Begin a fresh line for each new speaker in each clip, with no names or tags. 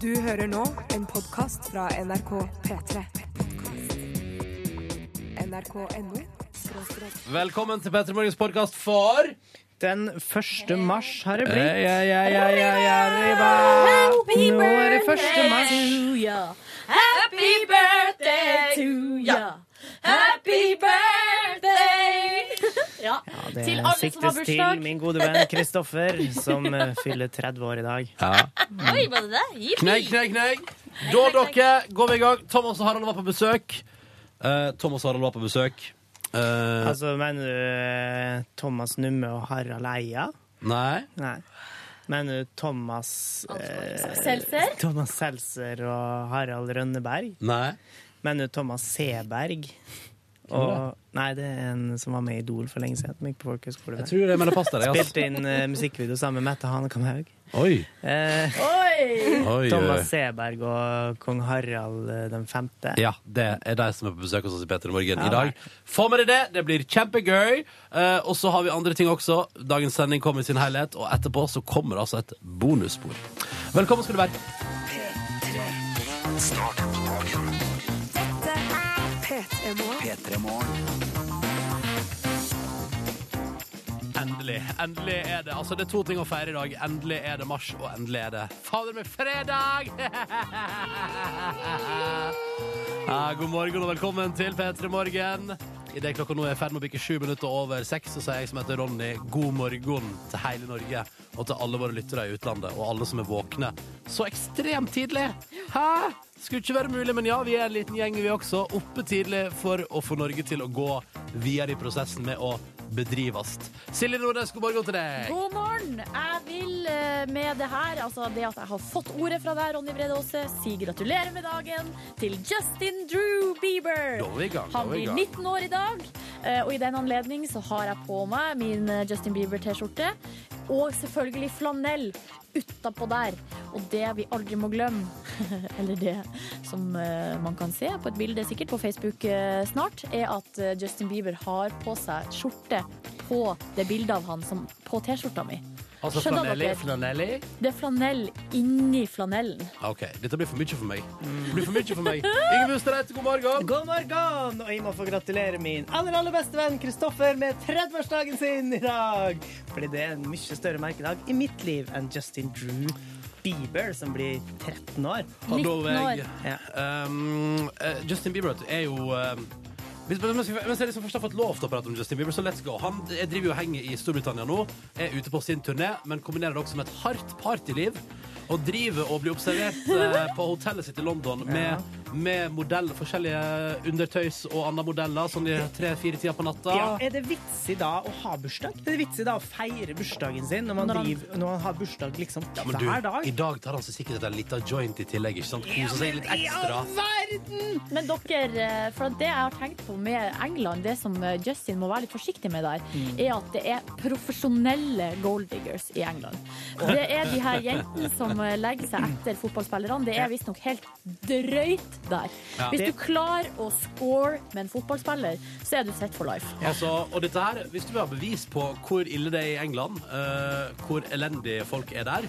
Du hører nå en podkast fra NRK P3. NRK.no
Velkommen til Petter Morgens podkast for
Den 1. mars har det
Ei,
blitt.
ei, ei, ei, ei, arriba.
Nå er det 1. mars.
Happy birthday to ya. Happy birthday. Ja.
Det
Til alle som har
siktes
bursdag.
til min gode venn Kristoffer, som eh, fyller 30 år i dag.
Oi, var det det? Yippee.
Knegg, knegg, knegg. Da, dere, går vi i gang. Thomas og Harald var på besøk. Eh, Thomas og Harald var på besøk. Eh,
Altså, mener du eh, Thomas Numme og Harald Eia?
nei.
Nei. Mener du Thomas eh,
Seltzer?
Thomas Seltzer og Harald Rønneberg?
Nei.
Mener du Thomas Seberg? Og, nei, det er en som var med i Idol for lenge siden. som gikk på folkehøyskole.
Jeg tror det altså. melder pass der. jeg, ass.
Spilte inn eh, musikkvideo sammen med Mette Hanekamhaug.
Oi,
Eh,
Oi.
oi.
Thomas
eh,
Seberg og kong Harald eh, den femte.
Ja, det er de som er på besøk hos oss i Petter i morgen i
Ja,
dag. Få med deg det. Det blir kjempegøy. Eh, og så har vi andre ting også. Dagens sending kommer i sin helhet, og etterpå så kommer det altså et bonusspor. Velkommen skal du være.
Dette er P3 Morgen.
Endelig. Endelig er det. Altså, det er to ting å feire i dag. Endelig er det mars, og endelig er det Fader med fredag! ja, god morgen og velkommen til P3 Morgen. Idet klokka nå er i ferd med å bikke sju minutter over seks, så sier jeg som heter Ronny, god morgen til hele Norge. Og til alle våre lyttere i utlandet, og alle som er våkne. Så ekstremt tidlig! Hæ? Skulle ikke være mulig, men ja, vi er en liten gjeng, vi også. Oppe tidlig for å få Norge til å gå videre i prosessen med å bedrives. Silje Nordnes, god morgen til deg.
God morgen. Jeg vil eh, med det her, altså det at jeg har fått ordet fra deg, Ronny Brede Aase, si gratulerer med dagen til Justin Drew Bieber.
Da er vi i gang, da
Han
er vi i
blir
gang.
19 år i dag, eh, og i den anledning så har jeg på meg min eh, Justin Bieber-T-skjorte, og selvfølgelig flanell utapå der. Og det vi aldri må glemme, eller det som eh, man kan se på et bilde sikkert på Facebook eh, snart, er at eh, Justin Bieber har på seg skjorte på det bildet av han som på T-skjorta mi.
Altså
Skjønner
Flanelli.
dere?
Flanelli.
Det er flanell inni flanellen.
OK, dette blir for mye for meg. Det blir for mye for meg. Inge Bustadreit, god morgen.
God morgen! Og jeg må få gratulere min aller aller beste venn Kristoffer med 30-årsdagen sin i dag! Fordi det er en mye større merkedag i mitt liv enn Justin Drew Bieber, som blir 13 år.
19 år.
Ja.
Um, eh, Justin Bieber er jo um, hvis men- men- mens jeg liksom først har fått lov til å prate om Justin Bieber, så let's go. Han eh, driver jo og henger i Storbritannia nå, er ute på sin turné, men kombinerer det også med et hardt partyliv. Og driver og blir observert eh, på hotellet sitt i London med, med modell, forskjellige undertøys og andre modeller sånn i tre-fire tida på natta.
Ja, er det vits i da å ha bursdag? Er det vits i da å feire bursdagen sin når man,
Når han-
driver, når man har bursdag liksom
Men du,
hver dag?
I dag tar han seg sikkert en liten joint i tillegg. ikke sant? Koser seg litt ekstra.
Men dere, eh, for det jeg har tenkt på med England, det som eh, Justin må være litt forsiktig med der, er at det er profesjonelle gold diggers i England. Det er de her jentene som eh, legger seg etter fotballspillerne. Det er visstnok helt drøyt der. Hvis du klarer å score med en fotballspiller, så er du sett for life.
Altså, og dette her, Hvis du vil ha bevis på hvor ille det er i England, eh, hvor elendige folk er der,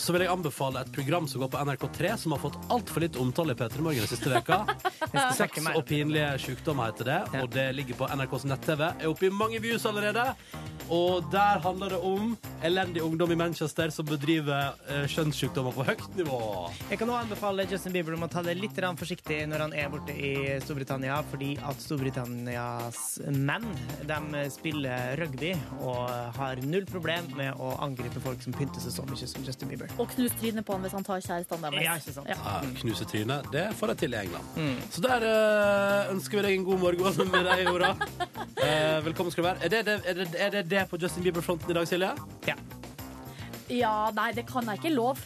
så vil jeg anbefale et program som går på NRK3, som har fått altfor litt omtale i P3 Morgen den siste veka.
skal
Sex
sjekke mer.
og pinlige sykdommer heter det, og det ligger på NRKs nett-TV. Er oppe i mange views allerede. Og der handler det om elendig ungdom i Manchester som bedriver eh, kjønnssykdommer på høyt nivå.
Jeg kan også anbefale Justin Bieber om å ta det litt grann forsiktig når han er borte i Storbritannia, fordi at Storbritannias menn de spiller rugby og har null problem med å angripe folk som pynter seg så mye som Justin Bieber.
Og knus trynet på han hvis han tar kjæresten deres.
Ja, ikke sant?
Ja.
Ja, knuse trynet, det får de til i England. Så der eh, ønsker vi deg en god morgen med deg, Jora. Eh, velkommen skal du være. Er det det, er det, er det, det på Justin Bieber-fronten i dag, Silje?
Ja.
Ja, nei, det kan jeg ikke lov.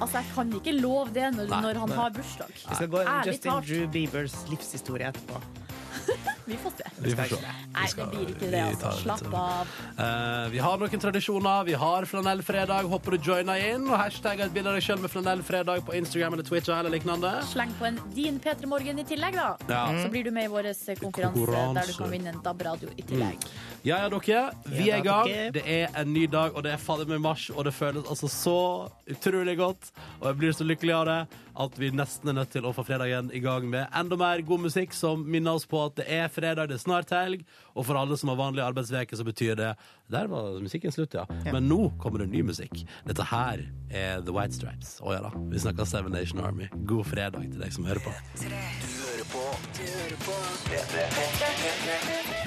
Altså, jeg kan ikke lov det når,
Nei,
når han
nei.
har bursdag.
Vi skal gå gjennom
Ærlig
Justin
talt.
Drew Biebers livshistorie etterpå.
Vi får se.
Vi får se.
Nei, det blir ikke det,
vi
altså.
tar litt-
Slapp av.
Eh, vi har noen tradisjoner. Vi har flanellfredag. Håper du joiner inn. Og hashtag et bilde av deg sjøl med flanellfredag på Instagram eller Twitter eller lignende.
Sleng på en din P3 Morgen i tillegg, da.
Ja.
Så blir du med i vår eh, konkurranse,
Konkurranse. Mm.
der du kan vinne en DAB-radio i tillegg.
Ja, ja, dere. Vi
Ja,
er i
da,
gang.
dere.
Det er en ny dag, og det er fader meg mars, og det føles altså så utrolig godt. Og jeg blir så lykkelig av det at vi nesten er nødt til å få fredagen i gang med enda mer god musikk som minner oss på at det er fredag, det er snart helg, og for alle som har vanlige arbeidsveker så betyr det Der var musikken slutt, ja. Men nå kommer det ny musikk. Dette her er The White Stripes. Å ja da. Vi snakker Seven Nation Army. God fredag til deg som hører på.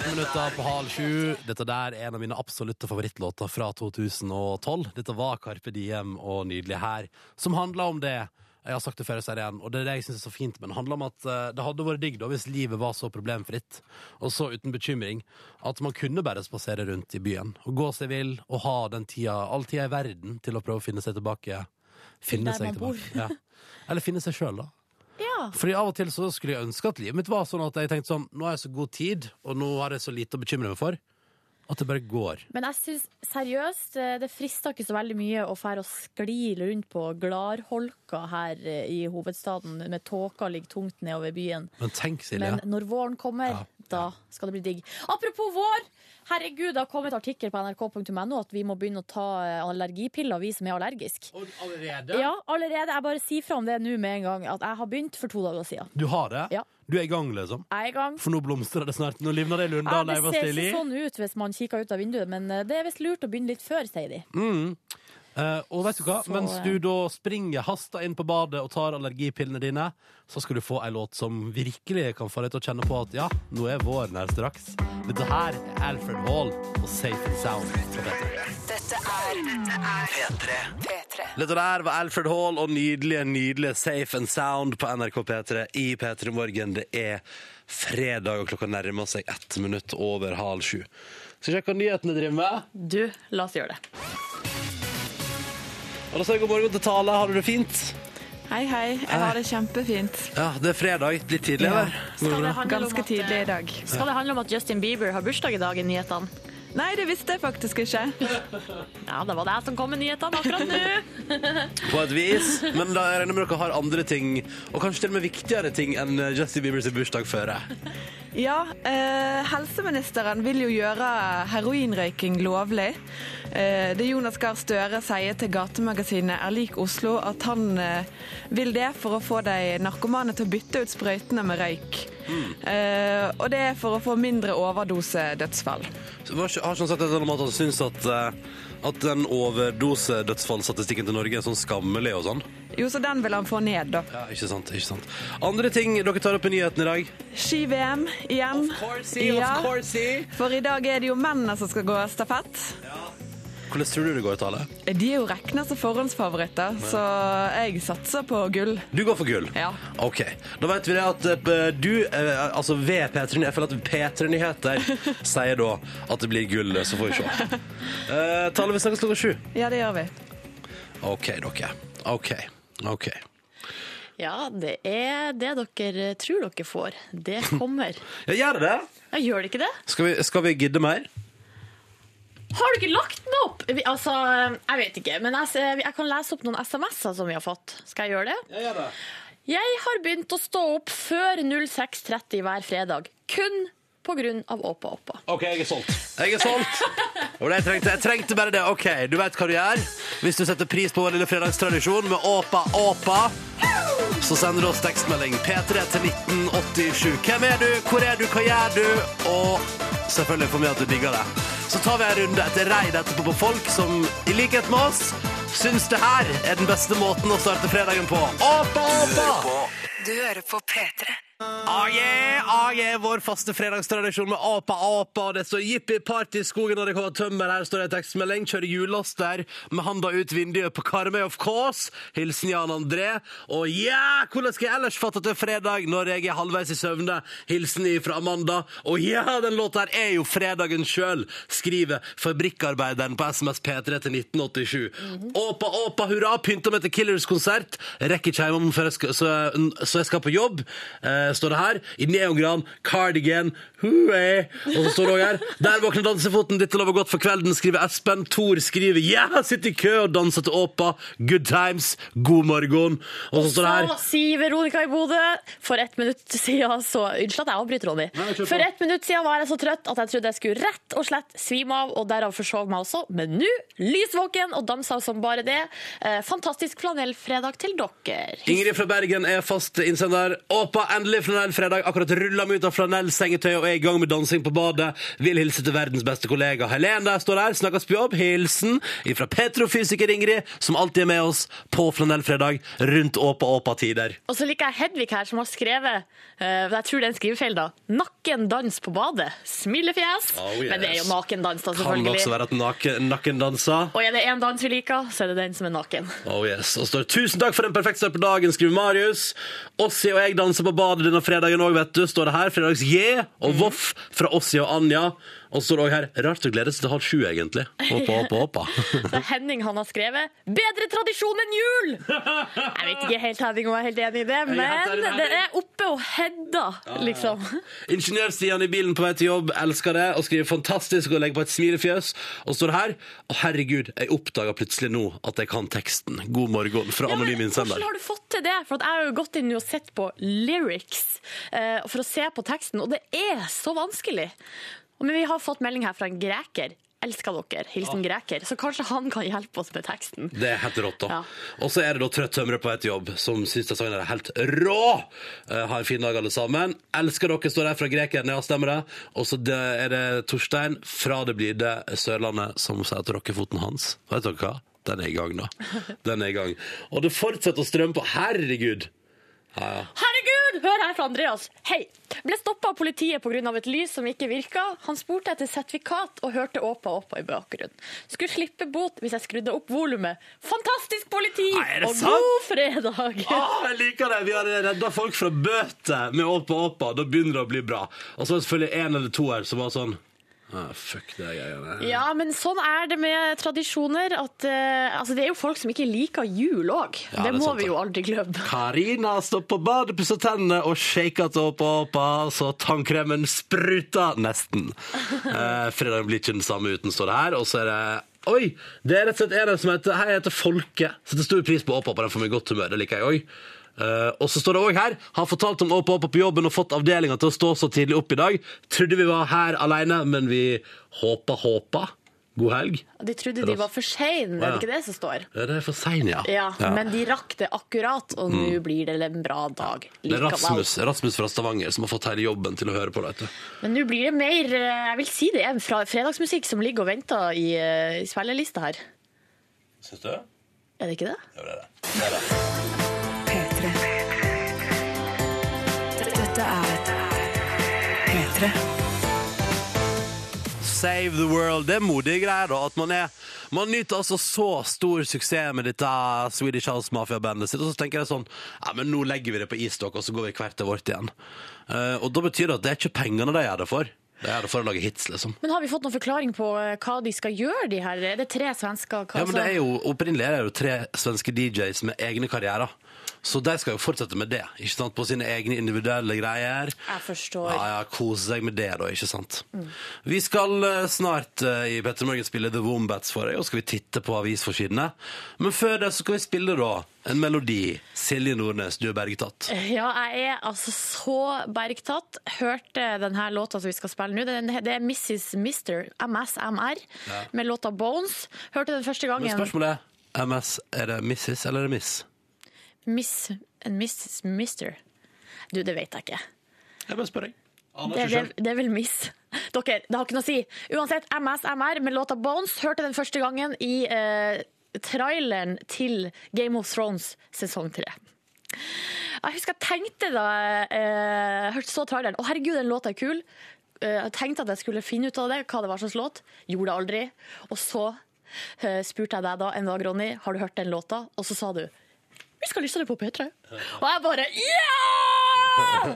minutter på halv sju. Dette der er en av mine absolutte favorittlåter fra 2012. Dette var Carpe Diem og Nydelig her, som handla om det. Jeg har sagt det før, jeg sier det igjen, og det er det jeg synes er så fint, men det handler om at eh, det hadde vært digg da hvis livet var så problemfritt og så uten bekymring at man kunne bare spasere rundt i byen og gå seg vill og ha den tida, all tida i verden til å prøve å finne seg tilbake. Finne
der man bor.
Ja. Eller finne seg sjøl, da.
Ja.
Fordi av og til så skulle jeg ønske at livet mitt var sånn at jeg tenkte sånn Nå har jeg så god tid, og nå har jeg så lite å bekymre meg for, at det bare går.
Men jeg syns seriøst, eh, det frister ikke så veldig mye å fære og skli rundt på Gladholka her eh, i hovedstaden, med tåka ligger tungt nedover byen.
Men tenk, Silje.
Men når våren kommer,
Ja.
da skal det bli digg. Apropos vår! Herregud, det har kommet artikkel på nrk.no at vi må begynne å ta eh, allergipiller, vi som er allergiske.
Allerede?
Ja, allerede. Jeg bare sier fra om det nå med en gang, at jeg har begynt for to dager siden.
Du har det?
Ja.
Du er i gang, liksom?
Jeg er i gang.
For nå blomstrer det snart. Nå livner det i
Ja,
Lunda.
det
Leiva
ser ikke
Stilli.
sånn ut hvis man kikker ut av vinduet, men eh, det er visst lurt å begynne litt før, sier de.
Mm. Eh, og vet du hva?
Så-
Mens du da springer, haster inn på badet og tar allergipillene dine, så skal du få ei låt som virkelig kan få deg til å kjenne på at ja, nå er våren her straks. Dette her er Alfred Hall og Safe and Sound. på P3. Dette der var Alfred Hall og nydelige, nydelige Safe and Sound på NRK P3 i P3 Morgen. Det er fredag, og klokka nærmer seg ett minutt over halv sju. Skal vi sjekke hva nyhetene driver med?
Du, la oss gjøre det.
Og da sier jeg god morgen til Tale. Har du det fint?
Hei, hei. Jeg har det kjempefint.
Ja, det er fredag. Litt tidlig, eller? Går det bra?
Ganske tidlig i dag.
eh, Skal det handle om at Justin Bieber har bursdag i dag i nyhetene?
Nei, det visste jeg faktisk ikke.
Ja, det var det som kom med nyhetene akkurat nå.
På et vis. Men da regner jeg med dere har andre ting, og kanskje til og med viktigere ting enn eh, Justin Biebers bursdag før. det.
Ja, eh, helseministeren vil jo gjøre heroinrøyking lovlig. Eh, det Jonas Gahr Støre sier til gatemagasinet Er lik Oslo, at han eh, vil det for å få de narkomane til å bytte ut sprøytene med røyk. Eh, og det er for å få mindre overdosedødsfall.
Så var ikke- Har ikke han sagt et eller annet om at han syns at, eh, at den overdosedødsfallsstatistikken til Norge er sånn skammelig og sånn?
Jo, så den vil han få ned, da.
Ja, ikke sant, ikke sant. Andre ting dere tar opp i nyhetene i dag?
Ski-VM igjen. Ja, For i dag er det jo mennene som skal gå stafett.
Hvordan tror du det går, Tale?
De er jo regna som forhåndsfavoritter, så jeg satser på gull.
Du går for gull?
Ja.
Ok. Da vet vi det at eh, du, eh, altså ved P3 Jeg føler at P3 Nyheter sier da at det blir gull, så får vi se. Eh, Tale, vi snakkes klokka sju.
Ja, det gjør vi.
OK, dere. OK. OK.
Ja, det er det dere tror dere får. Det kommer.
Ja, gjør det det?
Ja, gjør det ikke det?
Skal vi, skal vi gidde mer?
Har du ikke lagt den opp? Vi, altså, jeg vet ikke, men jeg, ser- jeg kan lese opp noen SMS-er som vi har fått. Skal jeg gjøre det?
Ja, gjør det.
Jeg har begynt å stå opp før 06.30 hver fredag. Kun på grunn av Åpa Åpa.
OK, jeg er solgt. Jeg er solgt. Og det jeg trengte, jeg trengte bare det. OK, du vet hva du gjør. Hvis du setter pris på vår lille fredagstradisjon med Åpa Åpa, så sender du oss tekstmelding P3 til 1987. Hvem er du? Hvor er du? Hva gjør du? Og selvfølgelig får vi at du digger det. Så tar vi en runde etter reid etterpå på folk som, i likhet med oss, syns det her er den beste måten å starte fredagen på. Åpa Åpa!
Du hører på P3.
Ah, yeah, ah, yeah, vår faste fredagstradisjon med apa, apa, og det står jippi party i skogen når det kommer tømmer. Her står det en tekstmelding. Kjører hjullaster med handa ut vinduet på Karmøy, of course. Hilsen Jan André. Og ja, hvordan skal jeg ellers fatte at det er fredag når jeg er halvveis i søvne? Hilsen fra Amanda. Og ja, den låta her er jo fredagen sjøl, skriver fabrikkarbeideren på SMS P3 til 1987. Åpa, åpa, hurra, pynta meg til Killers konsert. Rekker ikke hjem om før jeg skal, så, så jeg skal på jobb. Eh, eh, står det her, i neongran, cardigan, huey, og så står det også her, der våkner dansefoten, dette lover godt for kvelden, skriver Espen, Thor skriver, ja, sitt i kø og danser til åpa, good times, god morgen, og så står det her,
Så sier Veronica i Bodø For ett minutt siden så Unnskyld at jeg avbryter, Ronny.
Nei, kjør på.
For ett minutt siden var jeg så trøtt at jeg trodde jeg skulle rett og slett svime av, og derav forsov meg også. Men nå, lysvåken og dansa som bare det. Eh, fantastisk flanellfredag til dere.
Ingrid fra Bergen er fast innsender. Åpa, endelig flanellfredag. Akkurat rulla meg ut av flanellsengetøy og er i gang med dansing på badet. Vil hilse til verdens beste kollega Helen der står der. Snakkes på jobb. Hilsen fra petrofysiker Ingrid, som alltid er med oss på flanellfredag rundt Åpa Åpa-tider.
Og så liker jeg Hedvig her, som har skrevet eh, Jeg tror det er en skrivefeil, da. 'Nakendans på badet'. Smilefjes.
Oh, yes.
Men det er jo nakendans, da,
Kan
selvfølgelig.
også være at naken, nakendanser.
Og er det én dans vi liker, så er det den som er naken.
Oh yes. Og står 'Tusen takk for en perfekt start på dagen', skriver Marius. Ossi og jeg danser på badet denne fredagen òg, vet du. Står det her. Fredags J
Mhm.
og Voff fra Ossi og Anja. Og så står det òg her 'Rart å glede seg til halv sju, egentlig'. Håpa, håpa, håpa.
Så Henning han har skrevet 'Bedre tradisjon enn jul'! Jeg vet ikke helt Henning om jeg er helt enig i det,
Jeg er helt enig
men
med
det
Henning.
er oppe og hedda, liksom.
Ingeniørstian i bilen på vei til jobb elsker det og skriver 'fantastisk' og legger på et smilefjøs. Og står det her 'Å, herregud, jeg oppdaga plutselig nå at jeg kan teksten'. God morgen fra
Ja, men
Anonym Innsender.
Hvordan har du fått til det? For at jeg har jo gått inn og sett på lyrics eh, for å se på teksten, og det er så vanskelig. Men vi har fått melding her fra en greker. Elsker dere. Hilsen greker. Så kanskje han kan hjelpe oss med teksten.
Det er helt rått, da.
Ja.
Og så er det da Trøtt tømrer på vei til jobb, som syns den sangen er helt rå! Eh, ha en fin dag, alle sammen. Elsker dere, står der fra grekeren. Ja, stemmer det. Og så det- er det Torstein fra Det blir det Sørlandet som sier at rockefoten hans Vet dere hva? Den er i gang, da. Den er i gang. Og det fortsetter å strømme på. Herregud!
Herregud, hør her fra Andreas. Hei. Ble stoppa av politiet pga. et lys som ikke virka. Han spurte etter sertifikat og hørte åpa åpa i bakgrunnen. Skulle slippe bot hvis jeg skrudde opp volumet. Fantastisk politi!
Nei, er det
og
sant?
god fredag!
Ah, jeg liker det! Vi har redda folk fra bøter med Åpa Åpa. Da begynner det å bli bra. Og så var det selvfølgelig en eller to her som var sånn ah, Fuck det greiene.
Ja, men sånn er det med tradisjoner. At, eh, altså, det er jo folk som ikke liker jul òg.
Ja,
det,
det er
må
sant,
vi
det.
jo aldri glemme.
Karina står på badet, pusser tennene og shaker til oppa oppa, så tannkremen spruter nesten. Eh, fredagen blir ikke den samme uten, står det her. Og så er det Oi! Det er rett og slett en her som heter Hei, jeg heter Folke. Setter stor pris på oppa oppa, den får meg i godt humør. Det liker jeg òg. Eh, og så står det òg her Har fortalt om oppa oppa på jobben og fått avdelinga til å stå så tidlig opp i dag. Trodde vi var her aleine, men vi håpa, håpa. God helg.
De trodde de var for seine,
Ja.
er det ikke det som står?
Ja, Det er for sein, ja.
Ja, Men de rakk det akkurat, og nå blir det en bra dag
Det er
likevel.
Rasmus, Rasmus fra Stavanger som har fått hele jobben til å høre på. Dette.
Men nå blir det mer eh, Jeg vil si det er en fra- fredagsmusikk som ligger og venter i, eh, i spillelista her.
Syns du?
Er det ikke det?
Ja, det er det.
P3. Dette er P3.
Save the world. Det er modige greier, da. At man er Man nyter altså så stor suksess med dette Swedish House Mafia-bandet sitt, og så tenker jeg sånn Ja, men nå legger vi det på isdokk, og så går vi hvert til vårt igjen. Eh, og da betyr det at det er ikke pengene de gjør det for. De gjør det for å lage hits, liksom.
Men har vi fått noen forklaring på eh, hva de skal gjøre, de her? Er det tre svensker? Hva,
Ja, men det er jo Opprinnelig er det jo tre svenske DJs med egne karrierer. Så de skal jo fortsette med det, ikke sant? på sine egne individuelle greier.
Jeg forstår.
Ja, ja, Kose seg med det, da, ikke sant. Vi skal eh, snart eh, i Petter Morgen spille The Wombats for deg, og skal vi titte på avisforsidene. Men før det så skal vi spille da en melodi. Silje Nordnes, du er bergtatt.
Ja, jeg er altså så bergtatt. Hørte denne låta som vi skal spille nå. Den- Det er Mrs. Mister, MSMR, med låta Bones. Hørte den første
Men
gangen.
spørsmålet er MS, er det Mrs. eller er det Miss?
Miss, en Mrs. Mister. Du, det vet jeg ikke.
Jeg bare spør deg.
Det, det, det er vel miss. Dere, det har ikke noe å si. Uansett, MSMR med låta Bones hørte den første gangen i eh, traileren til Game of Thrones sesong tre. Jeg husker jeg tenkte da jeg eh, hørte så traileren Å, herregud, den låta er kul. Eh, Jeg tenkte at jeg skulle finne ut av det, hva det var slags låt. Gjorde det aldri. Og så eh, spurte jeg deg da en dag, Ronny, har du hørt den låta? Og så sa du vi skal lytte til det på P3. Og jeg bare ja!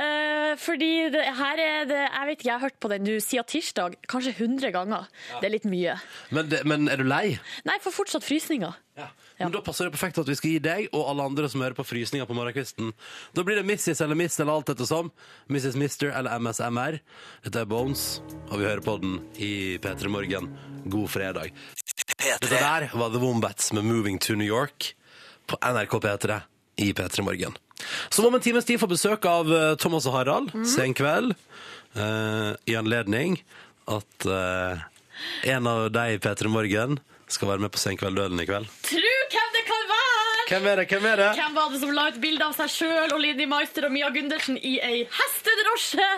Eh, fordi det, her er det Jeg vet ikke, jeg har hørt på den du sier tirsdag kanskje 100 ganger. Det er litt mye.
Men, det- men er du lei?
Nei, jeg får fortsatt frysninger. Ja.
Men da passer det perfekt at vi skal gi deg og alle andre som hører på frysninger på morgenkvisten. Da blir det Mrs. eller Miss eller alt etter som. Mrs. Mister eller MSMR. Dette er Bones, og vi hører på den i P3 Morgen. God fredag. Dette der var The Wombats med Moving to New York på NRK P3 i P3 Morgen. Som om en times tid får besøk av eh, Thomas og Harald sen kveld. eh, I anledning at eh, en av deg i P3 Morgen skal være med på Senkveldduellen i kveld.
Tru hvem det kan være!
Hvem er det? Hvem er det?
Hvem var det som la ut bilde av seg sjøl og Linni Meister og Mia Gundersen i ei hestedrosje?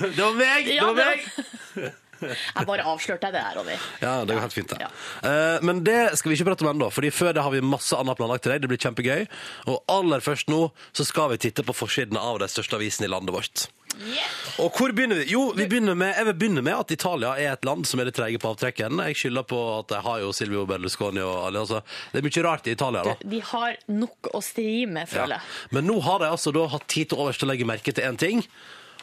Det var meg!
Ja, det var- Jeg bare avslørte deg det der, Ronny.
Ja, det går helt fint, det.
Ja.
Eh, men det skal vi ikke prate om ennå, Fordi før det har vi masse annet planlagt til deg. Det blir kjempegøy. Og aller først nå så skal vi titte på forsidene av de største avisene i landet vårt. Og hvor begynner vi? Jo, vi begynner med, jeg vil begynne med at Italia er et land som er litt treige på avtrekken. Jeg skylder på at de har jo Silvio Berlusconi og alle. Altså, det er mye rart i Italia, da.
De har nok å stri med, føler
Ja.
jeg.
Men nå har de altså da hatt tid til overs til å legge merke til én ting.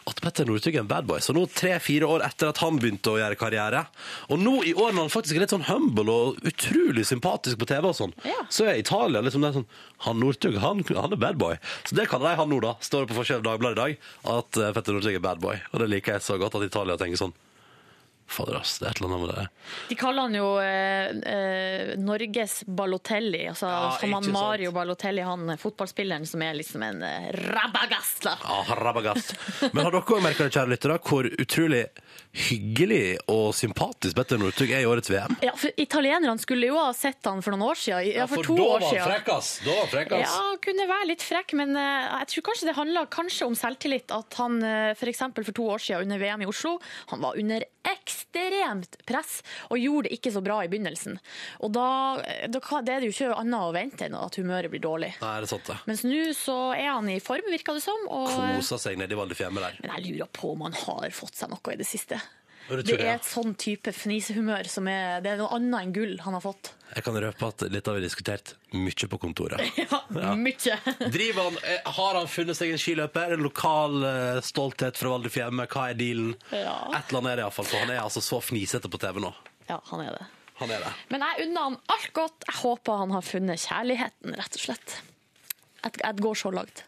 At Petter Northug er en bad boy. Så nå tre-fire år etter at han begynte å gjøre karriere. Og nå i år når han faktisk er litt sånn humble og utrolig sympatisk på TV og sånn,
Ja.
så er Italia liksom det er sånn Han Northug, han, han er bad boy. Så det kaller de han nå, da. Står det på forskjell i Dagbladet i dag at eh, Petter Northug er bad boy. Og det liker jeg så godt at Italia tenker sånn. Fader, ass. Det er et eller annet med det.
De kaller han jo eh, eh, Norges Balotelli, altså
Ja,
som han
ikke sant.
Mario Balotelli, han eh, fotballspilleren som er liksom en eh, rabagasta.
Ah, rabagast. Men har dere òg merka det, kjære lyttere, hvor utrolig hyggelig og sympatisk Petter Northug er i årets VM?
Ja, for italienerne skulle jo ha sett han for noen år siden. Ja, for, to år siden.
ass. Da var han frekk,
Ja, han kunne være litt frekk, men eh, jeg tror kanskje det handla kanskje om selvtillit. At han eh, for eksempel for to år siden under VM i Oslo, han var under ekstremt press og gjorde det ikke så bra i begynnelsen. Og da, eh, da kan- det er det jo ikke annet å vente enn at humøret blir dårlig.
Nei, det er sant, det.
Mens nå så er han i form, virker det som. Og,
Kosa seg nedi Val di Fiemme der.
men jeg lurer på om han har fått seg noe i det siste.
Ja, det tror
Det
jeg, ja.
er et sånn type fnisehumør som er Det er noe annet enn gull han har fått.
Jeg kan røpe at litt har vi diskutert mye på kontoret.
Ja, mye.
Driver han, eh, Har han funnet seg en skiløper? En lokal eh, stolthet fra Val di Fiemme? Hva er dealen?
Ja.
Et eller annet er det iallfall, for han er altså så fnisete på TV nå.
Ja, han er det.
Han er det.
Men jeg unner han alt godt. Jeg håper han har funnet kjærligheten, rett og slett. At jeg går så langt.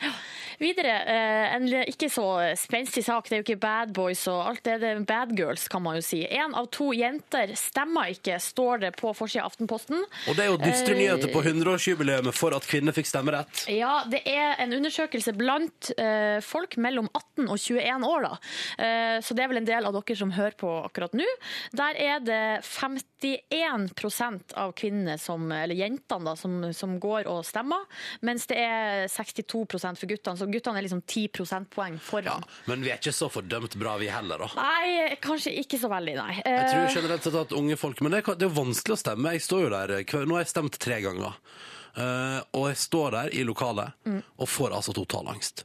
Ja. Videre, eh, en le- ikke så spenstig sak, det er jo ikke bad boys og alt det, det er bad girls, kan man jo si. Én av to jenter stemmer ikke, står det på forsida av Aftenposten. Eh,
Og det er jo dystre nyheter på 100-årsjubileet for at kvinner fikk stemmerett.
Ja, det er en undersøkelse blant eh, folk mellom 18 og 21 år, da. Eh, så det er vel en del av dere som hører på akkurat nå. Der er det 51 av kvinnene som, eller jentene da, som, som går og stemmer, mens det er 62 for guttene, så guttene er liksom 10 prosentpoeng foran.
Men vi er ikke så fordømt bra, vi heller, da.
Nei, kanskje ikke så veldig, nei.
Jeg
Eh,
tror generelt sett at unge folk Men det er, det er jo vanskelig å stemme. Jeg står jo der hver- Nå har jeg stemt tre ganger. Eh, og jeg står der i lokalet
Eh, mm.
og får altså total angst.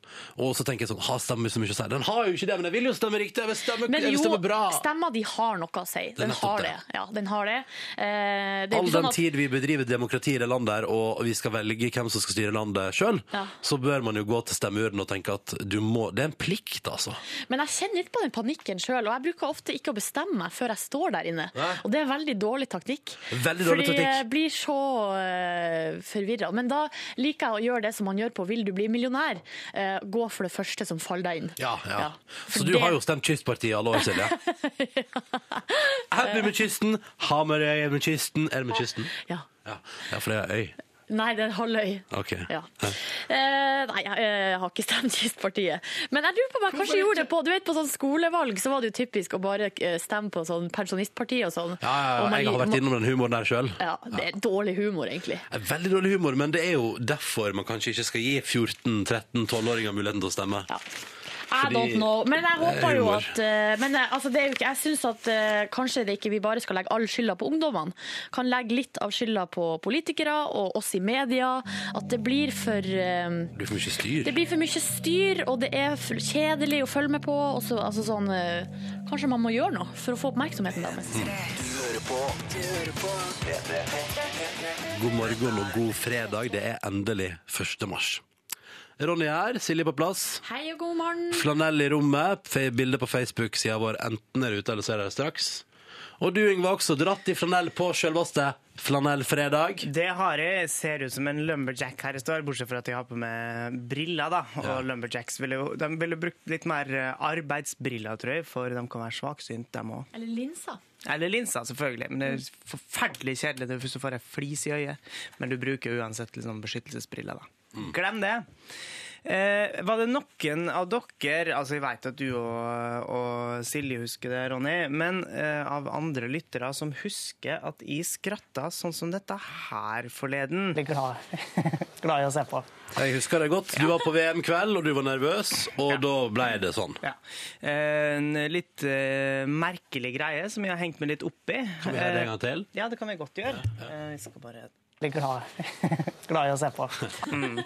Og så tenker jeg sånn Har stemmer så mye å si? Den har jo ikke det, men jeg vil jo stemme riktig! Jeg vil stemme,
Men
jeg vil
jo,
stemme bra!
stemma di har noe å si. Den
nettopp
har
det.
det. Ja, den har det. Eh, det er jo
All
ikke
den
sånn at-
tid vi bedriver demokrati i det landet her, og vi skal velge hvem som skal styre landet sjøl,
Ja.
så bør man jo gå til stemmeurnen og tenke at du må Det er en plikt, altså.
Men jeg kjenner litt på den panikken sjøl, og jeg bruker ofte ikke å bestemme meg før jeg står der inne.
Nei.
Og det er veldig dårlig taktikk.
Veldig dårlig
Fordi
taktikk.
jeg blir så uh, forvirra. Men da liker jeg å gjøre det som man gjør på Vil du bli millionær? Eh, gå for det første som faller deg inn.
Ja, ja.
Ja,
Så
for
du
det-
har jo stemt kystpartiet i alle år, Silje. Her blir med kysten, Hamarøy er med kysten, er det med kysten?
Ja.
Ja, ja for det er øy.
Nei, det er en halv øy.
Ok.
Ja. Eh, nei, jeg, eh, har ikke stemt Kystpartiet. Men jeg lurer på om jeg kanskje gjorde det på Du vet, på sånn skolevalg så var det jo typisk å bare eh, stemme på sånn pensjonistpartiet og sånn.
Ja, ja,
Og
ja.
man-
Jeg har vært innom den humoren der sjøl.
Ja, det er dårlig humor, egentlig.
Veldig dårlig humor, men det er jo derfor man kanskje ikke skal gi 14-13-12-åringer muligheten til å stemme.
Ja. I
Fordi-
don't know. Men
Det
jeg
er
håper jo
humor.
at eh, Men eh, altså, det er jo ikke, jeg syns at eh, kanskje det ikke vi bare skal legge all skylda på ungdommene. Kan legge litt av skylda på politikere og oss i media. At det blir for eh,
Du får ikke styr.
det blir for mye styr, og det er for kjedelig å følge med på. Og så, altså sånn, eh, kanskje man må gjøre noe for å få oppmerksomheten deres.
Mm. God morgen og god fredag. Det er endelig 1. mars. Ronny her, Silje på plass.
Hei og god morgen.
Flanell i rommet, fe- bilde på Facebook-sida vår. Enten er det ute, eller så er det straks. Og du, Yngve, har også dratt i flanell på selveste flanellfredag.
Det har jeg. Ser ut som en lumberjack her jeg står, bortsett fra at jeg har på meg briller. da. Og
Ja.
lumberjacks ville, jo- de ville brukt litt mer eh, arbeidsbriller, tror jeg, for de kan være svaksynt, de òg.
Eller linser.
Eller linser, selvfølgelig. Men det er forferdelig kjedelig det er hvis du får ei flis i øyet. Men du bruker uansett liksom beskyttelsesbriller, da.
Mm.
Glem det. Eh, var det noen av dere Altså, jeg vet at du og, og Silje husker det, Ronny. Men eh, av andre lyttere som husker at jeg skratta sånn som dette her forleden. Det er glad, glad i å se på.
Jeg husker det godt. Du var på VM-kveld, og du var nervøs, og da ble det sånn.
Ja. En litt eh, merkelig greie som jeg har hengt meg litt opp i. Eh,
Kan vi høre det en gang til?
Ja, det kan vi godt gjøre. Eh, Vi skal bare bli glad, glad i å se på. Mm.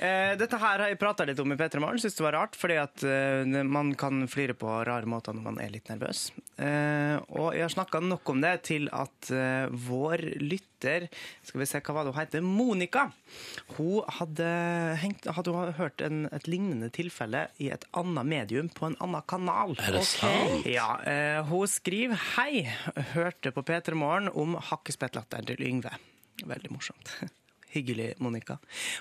Eh, Dette her har jeg prata litt om i P3 Morgen. Syns det var rart, fordi at eh, man kan flire på rare måter når man er litt nervøs. Eh, Og jeg har snakka nok om det til at eh, vår lytter, skal vi se hva var det hun heter, Monica, hun hadde, hengt, hadde hun hørt en, et lignende tilfelle i et annet medium på en annen kanal.
Er det sant?
Ja, eh, hun skriver Hei, hørte på P3 Morgen om hakkespettlatteren til Yngve. Veldig morsomt. Hyggelig, Monica.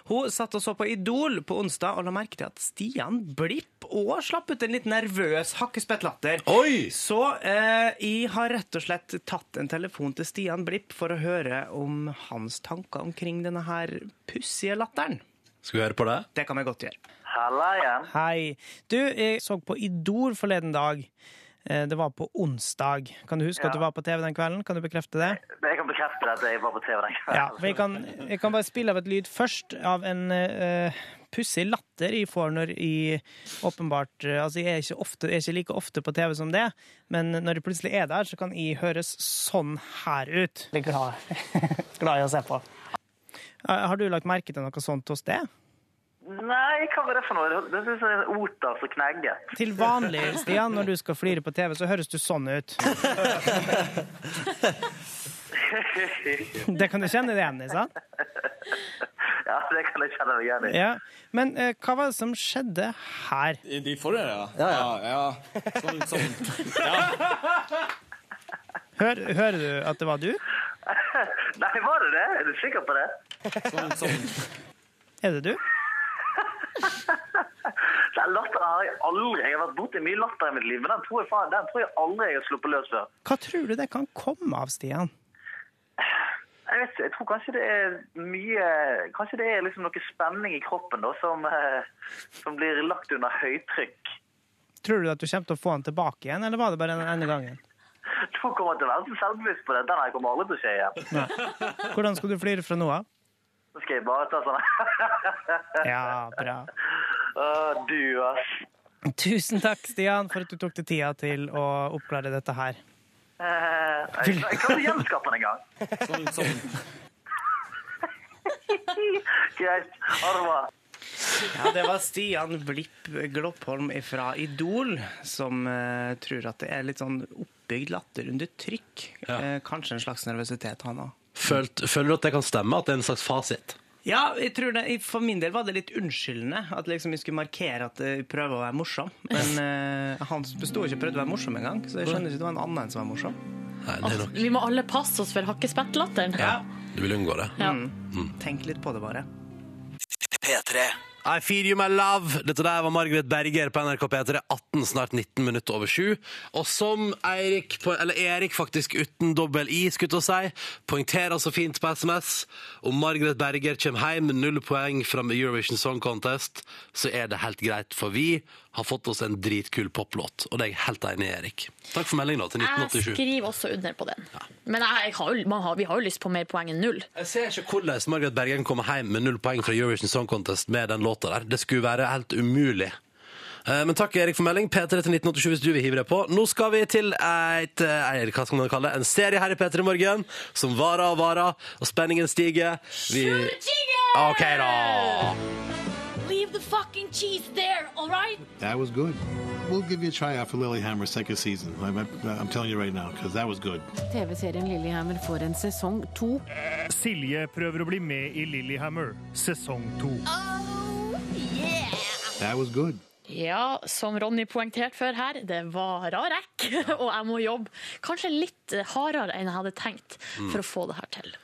Hun satt og så på Idol på onsdag og la merke til at Stian Blipp òg slapp ut en litt nervøs hakkespettlatter.
Oi!
Så eh, jeg har rett og slett tatt en telefon til Stian Blipp for å høre om hans tanker omkring denne her pussige latteren.
Skal vi høre på det?
Det kan vi godt gjøre.
Halla igjen.
Hei. Du, jeg så på Idol forleden dag. Eh, Det var på onsdag. Kan du huske at du var på TV den kvelden? Kan du bekrefte det?
Jeg kan bekrefte at jeg var på TV den
Ja,
kvelden.
for jeg kan, jeg kan bare spille av et lyd først av en uh, pussig latter jeg får når jeg åpenbart eh, Altså, jeg er, ikke ofte, jeg er ikke like ofte på TV som det, men når jeg plutselig er der, så kan jeg høres sånn her ut. Blir glad, i å se på. Eh, Har du lagt merke til noe sånt hos deg?
Nei, hva var det for noe? Det synes jeg er en oter som knegget.
Til vanlig, Stian, når du skal flire på TV, så høres du sånn ut. Det kan du kjenne deg igjen i, sant?
ja, det kan jeg kjenne meg igjen i.
Ja. Men eh, hva var det som skjedde her?
De forrige, ja? Ja, ja. Sånn, sånn.
Hør, hører du at det var du?
Nei, var det det? Er du sikker på det?
sånn, sånn.
Er det du?
Den latteren har jeg aldri. Jeg har vært borti mye latter i mitt liv, men den tror jeg, faen, den tror jeg aldri jeg har sluppet løs før.
Hva tror du det kan komme av, Stian?
Jeg vet ikke, jeg tror kanskje det er mye Kanskje det er liksom noe spenning i kroppen da, som, eh, som blir lagt under høytrykk.
Tror du at du kommer til å få han tilbake igjen, eller var det bare den ene gangen?
Nå kommer jeg til å være så selvbevisst på det. Den her kommer aldri til å skje igjen.
Hvordan skal du flire fra nå av?
Nå skal jeg bare ta sånn
Ja, bra.
Å, du, ass.
Tusen takk, Stian, for at du tok deg tida til å oppklare dette her.
Eh, Jeg jeg kan ikke gjenskape den engang.
sånn, sånn.
Greit. Ha det bra.
Ja, det var Stian Blipp Gloppholm fra Idol, som eh, tror at det er litt sånn oppbygd latter under trykk.
Ja.
Eh, kanskje en slags nervøsitet, han òg.
Følt, føler du at det kan stemme? At det er en slags fasit?
Ja, jeg tror det, for min del var det litt unnskyldende. At liksom jeg skulle markere at jeg prøver å være morsom. Men eh, han besto ikke og prøvde å være morsom engang, så jeg skjønner ikke det var en annen som var morsom.
Nei, det er nok.
Vi må alle passe oss for hakkespettlatteren.
Ja.
Du vil unngå det.
Ja.
Mm. Tenk litt på det, bare.
I feed you my love. Dette der var Margaret Berger på NRK P3, 18, snart 19 minutter over 7. Og som Eirik, på- eller Erik faktisk uten dobbel i, skulle jeg til å si, poengterer så fint på SMS, om Margaret Berger kommer hjem med null poeng fra Eurovision Song Contest, så er det helt greit, for vi har fått oss en dritkul poplåt. Og det er jeg helt enig i, Erik. Takk for meldingen da, til
Jeg
1987.
skriver også under på den. Men jeg, jeg har jo, man har, vi har jo lyst på mer poeng enn null.
Jeg ser ikke hvordan Margaret Bergen kommer hjem med null poeng fra Eurovision Song Contest med den låta der. Det skulle være helt umulig. Eh, Men takk Erik for melding. P3 til 1987 hvis du vil hive deg på. Nå skal vi til et, eh, eller hva skal man kalle det, en serie her i P3 Morgen som varer og varer, og spenningen stiger. Vi... OK, da.
Leave the fucking cheese there, all right?
That was good. We'll give you a try out for Lilyhammer second season. I'm, I'm telling you right now, because that was good.
TV-serien Lillehammer får en sesong to.
Silje prøver å bli med i Lillehammer, sesong to.
That was good.
Ja, som Ronny poengterte før her, det var rar rekk, og jeg må jobbe kanskje litt hardere enn jeg hadde tenkt
Mm.
for å få det her til.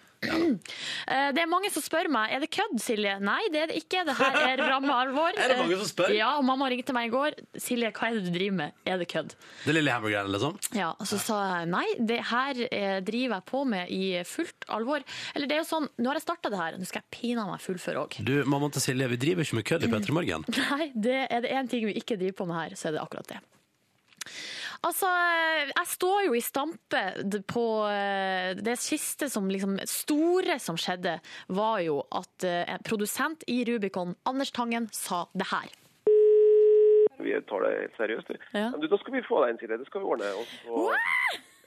Eh, Det er mange som spør meg Er det kødd, Silje. Nei, det er det ikke. Det her er ramme alvor.
Er det mange som spør?
Ja, og mamma ringte meg i går. Silje, hva er det du driver med? Er det kødd?
Det lille hamburgeren, liksom?
Ja, og så sa jeg nei, det her eh, driver jeg på med i fullt alvor. Eller det er jo sånn, nå har jeg starta det her, nå skal jeg pinadø meg fullføre òg.
Du, mammaen til Silje, vi driver ikke med kødd i P3 Morgen.
Nei, det er det én ting vi ikke driver på med her, så er det akkurat det. Altså, jeg står jo i stampe d- på eh, Det siste som liksom store som skjedde, var jo at eh, en produsent i Rubicon, Anders Tangen, sa det her.
Vi tar det helt seriøst. vi.
Ja.
Men Du, da skal vi få deg en side, det skal vi ordne. Og så,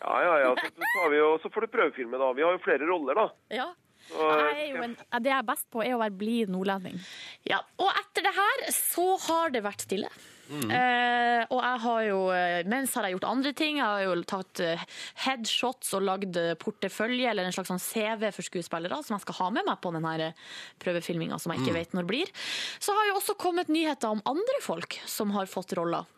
ja, ja, ja. Så, tar vi, og så får du prøvefilme, da. Vi har jo flere roller, da.
Ja.
Så,
Jeg er jo en, det jeg er best på, er å være blid nordlending. Ja, Og etter det her så har det vært stille.
Mhm.
Eh, og jeg har jo, eh, mens har jeg gjort andre ting. Jeg har jo tatt eh, headshots og lagd eh, portefølje, eller en slags sånn CV for skuespillere, som jeg skal ha med meg på denne prøvefilminga som jeg ikke
Mhm.
vet når blir. Så har jo også kommet nyheter om andre folk som har fått roller.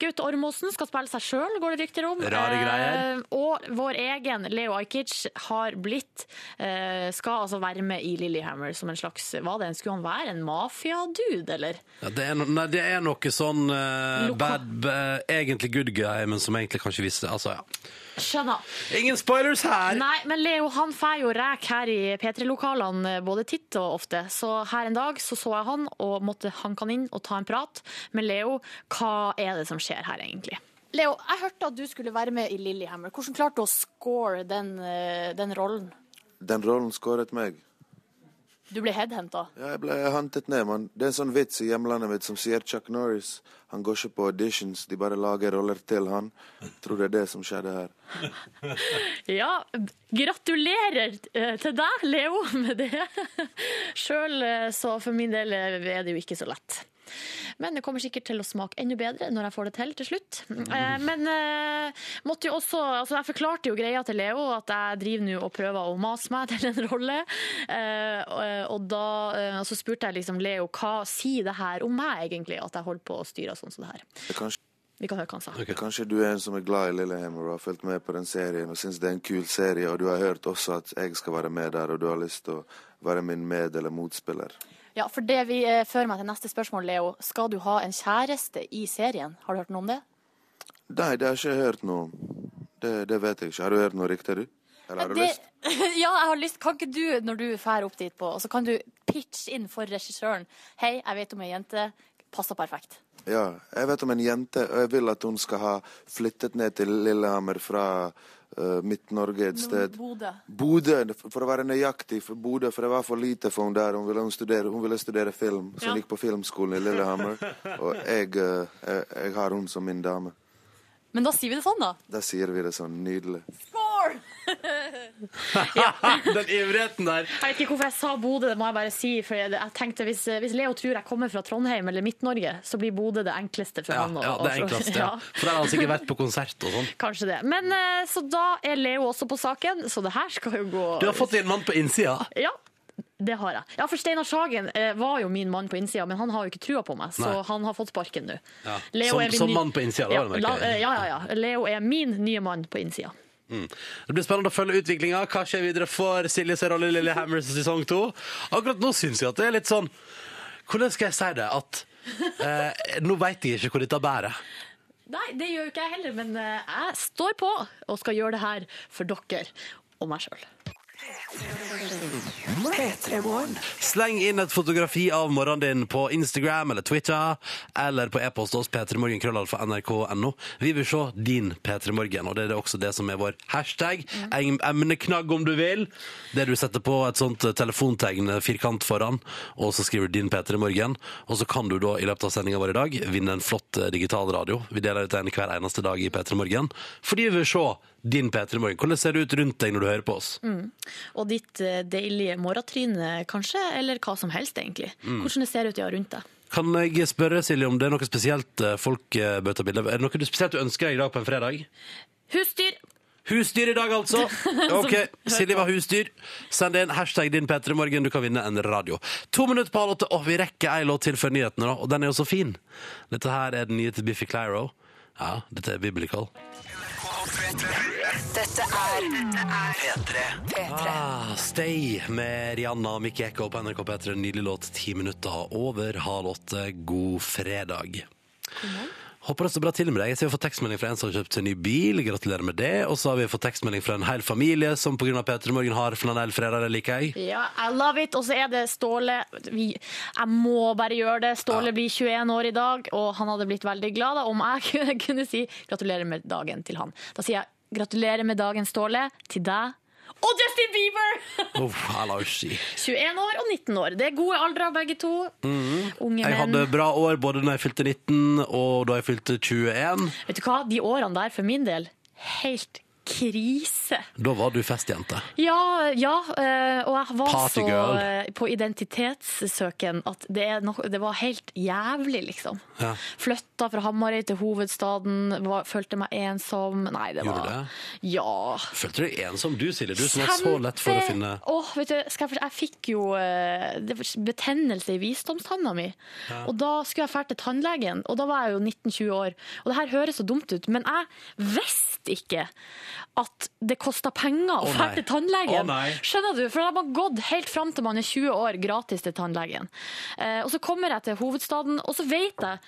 Gaute Ormåsen skal spille seg sjøl, går det rykter om.
Rare greier.
Eh, og vår egen Leo Ajkic har blitt eh, Skal altså være med i Lillehammer som en slags Hva det en skulle han være? En mafiadude, eller?
Ja, det, er no, nei, det er noe sånn eh,
Loka-
bad, eh, egentlig good guy, men som egentlig kanskje viser Altså, ja.
Skjønner.
Ingen spoilers her!
Nei, men Leo han får jo rek her i P3-lokalene eh, både titt og ofte. Så her en dag så, så jeg han og måtte hanke han inn og ta en prat med Leo. Hva er det som skjer her, egentlig?
Leo, jeg hørte at du skulle være med i Lillehammer. Hvordan klarte du å score den, eh, den rollen?
Den rollen skåret meg.
Du ble headhenta.
Ja, jeg ble hentet ned, mann. Det er en sånn vits i hjemlandet mitt som sier Chuck Norris. Han går ikke på auditions, de bare lager roller til han. Jeg tror det er det som skjedde her.
Ja, gratulerer eh, til deg, Leo, med det. Sjøl eh, så for min del eh, er det jo ikke så lett. Men det kommer sikkert til å smake enda bedre når jeg får det til til slutt. Eh, Men eh, måtte jo også, altså jeg forklarte jo greia til Leo at jeg driver nå og prøver å mase meg til en rolle. Eh, og- Og da eh, så spurte jeg liksom Leo hva sier det her om meg egentlig, at jeg holder på å styre sånn som det her.
Det er Kanskje,
Vi kan høre hva han sa.
kanskje du er en som er glad i Lillehammer og har fulgt med på den serien og syns det er en kul serie, og du har hørt også at jeg skal være med der, og du har lyst til å være min med- eller motspiller.
Ja, for det vi eh, fører meg til neste spørsmål, Leo. Skal du ha en kjæreste i serien? Har du hørt noe om det?
Nei, det har jeg ikke hørt noe om. Det, det vet jeg ikke. Har du hørt noe riktig, du? Eller har du lyst?
ja, jeg har lyst. Kan ikke du, når du drar opp dit, på, og så kan du pitche inn for regissøren. Hei, jeg vet om ei jente. Passer perfekt.
Ja, jeg vet om en jente, og jeg vil at hun skal ha flyttet ned til Lillehammer fra eh, Midt-Norge et sted.
Bodø.
Bodø, for å være nøyaktig, for Bodø, for det var for lite for hun der. Hun ville, hun studere, hun ville studere film, så
Ja.
hun gikk på filmskolen i Lillehammer. Og jeg, eh, jeg, jeg har hun som min dame.
Men da sier vi det sånn, da.
Da sier vi det sånn nydelig.
Score!
Den ivrigheten der.
Jeg vet ikke hvorfor jeg sa Bodø, det må jeg bare si. For jeg, jeg tenkte hvis, eh, hvis Leo tror jeg kommer fra Trondheim eller Midt-Norge, så blir Bodø det enkleste for
Ja,
han. å-
ja, det er
å-
enklest. Ja.
Ja,
For der har han sikkert vært på konsert og sånn.
Kanskje det. Men eh, så da er Leo også på saken, så det her skal jo gå
Du har fått en mann på innsida.
Ja, det har jeg. Ja, for Steinar Sagen eh, var jo min mann på innsida, men han har jo ikke trua på meg, så
Nei.
han har fått sparken nå.
Ja.
Leo
Som,
er min
som
ny-
mann på innsida.
Ja,
Ja, det,
la- eh,
merker jeg.
ja, ja, ja. Leo er min nye mann på innsida.
mm. det blir spennende å følge utviklinga. Hva skjer videre for Silje sin rolle i Lille Hammers sesong to? Akkurat nå syns jeg at det er litt sånn Hvordan skal jeg si det? At eh, nå veit jeg ikke hvor dette bærer.
Nei, det gjør jo ikke jeg heller, men eh, jeg står på og skal gjøre det her for dere og meg sjøl.
Sleng inn et fotografi av morgenen din på Instagram eller Twitter, eller på e-post hos p3morgenkrøllalfa.nrk.no. Vi vil se din P3morgen, og det er også det som er vår hashtag. Em- Emneknagg om du vil. Det du setter på et sånt eh, telefontegn firkant foran, og så skriver du din P3morgen. Og så kan du da i løpet av sendinga vår i dag vinne en flott eh, digital radio. Vi deler ut en hver eneste dag i P3morgen, fordi vi vil se din P3morgen. Hvordan ser det ut rundt deg når du hører på oss?
Mm. Og ditt eh, deilige morgentryne, kanskje, eller hva som helst, egentlig.
Mm.
Hvordan det ser ut ja, rundt deg.
Kan jeg spørre Silje om det er noe spesielt eh, folk eh, bør ta bilde av? Er det noe du spesielt du ønsker deg i dag på en fredag?
Husdyr!
Husdyr i dag, altså. Ok, Silje var husdyr. Send inn hashtag din P3morgen, du kan vinne en radio. To minutter på halv åtte, og vi rekker ei låt til før nyhetene, da. Og den er jo så fin. Dette her er den nye til Biffy Clyro. Ja, dette er biblical.
Dette er P3.
Ah, Stay med Rihanna og Mikke Ekko på NRK P3. Nydelig låt, ti minutter over halv åtte. God fredag. Håper det står bra til med deg. Jeg ser vi har fått tekstmelding fra en som har kjøpt seg ny bil. Gratulerer med det. Og så har vi fått tekstmelding fra en hel familie som pga. P3 Morgen har flanellfredag. Det liker jeg.
Ja, I love it. Og så er det Ståle vi, Jeg må bare gjøre det. Ståle blir 21 år i dag, og han hadde blitt veldig glad da, om jeg kunne, kunne si gratulerer med dagen til han. Da sier jeg gratulerer med dagen, Ståle, til deg. Og Justin Bieber!
Uff, jeg lar jo si.
21 år og 19 år. Det er gode aldre av begge to.
Mhm.
Mm. Unge
Jeg
menn.
hadde bra år både da jeg fylte 19 og da jeg fylte 21.
Vet du hva? De årene der, for min del, helt krise.
Da var du festjente.
Ja, ja eh, og jeg var
Partygirl.
så eh, på identitetssøken at det, er noe- det var helt jævlig, liksom.
Ja.
Flytta fra Hamarøy til hovedstaden, var, følte meg ensom. Nei, det
Gjorde
var
du det?
Ja.
Følte du deg ensom, du Silje? Du som var så lett for å finne
Åh, vet du, skal jeg, fortelle- jeg fikk jo eh, det var betennelse i visdomstanna mi.
Ja.
Og da skulle jeg fære til tannlegen, og da var jeg jo 19-20 år. Og det her høres så dumt ut, men jeg visste ikke at det kosta penger å
Å,
fære
nei.
til tannlegen.
Å, nei.
Skjønner du? For da har man gått helt fram til man er 20 år gratis til tannlegen. Eh, og så kommer jeg til hovedstaden, og så vet jeg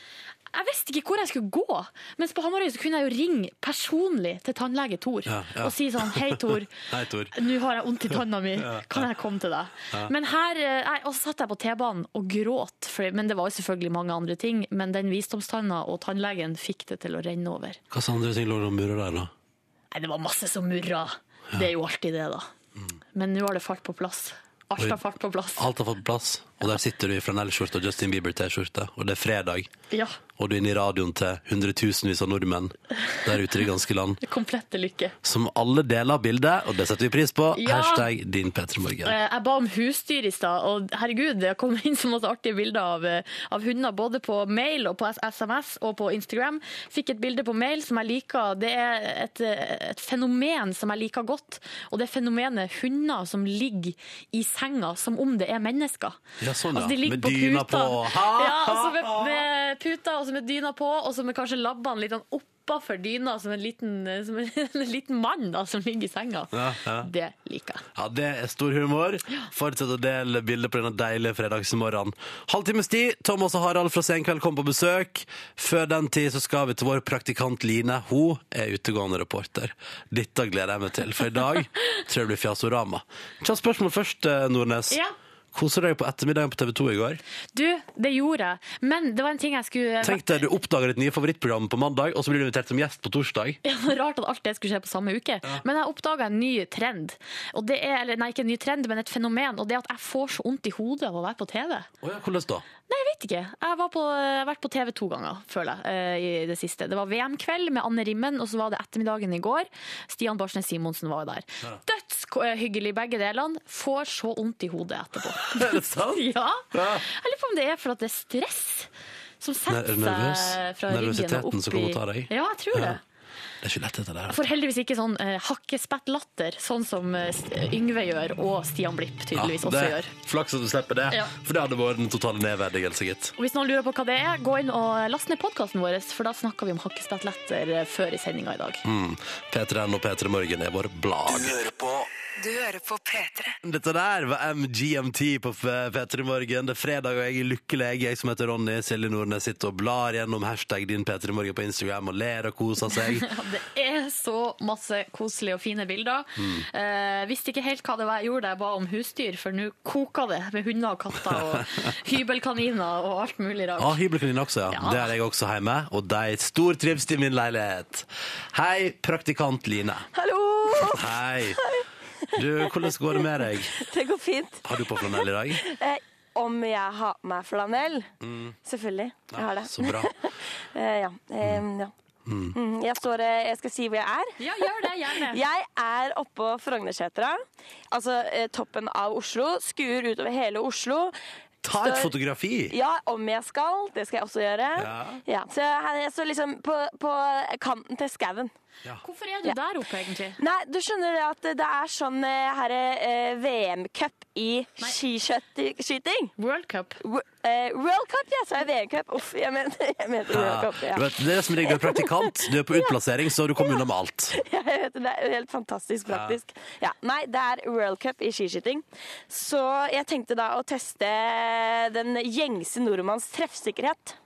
jeg visste ikke hvor jeg skulle gå, mens på Hamarøy så kunne jeg jo ringe personlig til tannlege Tor
Ja, ja.
og si sånn Hei, Tor.
Hei, Tor.
Nå har jeg vondt i tanna mi,
Ja.
kan jeg komme til deg?
Ja.
Men her, eh, nei, Og så satt jeg på T-banen og gråt, for, men det var jo selvfølgelig mange andre ting. Men den visdomstanna og tannlegen fikk det til å renne over.
Hva slags andre ting lå det og murra der, da?
Nei, det var masse som murra. Det er jo alltid det, da. Men nå har det falt på plass. Alt
Mm. Oi.
har falt på plass.
Alt har fått plass, og der sitter du i flanellskjorte og Justin Bieber-T-skjorte, og det er fredag,
Ja.
og du er inne i radioen til hundretusenvis av nordmenn der ute i det ganske land,
Komplette lykke.
som alle deler bildet, og det setter vi pris på.
Ja.
Hashtag din Petremorgen.
Eh, Jeg ba om husdyr i stad, og herregud, det kom inn så masse artige bilder av, eh, av hunder, både på mail og på S- SMS og på Instagram. Fikk et bilde på mail som jeg liker. Det er et, eh, et fenomen som jeg liker godt, og det er fenomenet hunder som ligger i senga som om det er mennesker.
Ja, sånn,
Altså, de
ja.
ligger
Med
på
dyna
puta.
på. Ha,
Ja,
ha,
altså med, med puta og så med dyna på, og så med kanskje labbene litt sånn oppafor dyna, som en liten, eh, som en, liten mann da, som ligger i senga.
Ja, ja.
Det liker jeg.
Ja, det er stor humor. Fortsett å dele bilder på denne deilige fredagsmorgenen. Halvtimes tid. Thomas og Harald fra Senkveld kommer på besøk. Før den tid så skal vi til vår praktikant Line. Hun er utegående reporter. Dette gleder jeg meg til, for i dag tror jeg det blir Fjasorama. Kjapt spørsmål først, eh, Nordnes.
Ja.
Koser du deg på ettermiddagen på TV 2 i går?
Du, det gjorde jeg. Men det var en ting jeg skulle
Tenk deg, du oppdager ditt nye favorittprogram på mandag, og så blir du invitert som gjest på torsdag.
ja, det var Rart at alt det skulle skje på samme uke. Men jeg oppdaga en ny trend. Og det er, eller, nei, ikke en ny trend, men et fenomen. Og det er at jeg får så vondt i hodet av å være på TV.
Å ja, hvordan da?
Nei, jeg vet ikke. Jeg var på, jeg har vært på TV to ganger, føler jeg, eh, i det siste. Det var VM-kveld med Anne Rimmen, og så var det ettermiddagen i går. Stian Barsnes Simonsen var jo der.
Ja.
Dødshyggelig begge delene. Får så vondt i hodet etterpå.
Er det sant?
Ja.
Ja.
Jeg lurer på om det er for at det er stress som setter
Ner- nervøs-
seg fra ryggen og
nervøsiteten
opp
som kommer
i-
og tar deg.
Ja, jeg tror
Ja.
det.
Det er ikke lett, dette der.
For heldigvis ikke sånn eh, hakkespettlatter, sånn som eh, St- Yngve gjør, og Stian Blipp tydeligvis
Ja,
også
det-
gjør.
Flaks at du slipper det,
Ja.
for det hadde vært den totale nedverdigelse, gitt.
Og Hvis noen lurer på hva det er, gå inn og last ned podkasten vår, for da snakker vi om hakkespettletter eh, før i sendinga i dag.
Mm. P3N og P3 Morgen er vår blag.
Du hører på P3.
Dette der var MGMT på F- P3 Morgen. Det er fredag, og jeg er lykkelig. Jeg som heter Ronny, Silje Nordnes, sitter og blar gjennom hashtag din P3 Morgen på Instagram og ler og koser seg.
Det er så masse koselige og fine bilder.
Mm.
Eh, visste ikke helt hva det var jeg gjorde da jeg ba om husdyr, for nå koker det med hunder og katter og hybelkaniner og alt mulig rart.
Ja, hybelkanin også, ja. Det har jeg også hjemme, og de er stor trivst i min leilighet. Hei, praktikant Line.
Hallo!
Hei. Du, hvordan går det med deg?
Det går fint.
Har du på flanell i dag?
Eh, om jeg har på meg flanell?
Mm. Ah,
Selvfølgelig. Jeg har det.
så bra.
eh, ja. Eh, ja. Mm, Jeg, står, eh, jeg skal si hvor jeg er.
Ja, gjør det, gjerne.
Jeg er oppå Frognersetra. Altså eh, toppen av Oslo. Skuer utover hele Oslo.
Ta et
Står-
fotografi!
Ja, om jeg skal. Det skal jeg også gjøre.
Ja.
Ja, så jeg, jeg står liksom på, på kanten til skauen.
Hvorfor er du
Ja.
der oppe, egentlig?
Nei, du skjønner det at det er sånn eh, her eh, VM-cup i skiskyting. World Cup. World Cup, ja, så er VM-cup. Uff, jeg mente, jeg mente World
Ja.
Cup. Ja.
Du vet, det er som regel du er praktikant, du er på utplassering, så du kommer unna med alt.
Ja, jeg vet det. Det er helt fantastisk
Ja.
praktisk. Ja. Nei, det er World Cup i skiskyting. Så jeg tenkte da å teste den gjengse nordmanns treffsikkerhet,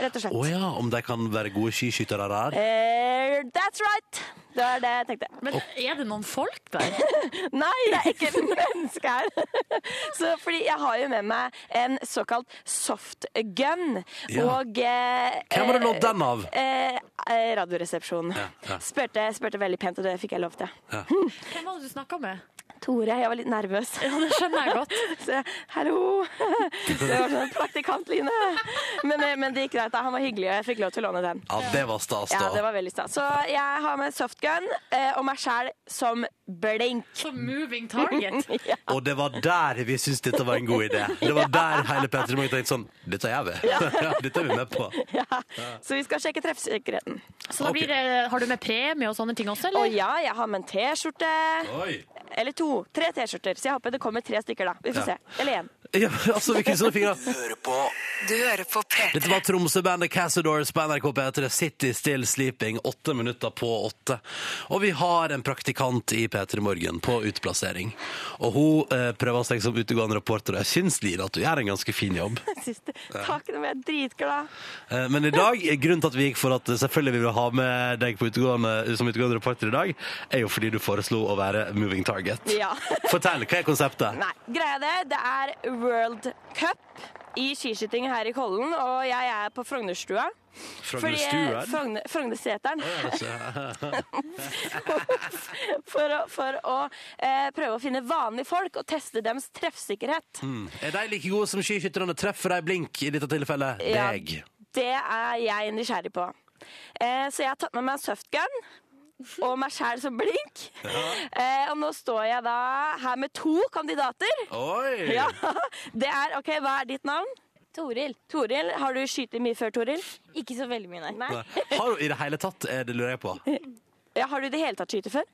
rett og
Å
slett.
ja, om de kan være gode skiskyttere der?
Eh, that's right! Det var det jeg tenkte.
Men er det noen folk der?
Nei, det er ikke et menneske her. Så, fordi jeg har jo med meg en såkalt softgun.
Ja.
Og eh,
Hvem har du lånt
eh,
den av?
Eh, eh, radioresepsjonen.
ja.
Spurte, spurte veldig pent, og det fikk jeg lov til.
Ja.
Hvem var det du snakka med?
Tore, jeg var litt nervøs.
Ja, det skjønner jeg godt.
Så jeg, hallo! Det var sånn praktikant Line. Men, eh, men det gikk greit. da. Han var hyggelig, og jeg fikk lov til å låne den.
Ja, det var stas, da.
Ja, det var veldig stas. Så jeg har med softgun eh, og meg sjæl som blink.
Som moving target.
ja.
Og det var der vi syntes dette var en god idé. Det var der hele Petter Morgen tenkte sånn Dette gjør vi. Dette er vi med på.
Så vi skal sjekke treffsikkerheten.
Så da blir det, har du med premie og sånne ting også,
Å
eller?
ja, jeg har med en T-skjorte.
Oi.
Eller to. Tre T-skjorter. Så jeg håper det kommer tre stykker, da. Vi får
Ja.
se. Eller én.
Ja, men altså, vi krysser fingra.
Du hører på P3.
Dette var Tromsø-bandet Cassadors på NRK P3, City Still Sleeping, åtte minutter på åtte. Og vi har en praktikant i P3 Morgen på utplassering. Og hun eh, prøver seg som utegående reporter, og jeg syns, Line, at du gjør en ganske fin jobb.
Siste.
Ja.
Takk, nå ble jeg dritglad.
Eh, Men i dag, grunnen til at vi gikk for at selvfølgelig vi vil ha med deg på utegående, som utegående reporter i dag, er jo fordi du foreslo å være moving target.
Ja.
Fortell, hva er konseptet?
Nei, greia det. Det er World Cup i skiskyting her i Kollen, og jeg er på Frognerstua. Fordi- eh,
Frognerstuen?
Frogne, Frognerseteren. for å, for å eh, prøve å finne vanlige folk og teste deres treffsikkerhet.
Mm. Er de like gode som skiskytterne? Treffer de blink i dette tilfellet?
Ja.
Deg.
Det er jeg nysgjerrig på. Eh, så jeg har tatt med meg en softgun og meg sjæl som blink. Eh, og nå står jeg da her med to kandidater.
Oi!
Ja, det er, ok, Hva er ditt navn? Toril. Toril, Har du skutt mye før, Toril? Ikke så veldig mye, nei.
Nei. Har hun i det hele tatt, er det lurer jeg på.
Ja, har du i det hele tatt skutt før?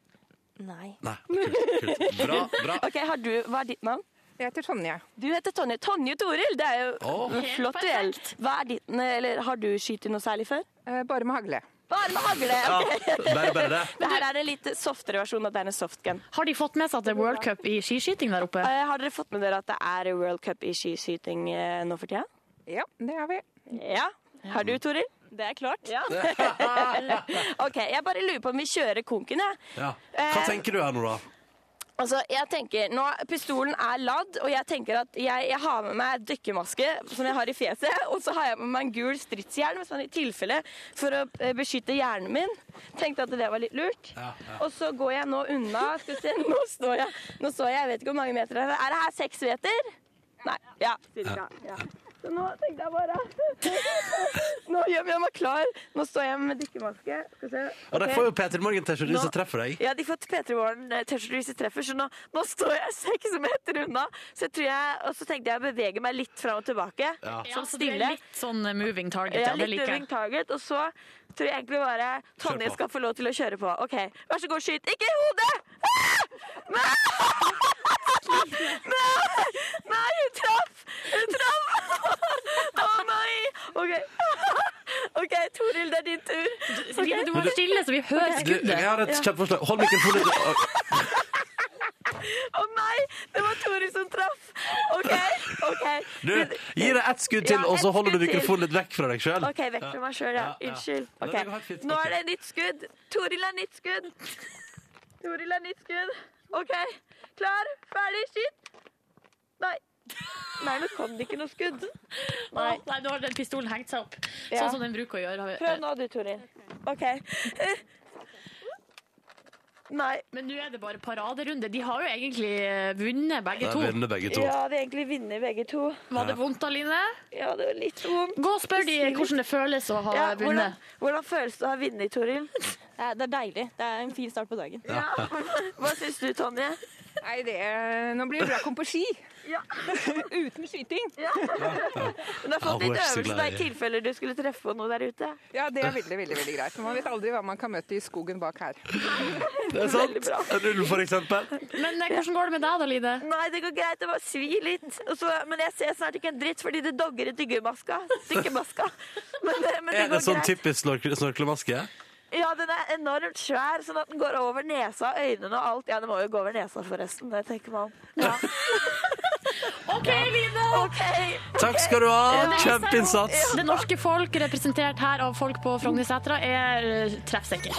Nei.
Nei, kult, kult. Bra, bra.
Ok, har du, Hva er ditt navn?
Jeg heter Tonje.
Du heter Tonje. Tonje Toril, det er jo
Åh.
flott duell. Hva er ditt, eller Har du skutt noe særlig før?
Eh, Bare med hagle.
Bare med hagle! ok.
Ja, bare- bare det.
Det her er en litt softere versjon av at det er en softgun.
Har de fått med seg at det er World Cup i skiskyting der oppe?
Eh, Har dere fått med dere at det er World Cup i skiskyting eh, nå for tida?
Ja, det har vi.
Ja. Har du, Toril? Det er klart. Ja. OK, jeg bare lurer på om vi kjører konken, jeg.
Ja. Hva tenker du her nå, da?
Altså, jeg tenker, nå, Pistolen er ladd, og jeg tenker at jeg, jeg har med meg dykkermaske som jeg har i fjeset, og så har jeg med meg en gul stridshjelm sånn i tilfelle for å eh, beskytte hjernen min. Tenkte at det var litt lurt. Og så går jeg nå unna. Skal vi se, nå står jeg, nå står jeg, jeg vet ikke hvor mange meter det er. Er det her seks meter? Nei. Ja. Cirka. Ja. Så nå tenkte jeg bare Nå gjør jeg meg klar. Nå står jeg med dykkermaske. Skal vi se.
Og de
Ok.
får jo Peter Morgen-T-skjorte hvis
Nå-
de treffer deg.
Ja, de får P3 Morgen-T-skjorte hvis de treffer, så nå, nå står jeg seks meter unna. Så jeg tror jeg, og så tenkte jeg å bevege meg litt fram og tilbake.
Ja,
Sånn
så det
stille.
er litt sånn moving target,
Ja,
ja. Det
litt
liker
moving
jeg.
target, og så tror jeg egentlig bare Tonje
på.
skal få lov til å kjøre på. OK, vær så god, skyt. Ikke i hodet! Ah! Nei! Nei! Nei, hun traff! Hun traff! Å nei! OK. OK, Toril, det er din tur.
Line, du må være stille, så vi hører
Ok.
Du, jeg har et
Ja.
kjempeforslag. Hold mikrofonen litt. Å,
Å nei, det var Toril som traff. OK. ok.
Du, gi deg ett skudd til,
Ja,
og så
ett
holder du
skudd til.
mikrofonen litt vekk fra deg sjøl.
OK, vekk fra meg sjøl, ja. Unnskyld.
Ja,
Ok.
det går helt fint.
Nå
Ok.
er det nytt skudd. Toril er nytt skudd. Toril er nytt skudd. OK. Klar, ferdig, skyt. Nei. Nei, nå kom det ikke noe skudd. Nei.
Nei, nå har den pistolen hengt seg opp.
Ja.
Sånn som den bruker å gjøre.
Prøv nå du, Toril. OK. Nei.
Men nå er det bare paraderunde. De har jo egentlig eh, vunnet begge
De
to.
vinner begge to.
Ja, de egentlig vinner begge to.
Var det vondt da, Line?
Ja, det var litt vondt.
Gå og spør de hvordan det føles å ha
Ja, hvordan,
vunnet.
hvordan føles det å ha vunnet, Toril? Det er, deilig. Det er en fin start på dagen.
Ja.
Hva syns du, Tonje?
Nei, det er... Nå blir det bra å komme på ski. Uten skyting.
Men du har
Ja, hun er
fått litt
ikke så
øvelse
glad
da,
i-
i tilfeller du skulle treffe på noe der ute.
Ja, det er veldig, veldig, veldig greit. For man vet aldri hva man kan møte i skogen bak her.
Det er sant. En
ulv, for eksempel.
eh,
Men hvordan går det med deg da, Line? Nei, det går greit. Det bare svir litt. Og så- men jeg ser snart ikke en dritt fordi det dogger i dyggemaska. Dykkemaska. Men, det- men det
Er
går
det sånn
greit.
typisk snork snorklemaske?
Ja, den er enormt svær, sånn at den går over nesa og øynene og alt. Ja, den må jo gå over nesa forresten, det tenker man. Ja.
OK, Line!
Takk skal du ha.
Ja.
Kjempeinnsats.
Det norske folk, representert her av folk på Frognersetra, er eh, treffsikre.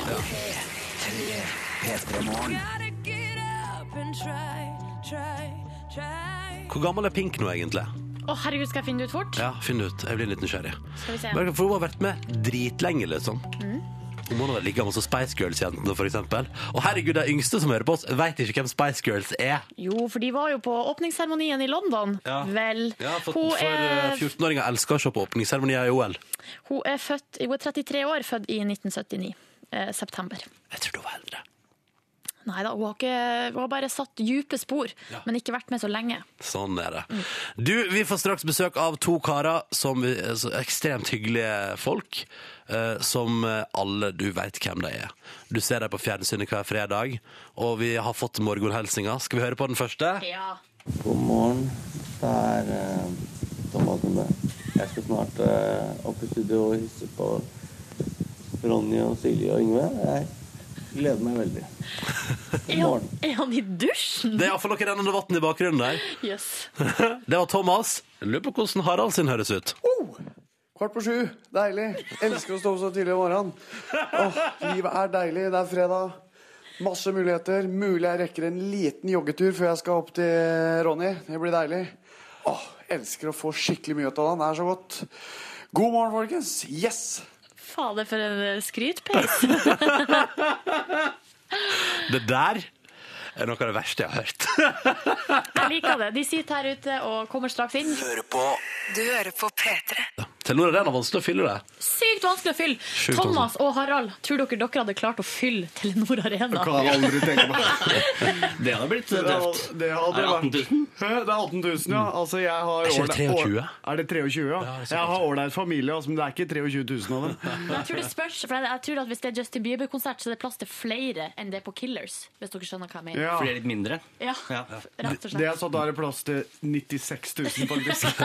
Hvor gammel er Pink nå, egentlig?
Å, herregud, skal jeg finne det ut fort?
Ja, Finn ut. Jeg blir litt nysgjerrig.
Skal vi se.
Bare For hun har vært med dritlenge, liksom.
Mm.
Hun må nå være like gammel som Spice Girls-jentene, for eksempel. Og herregud, de yngste som hører på oss, veit ikke hvem Spice Girls er.
Jo, for de var jo på åpningsseremonien i London.
Ja.
Vel.
Ja, for
hun,
for eh,
er,
14-åringer elsker å se på åpningsseremonier i OL.
hun er født Hun er 33 år, født i 1979. Eh, september.
Jeg tror du var eldre.
Nei da, hun har, ikke, hun har bare satt dype spor, men ikke vært med så lenge.
Sånn er det. Du, vi får straks besøk av to karer som vi, så ekstremt hyggelige folk. eh, som eh, alle du veit hvem de er. Du ser dem på fjernsynet hver fredag. Og vi har fått morgenhilsinga. Skal vi høre på den første?
Ja.
God morgen. Det er eh, Thomas Nubbe. Jeg skal snart eh, opp i studio og hilse på Ronny og Silje og Yngve. Jeg gleder meg veldig.
Er han, er han i dusjen?
Det er iallfall noe rennende vann i bakgrunnen der.
Jøss.
Det var Thomas. Lurer på hvordan Harald sin høres ut.
Kvart på sju. Deilig. Elsker å stå opp så tidlig om morgenen. Åh, livet er deilig. Det er fredag. Masse muligheter. Mulig jeg rekker en liten joggetur før jeg skal opp til Ronny. Det blir deilig. Åh, elsker å få skikkelig mye ut av han. Det er så godt. God morgen, folkens. Yes!
Fader, for en eh, skrytpeis.
Det der er noe av det verste jeg har hørt.
Jeg liker det. De sitter her ute og kommer straks inn.
Du hører på P3.
Telenor Arena er vanskelig å fylle det.
Sykt vanskelig å fylle!
Sjukt
Thomas og Harald, tror dere dere hadde klart å fylle Telenor Arena?
Det hadde blitt
Det
tøft.
hadde- det hadde
Er det 18
vært- Hæ? Det er 18 000, ja. Altså, jeg har
Er ikke det
ålreit-
23?
år- Er det 23, ja? jeg har ålreit familie, altså, men det er ikke 23 000 av dem.
Men jeg tror det spørs, for jeg- jeg tror at Hvis det er Justin Bieber-konsert, så er det plass til flere enn det er på Killers. Hvis dere skjønner hva jeg mener.
Fordi det er litt mindre?
Ja, rett og slett.
Det er sånn, Da er det plass til 96 000, faktisk.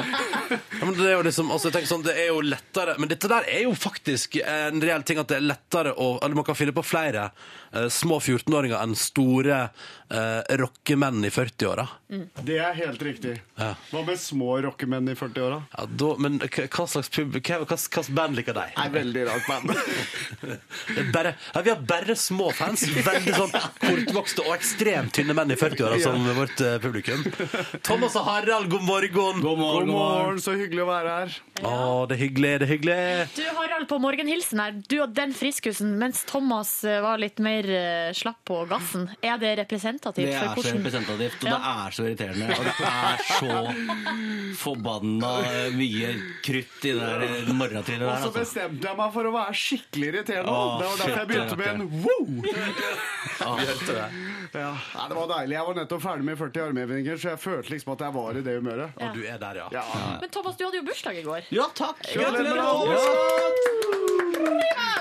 Ja, men det er jo liksom, altså jeg tenker sånn, det er jo lettere Men dette der er jo faktisk en reell ting at det er lettere å Eller man kan fylle på flere eh, små 14-åringer enn store eh, rockemenn i 40-åra.
Mm.
Det er helt riktig.
Ja.
Hva med små rockemenn i 40-åra?
Ja, da- men k- hva slags pub, hva, hva, hva slags band liker de?
Nei, veldig rart band.
Det er bare, ja, vi har bare små fans. Veldig sånn kortvokste og ekstremt tynne menn i 40-åra som vårt eh, publikum. Thomas og Harald, god morgen! God
God morgen, så hyggelig å være her.
Å, det er hyggelig, det er hyggelig.
Du, Harald, på morgenhilsen her, du og den friskusen, mens Thomas eh, var litt mer eh, slapp på gassen. Er det representativt?
Det
for
er så
altså
hvordan-
representativt, og
Ja.
det er så irriterende. Og det er så forbanna mye krytt i det der morgentrynet der.
Og så
Altså.
bestemte jeg meg for å være skikkelig irriterende.
Å,
det var derfor jeg
fytti
begynte med en wow! Ja, Nei, det var deilig. Jeg var nettopp ferdig med 40 armhevinger, så jeg følte liksom at jeg var i det humøret.
Ja. Og du
er der, ja.
Men Thomas, du hadde jo bursdag i går.
Ja, takk!
Gratulerer!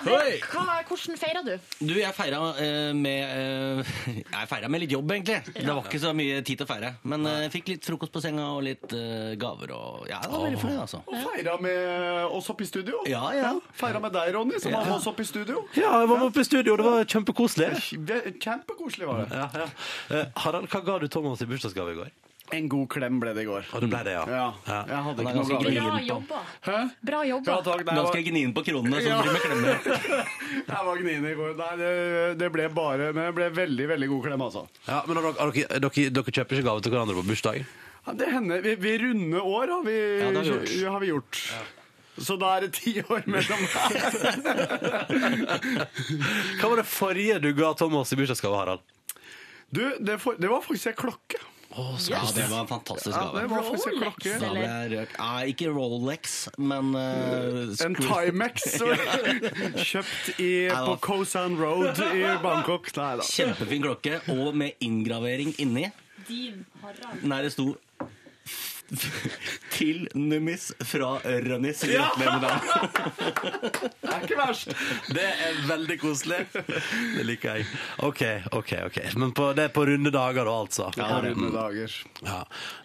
Oi.
Hva, hvordan feira du?
Du, jeg feira eh, med eh, Jeg feira med litt jobb, egentlig. Det var ikke så mye tid til å feire. Men eh, jeg fikk litt frokost på senga og litt eh, gaver og Ja, jeg var veldig fornøyd, altså.
Og feira med oss oppe i studio.
Ja,
Feira med deg, Ronny, som var med oss oppe i studio.
Ja, jeg var med oppe i studio, det var kjempekoselig.
Det- Kjempekoselig var det.
Ja, ja. Eh, Harald, hva ga du Thomas i bursdagsgave i går?
En god klem ble det i går.
Og du ble det, ja. ja.
Jeg hadde
Han er
ikke noe
ganske
gaver.
gnien
Bra
på-
jobba. Bra jobba.
Ja, takk, det var-
Ganske gnien på kronene, så
Ja.
blir med klemmer.
Jeg var gnien i går. Nei, det, det ble bare Men det ble veldig, veldig god klem, altså.
Ja, men har dere, har dere, dere, dere kjøper ikke gave til hverandre på bursdag?
Ja, det hender vi, vi runde år har vi,
Ja, det har vi gjort.
ja, har vi gjort. Så da er det ti år mellom
Hva var det forrige du ga Thomas i bursdagsgave, Harald?
Du, det, for, det var faktisk en klokke.
så Ja, det var en fantastisk
Ja,
gave.
det var faktisk en
Rolex,
klokke.
Da ble jeg rørt. Nei, ikke Rolex, men eh,
En
Screw-
Timex kjøpt i,
Nei,
på
det var-
Koh San Road i Bangkok. Nei da.
Kjempefin klokke, og med inngravering inni.
Din Harald.
Nei, det sto til Nummis fra Rønnis.
Ja!
Det
er ikke verst. Det er veldig koselig. Det liker jeg. OK, OK. ok. Men på, det er på runde dager, da, altså.
Ja,
Mm.
runde dager.
Ja.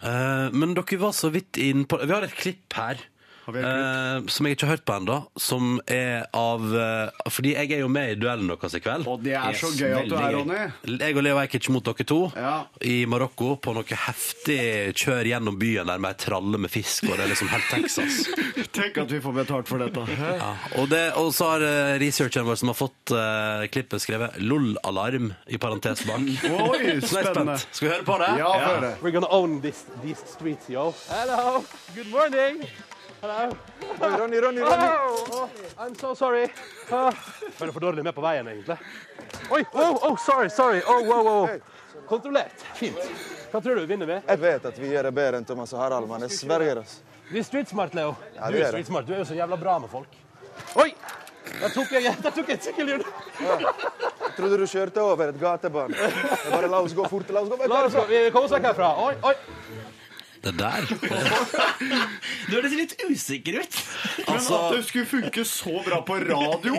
Eh, men dere var så vidt inn på Vi har et klipp her. eh, som jeg ikke har hørt på ennå. Som er av eh, Fordi jeg er jo med i duellen deres i kveld. Og
det er så gøy at du er, Ronny.
Jeg og Leo Ajkic mot dere to i Marokko på noe heftig kjør gjennom byen der med ei tralle med fisk, og det er liksom helt Texas.
Tenk at vi får betalt for dette.
Ja, og, det, og så har eh, researcheren vår som har fått eh, klippet skrevet 'LOL-alarm' i parentes bak. Så nå er jeg
spennende.
spent. Skal vi høre på det?
Ja, få høre.
We're gonna own this, these streets, yo. Hello. Good morning. Hello. Oi, Ronny, Ronny, Ronny.
Oh.
Oh, I'm so sorry. Ah, Føler for dårlig med på veien, egentlig. Oi, oh, oh, sorry, sorry. Oh, wow, wow. wow. Kontrollert. Fint. Hva tror du vinner vi?
Jeg vet at vi gjør det bedre enn Thomas og Harald, men jeg sverger. Altså.
Du er streetsmart, Leo.
Ja,
du
det
er
er det.
streetsmart. Du er jo så jævla bra med folk. Oi! Der tok jeg, der tok jeg et sykkelhjul.
Jeg trodde du kjørte over et gatebarn. Jeg bare la oss gå fort. La oss gå vekk
La oss gå. Vi kommer oss vekk herfra. Oi, oi.
Det der
hørtes litt usikker ut.
Altså-
Men
Altså-
at det skulle funke så bra på radio!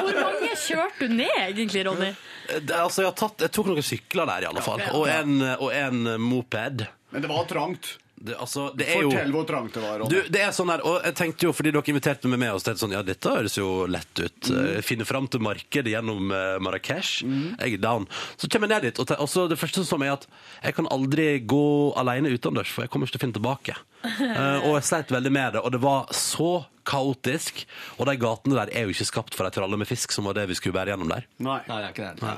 Hvor mange kjørte du ned, egentlig, Ronny?
Det, er altså, jeg, har tatt, jeg tok noen sykler der, i alle fall. Og en, og en eh, moped.
Men det var trangt.
Det, altså, det er jo
Fortell hvor trangt det var.
Du, det er sånn her, og jeg tenkte jo, fordi dere inviterte meg med oss, tenkte jeg sånn, ja, dette høres jo lett ut. Eh, Finne fram til markedet gjennom eh, Marrakech. Jeg er down. Så kommer jeg ned dit, og, te- og så det første som slår meg er at jeg kan aldri gå alene utendørs, for jeg kommer ikke til å finne tilbake. Eh, og jeg sleit veldig med det, og det var så kaotisk. Og de gatene der er jo ikke skapt for ei tralle med fisk, som var det vi skulle bære gjennom der.
Nei.
det er ikke det.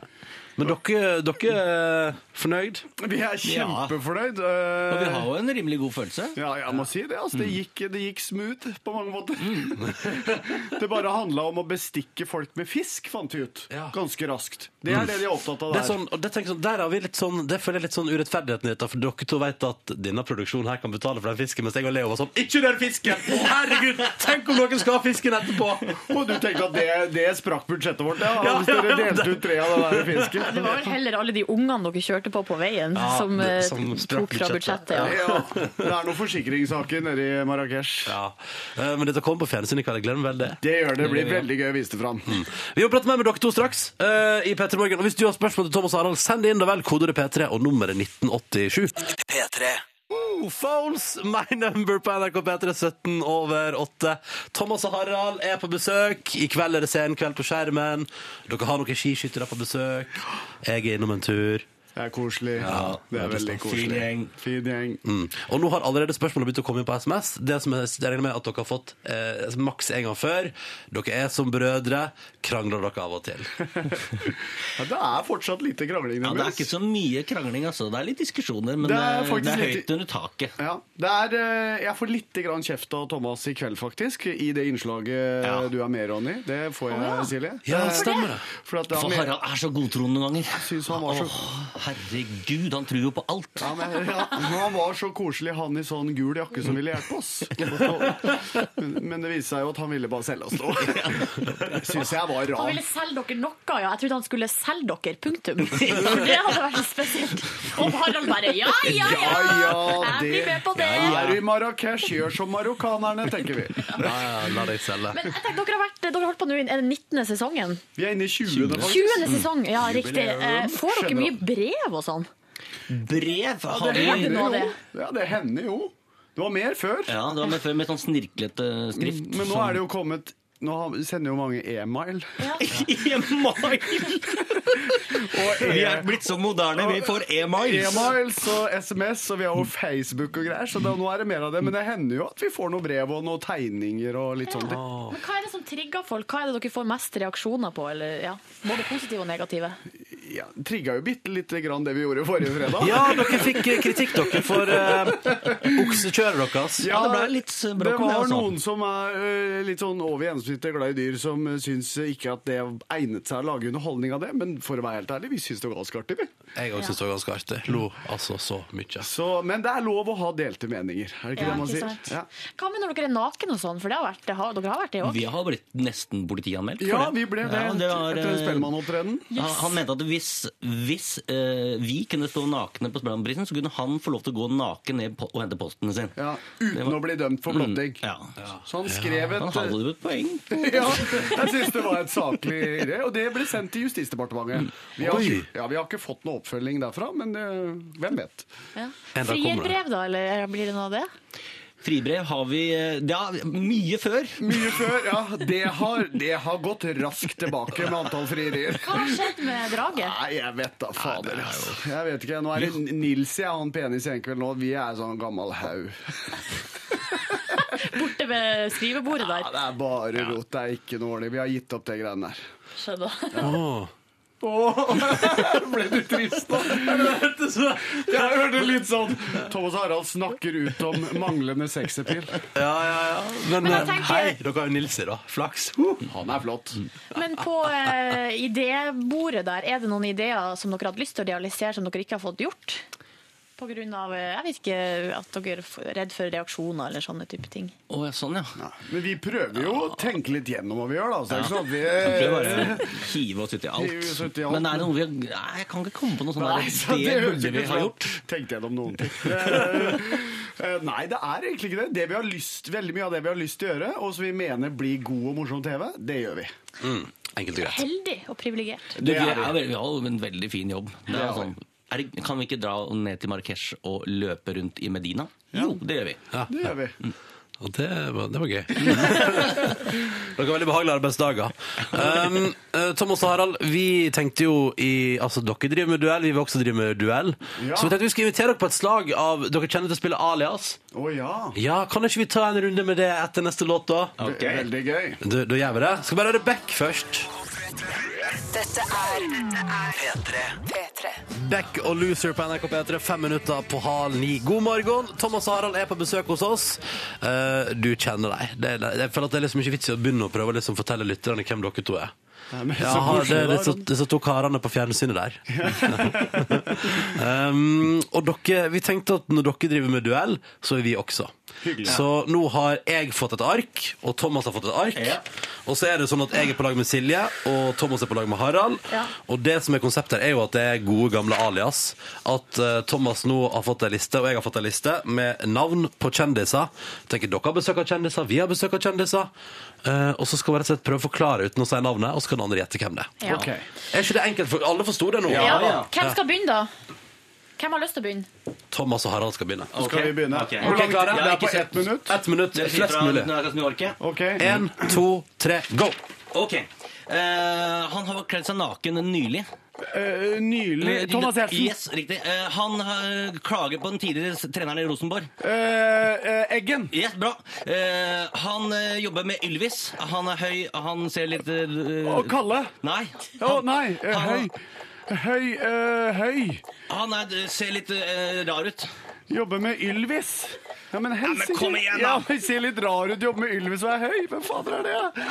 Men dere, dere er fornøyd?
Vi er kjempefornøyd. eh.
Og vi har jo en rimelig god følelse. Mm.
Ja, jeg må si det. Altså, det, gikk, det gikk smooth på mange måter.
Mm.
det bare handla om å bestikke folk med fisk, fant vi ut. Ganske raskt. Det
Mm.
er det de er opptatt av
Det er
der.
sånn, og det tenker jeg sånn, der har vi litt sånn, det føler jeg litt sånn urettferdigheten i dette, for dere to vet at denne produksjonen her kan betale for den fisken, mens jeg og Leo var sånn, ikke rør fisken! Å, herregud, tenk om noen skal ha fisken etterpå!
Og du tenkte at det, det sprakk budsjettet vårt, ja.
Ja,
Hvis dere
ja, ja,
delte
det-
ut tre av den der fisken.
Det var vel heller alle de ungene dere kjørte på på veien,
Ja,
som, eh,
det- som sprakk
tok fra
budsjettet.
budsjettet. Ja.
Ja, det er noen forsikringssaker nede i Marrakech.
Eh, Men dette kommer på fjernsyn i kveld, jeg glemmer vel det.
Det gjør det. Det blir veldig gøy å vise det fram.
Mm. Vi må prate mer med dere to straks eh, i P3 Morgen, og hvis du har spørsmål til Thomas og Harald, send det inn da vel, kodet P3 og nummeret 1987.
P3.
Oh, Phones, my number på NRK P3 17 over 8. Thomas og Harald er på besøk. I kveld er det sen kveld på skjermen. Dere har noen skiskyttere på besøk. Jeg er innom en tur.
Det er koselig. det er
sånn
veldig koselig. Fin gjeng.
Mm. Og nå har allerede spørsmålet begynt å komme inn på SMS. Det som jeg jeg regner med at dere har fått eh, maks en gang før. Dere er som brødre. Krangler dere av og til?
Ja, det er fortsatt lite krangling.
Ja, det er
nemlig.
ikke så mye krangling, altså. Det er litt diskusjoner, men
Det
det
er
er,
faktisk
det er høyt
litt-
under taket.
Ja, det er, eh, jeg får litt grann kjeft av Thomas i kveld, faktisk, i det innslaget du er med, Ronny. Det får jeg, Eh, Silje.
Ja, det stemmer det.
For, at det
For
er mer-
Harald er så godtroende noen ganger. Åh, herregud, han tror jo på alt.
Ja, men, ja, men han var så koselig, han i sånn gul jakke som ville hjelpe oss. Men, men det viste seg jo at han ville bare selge oss noe. Det syns jeg var
Han ville
rart.
selge dere noe, ja. Jeg trodde han skulle selge dere, punktum. For det hadde vært spesielt. Og Harald bare ja, ja, ja! Jeg blir med på det.
Er du i Marrakech, gjør som marokkanerne, tenker vi.
la deg selge.
Men jeg tenker, dere, har vært, dere har holdt på nå i er det 19. sesongen.
Vi er inne i 20. faktisk.
20. sesong, ja,
Mm.
riktig. Eh,
Jubileum.
Får dere mye
Skjønner.
brev og sånn?
Brev
Ja,
har
det
vi-
hender nå, det.
Ja, det hender jo. Det var mer før.
Ja, det var med, før med sånn snirklete skrift.
Men nå er det jo kommet Nå har- sender jo mange e-mail.
Sånn. E-mail!
E.
Vi er blitt så moderne, vi får e-miles.
E-mails og SMS, og vi har jo Facebook og greier, så da, nå er det mer av det. Men det hender jo at vi får noen brev og noen tegninger og litt sånne ting.
Men hva er det som trigger folk? Hva er det dere får mest reaksjoner på? Eller, ja, både positive og negative?
ja, trigga jo bitte lite grann det vi gjorde forrige fredag.
Ja, dere fikk eh, kritikk, dere, for eh, oksekjøret deres. Ja, det ble litt eh,
det
bråk om det,
var
altså.
noen som er eh, litt sånn over gjennomsnittet glad i dyr, som eh, syns ikke at det egnet seg å lage underholdning av det. Men for å være helt ærlig, vi syns det var ganske artig, vi.
Jeg òg syns det var ganske artig. Lo altså så mye.
Så, men det er lov å ha delte meninger, er det ikke
Ja,
det man
ikke
sier?
sant.
Ja.
Hva med når dere er naken og sånn? For det har vært, det har, dere har vært det òg.
Vi har blitt nesten politianmeldt. for
Ja, vi ble det,
Ja, var,
etter
eh,
Spellemannhopptredenen.
Han, han mente at hvis, hvis eh, vi kunne stå nakne på Spellemannprisen, så kunne han få lov til å gå naken ned po og hente posten sin. Mm,
Ja, uten å bli dømt for blotting. Så han skrev et
Han hadde jo et poeng.
ja, jeg syns det var et saklig idé, og det ble sendt til Justisdepartementet. Vi har,
Oi.
ja, vi har ikke fått noe oppfølging derfra, men eh, hvem vet.
Ja.
En dag kommer det.
Frierbrev, da? Eller blir det noe av det?
Fribrev har vi eh, Ja, mye før.
Mye før, ja. Det har, det har gått raskt tilbake med antall frierier.
Hva har skjedd med draget?
Nei, jeg vet da, fader. altså. Jeg vet ikke, Nå er det Nils jeg og han penis i enkveld nå. Vi er sånn gammel haug.
Borte ved skrivebordet der.
Ja, det er bare rot. Det er ikke noe ordentlig. Vi har gitt opp de greiene der.
Skjønner.
Ble du trist nå? Jeg hørte litt sånn Thomas Harald snakker ut om manglende sexappeal.
Ja, ja, ja. Men,
Men jeg
eh,
tenker-
hei, dere har jo Nilsi, da. Flaks.
Han er flott.
Mm.
Men på eh, idébordet der, er det noen ideer som dere hadde lyst til å realisere som dere ikke har fått gjort? På grunn av, eh, jeg vet ikke, at dere er redd for reaksjoner eller sånne type ting.
Å, ja, sånn, ja.
Men vi prøver jo å tenke litt gjennom hva vi gjør, da. Så det er ikke sånn at vi
Vi bare hive oss ut i alt.
Hive oss ut i alt.
Men er det noe vi har Nei, jeg kan ikke komme på noe sånt.
Nei,
der.
så
det
det høres sånn-
burde
ikke
vi
ut
ha
som-
gjort.
Tenkte jeg om noen ting. Eh, eh, Nei, det er egentlig ikke det. det vi har lyst, veldig mye av det vi har lyst til å gjøre, og som vi mener blir god og morsom TV, det gjør vi.
Mm, Enkelt og greit.
Heldig og privilegert.
Du, vi,
Det er
er,
vi.
vel- vi har jo en veldig fin jobb. Det er sånn, er det, kan vi ikke dra ned til Marrakech og løpe rundt i Medina? Jo, det gjør vi.
Det gjør vi.
Og det var, det var gøy. Mm. Dere har veldig behagelige arbeidsdager. Um, eh, Thomas og Harald, vi tenkte jo i Altså, dere driver med duell, vi vil også drive med duell.
Ja.
Så vi tenkte vi skulle invitere dere på et slag av Dere kjenner til spillet Alias?
Å ja.
Ja, kan ikke vi ta en runde med det etter neste låt, da?
Det er Veldig gøy.
Da, da gjør vi det. Skal bare høre Beck først.
Dette er P3. P3.
Beck og Loser på NRK P3, fem minutter på hal ni. God morgen! Thomas og Harald er på besøk hos oss. Eh, du kjenner deg. Det, er- jeg føler at det er liksom ikke vits i å begynne å prøve å liksom fortelle lytterne hvem dere to er.
Det er mest
Ja,
så
ha-
koselig,
det er
da,
litt så, det er så to karene på fjernsynet der. um, og dere, vi tenkte at når dere driver med duell, så er vi også.
Hyggelig.
Så nå har jeg fått et ark, og Thomas har fått et ark. Og så er det sånn at jeg er på lag med Silje, og Thomas er på lag med Harald.
Ja.
Og det som er konseptet her, er jo at det er gode gamle alias. At eh, Thomas nå har fått ei liste, og jeg har fått ei liste med navn på kjendiser. Jeg Tenker dere har besøk av kjendiser, vi har besøk av kjendiser. Eh, og så skal vi rett og slett prøve å forklare uten å si navnet, og så kan den andre gjette hvem det er.
Ja. Ok.
Er ikke det enkelt? For alle forsto det nå?
Ja, Hvem skal begynne, da? Hvem har lyst til å begynne?
Thomas og Harald skal begynne.
Skal vi begynne?
Ok,
Hvor langt-
klare?
Det er på ett minutt.
Ett minutt,
Dere sier
flest
fra
mulig.
når dere skal snu orket.
Ok.
En, to, tre, go!
Ok. Eh, han har kledd seg naken nylig.
Eh, nylig Thomas Gjertsen.
Yes, riktig. Eh, han har klager på den tidligere s- treneren i Rosenborg.
Eh, eh, Eggen.
Yes, bra. Eh, han eh, jobber med Ylvis. Han er høy, han ser litt eh,
Og Kalle.
Nei.
Å nei, eh, høy.
han-
Høy, eh, høy.
Han er, ser litt eh, rar ut.
Jobber med Ylvis. Ja, men helsike.
kom igjen, da.
Ja, jeg ser litt rar ut, jobber med Ylvis og er høy. Hvem fader er det?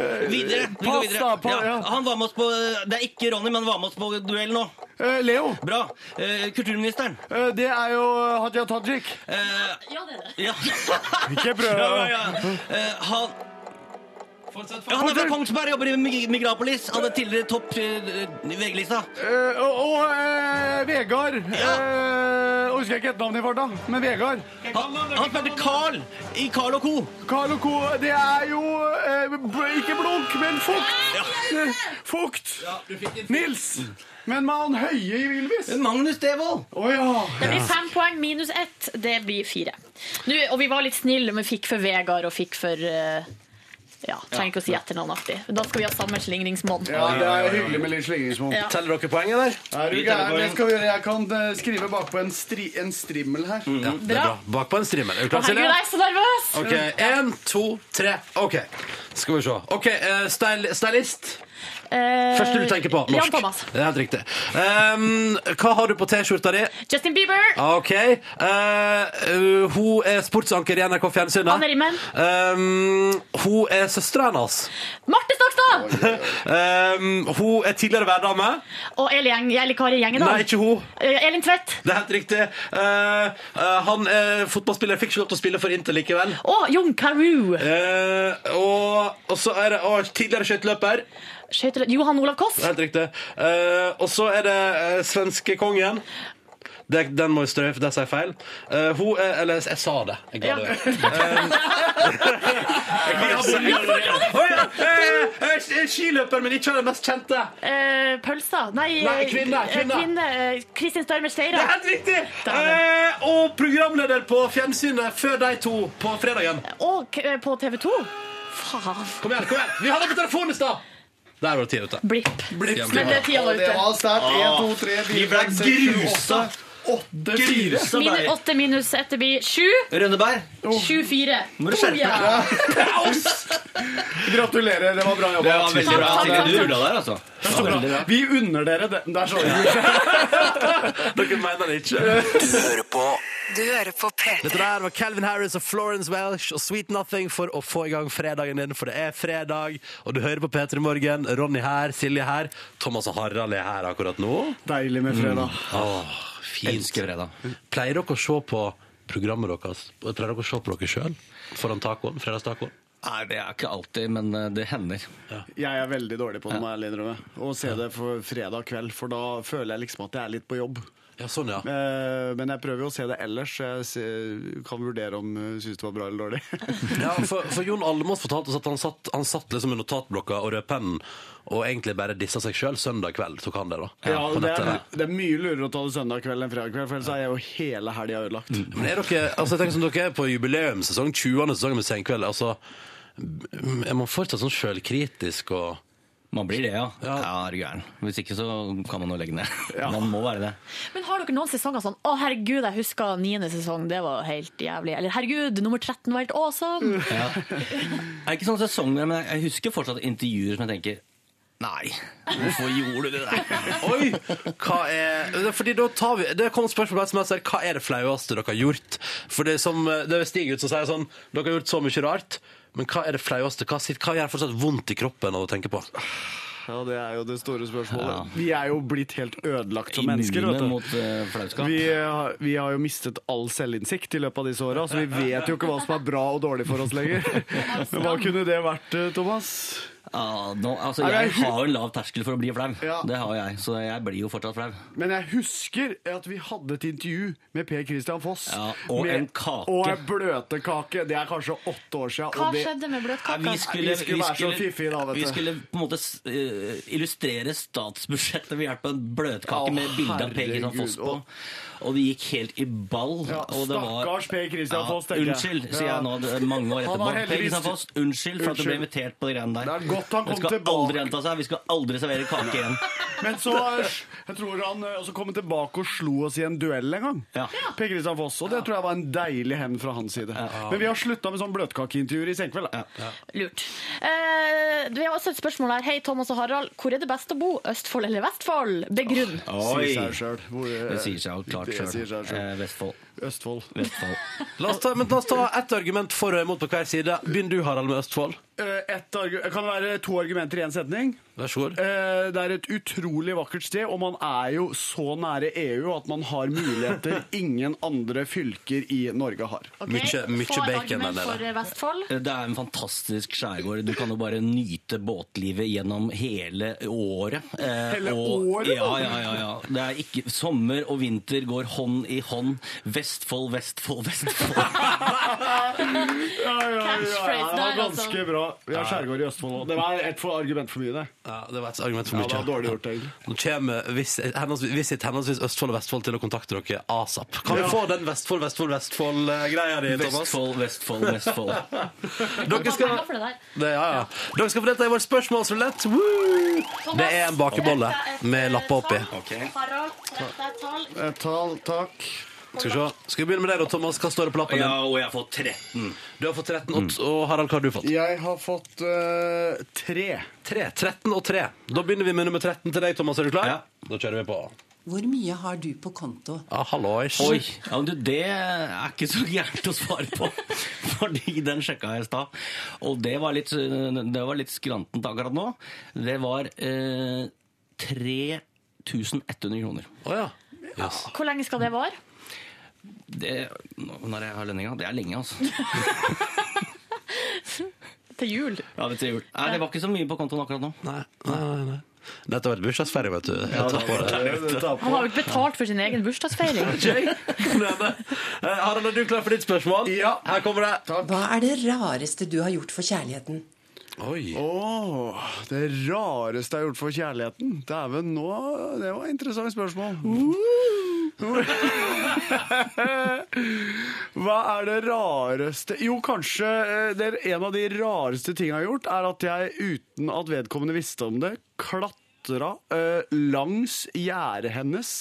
Eh,
Videre. Vi går
pass
videre.
da, pa-
ja.
ja.
Han var med oss på Det er ikke Ronny, men han var med oss på duell nå.
Eh, Leo.
Bra. Eh, kulturministeren.
Eh, det er jo Hadia Tajik.
Eh,
Ja, det er det.
ja.
Ikke prøv.
Ja, ja, ja. Eh, han Ja, han er fra Kongsberg, jobber i Mig- Migrapolis. Han er tidligere topp eh, VG-lista.
Eh, og og eh, Vegard. Eh, husker jeg ikke et navn i farta, men Vegard.
Han, han spilte Carl i Carl og Co.
Carl og Co. Det er jo eh, b- ikke blunk, men fukt. Eh, Fukt. Nils. Men med han høye i Ylvis.
Magnus Devold.
Å ja.
Det blir fem poeng minus ett. Det blir fire. Nå, og vi var litt snille, men fikk for Vegard og fikk for eh, Ja, trenger ikke å si etternavnaktig. Da skal vi ha samme slingringsmål.
Ja, det er hyggelig med litt slingringsmål.
Ja.
Teller dere poeng, eller?
Er du
Vi teller
gæren?
poeng.
Det skal vi gjøre. Jeg kan eh, skrive bakpå en, stri en strimmel her.
Ja, det er bra. Bak på en streamer. Er
Å,
du klar,
herregud,
Silje?
jeg er så nervøs!
OK. Én, to, tre. OK. Skal vi se. OK, eh, styl stylist.
Eh,
Første du tenker på. Norsk.
Jan Thomas.
Det er helt riktig. Um, hva har du på T-skjorta di?
Justin Bieber.
OK. Uh, uh, hun er sportsanker i NRK Fjernsynet.
Anne Rimmen.
Um, hun er søstera hennes.
Marte Stokstad!
um, hun er tidligere værdame.
Og Eli Gjeng, Eli Kari Gjengedal.
Nei, ikke hun.
Eh, Elin Tvedt.
Det er helt riktig. Eh, eh, han er fotballspiller, fikk ikke lov til å spille for Inter likevel.
Å, Jon Carew.
Eh, og, og så er det å, tidligere skøyteløper.
Skøytelø- Johan Olav Koss.
Det er Helt riktig. Eh, og så er det eh, svenskekongen. Det, den må jeg strø, for det sier jeg feil. Eh, hun er Eller jeg sa det. Jeg ga det vekk. Å ja! eh, eh, Skiløper, men ikke den mest kjente.
Eh, Pølsa. Nei,
Nei, kvinne,
eh,
kvinne.
eh, Kristin Størmer Steira.
Det er helt riktig! Eh, og programleder på fjernsynet før de to på fredagen.
Og k- eh, på TV 2. Faen.
Kom igjen, kom igjen. Vi hadde på telefonen i stad! Der var det tida ute.
Blipp.
Blipp.
Men det er tida var
Det var
ute.
sterkt. Én, to, tre,
Ah, Vi
fire,
ble
fem, seks, sju, åtte.
grusa.
Åtte, fire.
Grusa
Min,
deg.
åtte minus Etterby sju.
Rønneberg.
Sju fire. Oh,
Må du skjerpe
Ja.
Gratulerer, det var bra jobba.
Det var veldig bra.
Takk, takk,
Silje, du
takk.
rulla der, altså. Det var veldig bra.
Vi unner dere det. Der så vi.
Dere mener det ikke.
Du hører på P3.
Dette der var Calvin Harris og Florence Welsh og Sweet Nothing for å få i gang fredagen din, for det er fredag. Og du hører på P3 Morgen. Ronny her, Silje her. Thomas og Harald er her akkurat nå. Mm.
Deilig med fredag.
Åh, fint.
Elsker fredag.
Pleier dere å se på programmet deres? Pleier dere å se på dere sjøl foran tacoen? Fredagstacoen?
Nei, det er ikke alltid, men eh, det hender.
Jeg er veldig dårlig på det, må jeg ærlig innrømme. Å se det for fredag kveld, for da føler jeg liksom at jeg er litt på jobb.
Ja, sånn, ja.
Eh, Men jeg prøver jo å se det ellers, så jeg se- kan vurdere om jeg syns det var bra eller dårlig.
Ja, for, for Jon Almaas fortalte oss at han satt, han satt liksom med notatblokka og rødpennen og egentlig bare dissa seg sjøl. Søndag kveld tok han det, da.
Ja,
på
det, er,
nettet.
det er mye lurere å ta det søndag kveld enn fredag kveld, for ellers er jeg jo hele helga ødelagt.
Mm.
Men er dere, altså jeg tenker som dere er på jubileumssesong, 20. sesong med Senkveld, altså er man fortsatt sånn sjølkritisk og
Man blir det, ja. Ja, er du gæren. Hvis ikke så kan man jo legge ned. Man må være det.
Men har dere noen sesonger sånn Å, herregud, jeg husker niende sesong, det var helt jævlig. Eller herregud, nummer 13 var helt awesome.
Ja. Det er ikke sånn sesonger, men jeg husker fortsatt intervjuer som jeg tenker Nei, hvorfor gjorde du det der?
Oi! Hva er det er Fordi da tar vi Det kom et spørsmål på SMS her. Hva er det flaueste dere har gjort? For det er som det er Stig ut som sier sånn Dere har gjort så mye rart, men hva er det flaueste? Hva, sitt- hva gjør fortsatt vondt i kroppen av å tenke på?
Ah,
Ja, Det er jo det store spørsmålet. Vi er jo blitt helt ødelagt som mennesker.
Immune
vet du.
mot eh, flauskap.
Vi, har- vi har jo mistet all selvinnsikt i løpet av disse åra, så vi vet jo ikke hva som er bra og dårlig for oss lenger. Men hva kunne det vært, eh, Thomas?
Ja, nå, altså,
Nei,
jeg
men jeg-
har jo en lav terskel for å bli flau.
Ja.
Det har jeg, så jeg blir jo fortsatt flau.
Men jeg husker at vi hadde et intervju med Per Christian Foss.
Ja, og
med,
en kake.
Og en bløtkake. Det er kanskje åtte år siden.
Hva
og det,
skjedde med
Nei,
bløtkaka?
vi, skulle,
vi skulle være så fiffige da, vet
vi
du.
skulle på en måte s- eh, illustrere statsbudsjettet ved hjelp av en bløtkake
Å,
med bilde av Per Kristian
herregud,
Foss på. Og det gikk helt i ball.
Ja,
og det var-
stakkars Per Kristian Foss, tenker jeg.
Unnskyld, sier
Ja.
jeg nå det er mange år
Han har
etterpå. Per
heldigvis-
Kristian Foss, unnskyld for at du ble
Unnskyld.
invitert på de greiene der.
Det er godt han kom
det skal
tilbake.
aldri gjenta seg. Vi skal aldri servere kake igjen.
Men så jeg tror han eh, også kom tilbake og slo oss i en duell en gang.
Ja.
Per Kristian Foss, og det tror jeg var en deilig hevn fra hans side. Men vi har slutta med sånn bløtkakeintervjuer i senkveld. da.
Lurt. Eh, vi har også et spørsmål her. Hei, Thomas og Harald. Hvor er det best å bo? Østfold eller Vestfold? Begrunn.
Sier seg selv. Hvor, eh,
Det sier seg jo klart
det sier seg
sjøl.
selv.
Eh, Vestfold.
Østfold.
Vestfold.
La oss ta, men la oss ta ett argument for og imot på hver side. Begynn du, Harald, med Østfold.
Eh, ett argu- kan det være to argumenter i én setning?
Vær så god.
Eh, Det er et utrolig vakkert sted, og man er jo så nære EU at man har muligheter ingen andre fylker i Norge har.
Ok, få et argument for eh, Vestfold.
Det er en fantastisk skjærgård. Du kan jo bare nyte båtlivet gjennom hele året. Eh,
Hele året,
Ja,
da?
ja, ja, ja. Det er ikke, sommer og vinter går hånd i hånd. Vestfold, Vestfold, Vestfold.
Ja, ja, ja,
Catchphrase
det var
der, altså.
ganske bra. Vi har skjærgård i Østfold òg. Det var et for argument for mye, det.
Ja, det var et argument for
Ja, det
mye.
var dårlig gjort, egentlig.
Nå kommer Visit henholdsvis, visit henholdsvis Østfold og Vestfold til å kontakte dere asap. Kan vi få den Vestfold, Vestfold, Vestfold-greia di, Thomas?
Vestfold, Vestfold, Vestfold.
Dere skal,
Hva for det der?
det, ja, ja. dere skal få delta i vår spørsmålsrulett. Woo! Det er
eh,
en bakebolle med lapper oppi.
Harald, dette er tall.
Et tall, Eh, takk.
Skal vi, se. Skal vi begynne med deg, da, Thomas? Hva står det på lappen?
Ja,
din?
og jeg har fått 13.
Du har fått 13, og, og Harald, hva har du fått?
Jeg har fått eh, tre.
3. 13 og 3. Da begynner vi med nummer 13 til deg, Thomas. Er du klar? Da kjører vi på.
Hvor mye har du på konto?
Ah, Hallois.
Oi, ja, men du, det er ikke så gærent å svare på, fordi den sjekka jeg i stad. Og det var litt, det var litt skrantent akkurat nå. Det var eh, 3100 kroner.
Å ja.
Hvor lenge skal det vare?
Det, når jeg har lønninga. Det er lenge, altså.
Til jul.
Ja, det, er jul. Nei, det var ikke så mye på kontoen akkurat nå.
Nei, nei, nei, nei. Dette var et bursdagsferie, vet du. Jeg
Ja,
tar
det
på
var
det.
det. Du
Han har jo ikke betalt for sin egen bursdagsfeiring.
Eh, Harald, er du klar for ditt spørsmål? Ja. Her kommer det.
Hva er det rareste du har gjort for kjærligheten?
Oi.
det rareste jeg har gjort for kjærligheten. Dæven, nå Det var et interessant spørsmål. Hva er det rareste Jo, kanskje eh, det er en av de rareste tingene jeg har gjort, er at jeg uten at vedkommende visste om det, klatra eh, langs gjerdet hennes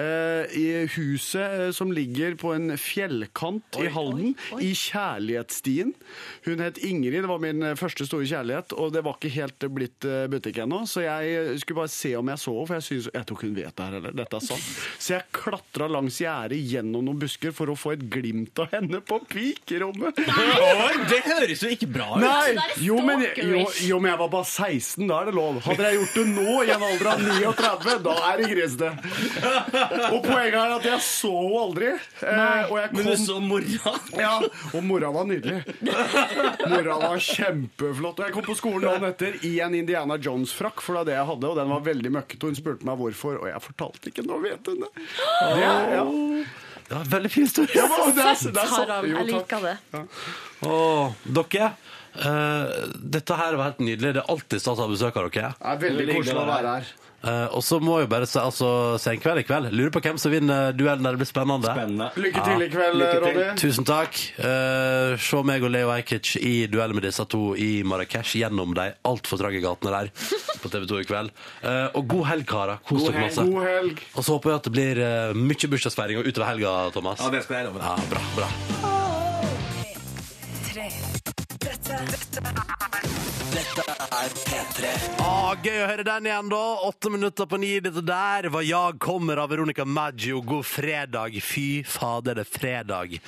eh, i huset eh, som ligger på en fjellkant i Halden, i kjærlighetsstien. Hun het Ingrid, det var min eh, første store kjærlighet, og det var ikke helt eh, blitt eh, butikk ennå, så jeg eh, skulle bare se om jeg så henne, for jeg, synes, jeg tror ikke hun vet det her heller. Dette er sant. Så jeg klatra langs gjerdet gjennom noen busker for å få et glimt av henne på pikerommet.
Oi, det høres jo ikke bra ut!
Nei, jo men, jo, jo, men jeg var bare 16, da er det lov. Hadde jeg gjort det nå, i en alder av 39, da er det grisete. Og poenget er at jeg så henne aldri.
Nei.
Eh, og jeg
Men du så mora?
Ja, og mora var nydelig. Mora var kjempeflott. Og jeg kom på skolen dagen etter i en Indiana Jones-frakk, for det var det jeg hadde, og den var veldig møkkete, og hun spurte meg hvorfor, og jeg fortalte ikke. Nå vet hun det. Det, ja.
Det var en veldig fin historie.
Ja, men det er- det er sant.
Harald,
Jo,
jeg
takk.
liker det.
Åh, dere, eh, dette her var helt nydelig. Det er alltid stas å ha besøk av dere.
Det er veldig koselig å være her.
Eh, og så må jeg bare si altså, senkveld i kveld. Lurer på hvem som vinner duellen. der. Det blir spennende.
Lykke til i kveld,
lykke til.
Ronny.
Tusen takk. Eh, se meg og Leo Ajkic i duell med disse to i Marrakech gjennom de altfor trange gatene der på TV 2 i kveld. Eh, og god helg, karer. Kos
God
dere
helg.
masse.
God helg.
Og så håper jeg at det blir eh, mye bursdagsfeiring utover helga, Thomas.
Ja, det skal jeg love deg.
Ja, bra, bra.
Tre. Dette, dette er Dette er P3.
Ah, gøy å høre den igjen, da. Åtte minutter på ni. Dette der var Jag kommer av Veronica Maggio. God fredag. Fy fader, det er fredag.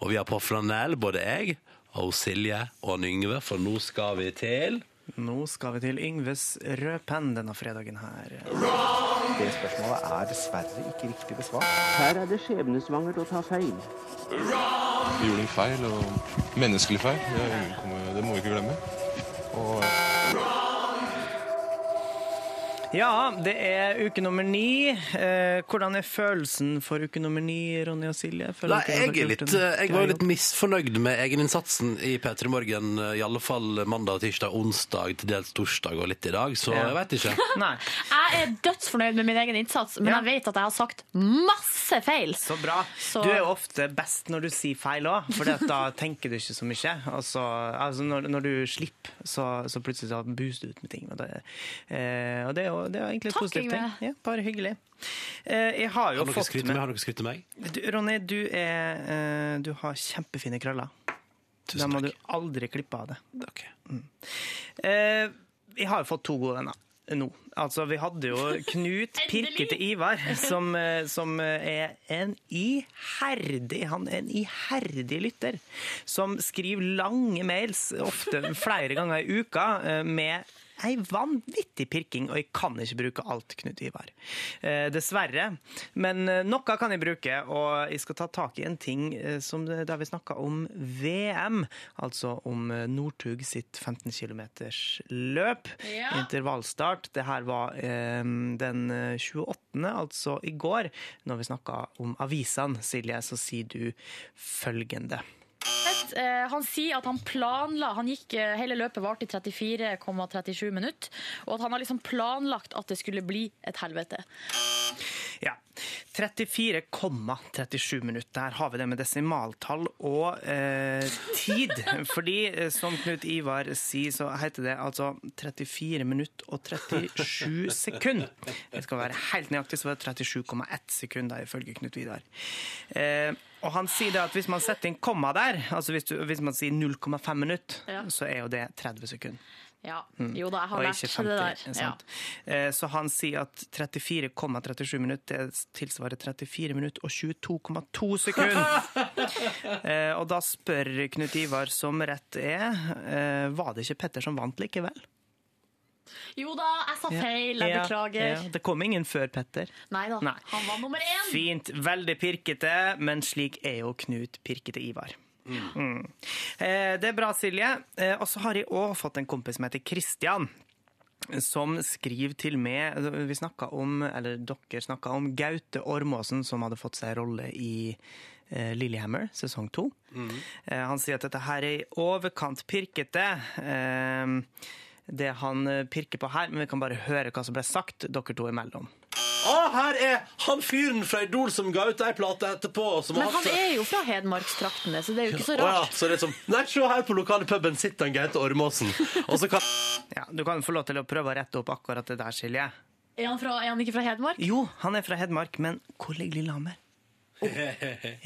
Og vi har på flanell, både jeg og Silje og Yngve, for nå skal vi til
Nå skal vi til Yngves rødpenn denne fredagen her. Det spørsmålet er dessverre ikke riktig besvart.
Her er det skjebnesvangert å ta feil.
Vi gjorde en feil, og menneskelig feil. Det, kommer- det må vi ikke glemme. Og
Ja, det er uke nummer ni. Eh, hvordan er følelsen for uke nummer ni, Ronny og Silje? Føler
Nei,
dere dere
jeg,
har
er litt, eh,
gjort en
jeg
grei
var jo
jobb?
litt misfornøyd med egeninnsatsen i P3 Morgen. eh, I alle fall mandag, tirsdag, onsdag, til dels torsdag og litt i dag. Så
Ja.
jeg veit ikke.
Jeg er dødsfornøyd med min egen innsats, men jeg vet at jeg har sagt masse feil.
Så bra.
Så-
Du er jo ofte best når du sier feil òg, for da tenker du ikke så mye. Altså, altså når, når du slipper, så, så plutselig så buser du ut med ting. Og det, eh, og det, er, jo, det er jo egentlig et
Takk,
positivt ting.
Yngve.
Ja, bare hyggelig. Eh, jeg har jo
Har dere
fått
skrytt
med
meg? Har dere skrytt til meg?
du, Ronny, du, er, eh, du har kjempefine krøller. Da må du aldri klippe av det. Mm. Eh, jeg har jo fått to gode venner nå. Altså, vi hadde jo Knut Pirkete Ivar, som, eh, som er en iherdig Han er en iherdig lytter, som skriver lange mails, ofte flere ganger i uka, eh, med ei vanvittig pirking, og jeg kan ikke bruke alt, Knut Ivar. Eh, dessverre. Men eh, noe kan jeg bruke, og jeg skal ta tak i en ting eh, som eh, da vi snakka om VM, altså om eh, Northug sitt 15 km løp.
Ja.
Intervallstart. Det her var eh, den eh, 28., altså i går, når vi snakka om avisene, Silje, så sier du følgende.
Fett. Eh, Han sier at han planla Han gikk eh, hele løpet varte i 34,37 minutter, og at han har liksom planlagt at det skulle bli et helvete.
Ja. 34,37 minutter. Der har vi det med desimaltall og eh, tid. Fordi, eh, som Knut Ivar sier, så heter det altså 34 minutter og 37 sekunder. Det skal være helt nøyaktig, så var det 37,1 sekunder, ifølge Knut Vidar. Eh, og han sier da at hvis man setter inn komma der, altså hvis, du, hvis man sier 0,5 minutter,
Ja.
så er jo det 30 sekunder.
Ja.
Mm.
Jo da, jeg har
Og
lært
ikke
det
50,
der. Ja.
sant? Eh, Så han sier at 34,37 minutter det tilsvarer 34 minutter og 22,2 sekunder. Eh, og da spør Knut Ivar, som rett er, eh, var det ikke Petter som vant likevel?
Jo da, jeg sa feil. Jeg
Ja,
beklager.
ja, det kom ingen før Petter.
Nei da,
Nei.
han var nummer én.
Fint. Veldig pirkete, men slik er jo Knut pirkete Ivar. Mm. Eh, Det er bra, Silje. Eh, Og så har jeg òg fått en kompis som heter Kristian. Som skriver til meg Vi snakka om, eller dere snakka om, Gaute Ormåsen, som hadde fått seg rolle i eh, Lillehammer sesong to.
Mm.
Eh, Han sier at dette her er i overkant pirkete. eh, Det han eh, pirker på her, men vi kan bare høre hva som ble sagt dere to imellom.
Ah, her er han fyren fra Idol som ga ut ei plate etterpå. Som
Men
har hatt-
han er jo fra Hedmarkstraktene, så det er jo ikke så
Å ja,
rart.
så det er som Nei, se her på lokale puben sitter han Gaute Ormåsen. Og så kan
Ja, Du kan få lov til å prøve å rette opp akkurat det der, Silje.
Er han, fra, er han ikke fra Hedmark?
Jo, han er fra Hedmark, men hvor ligger Lillehammer? I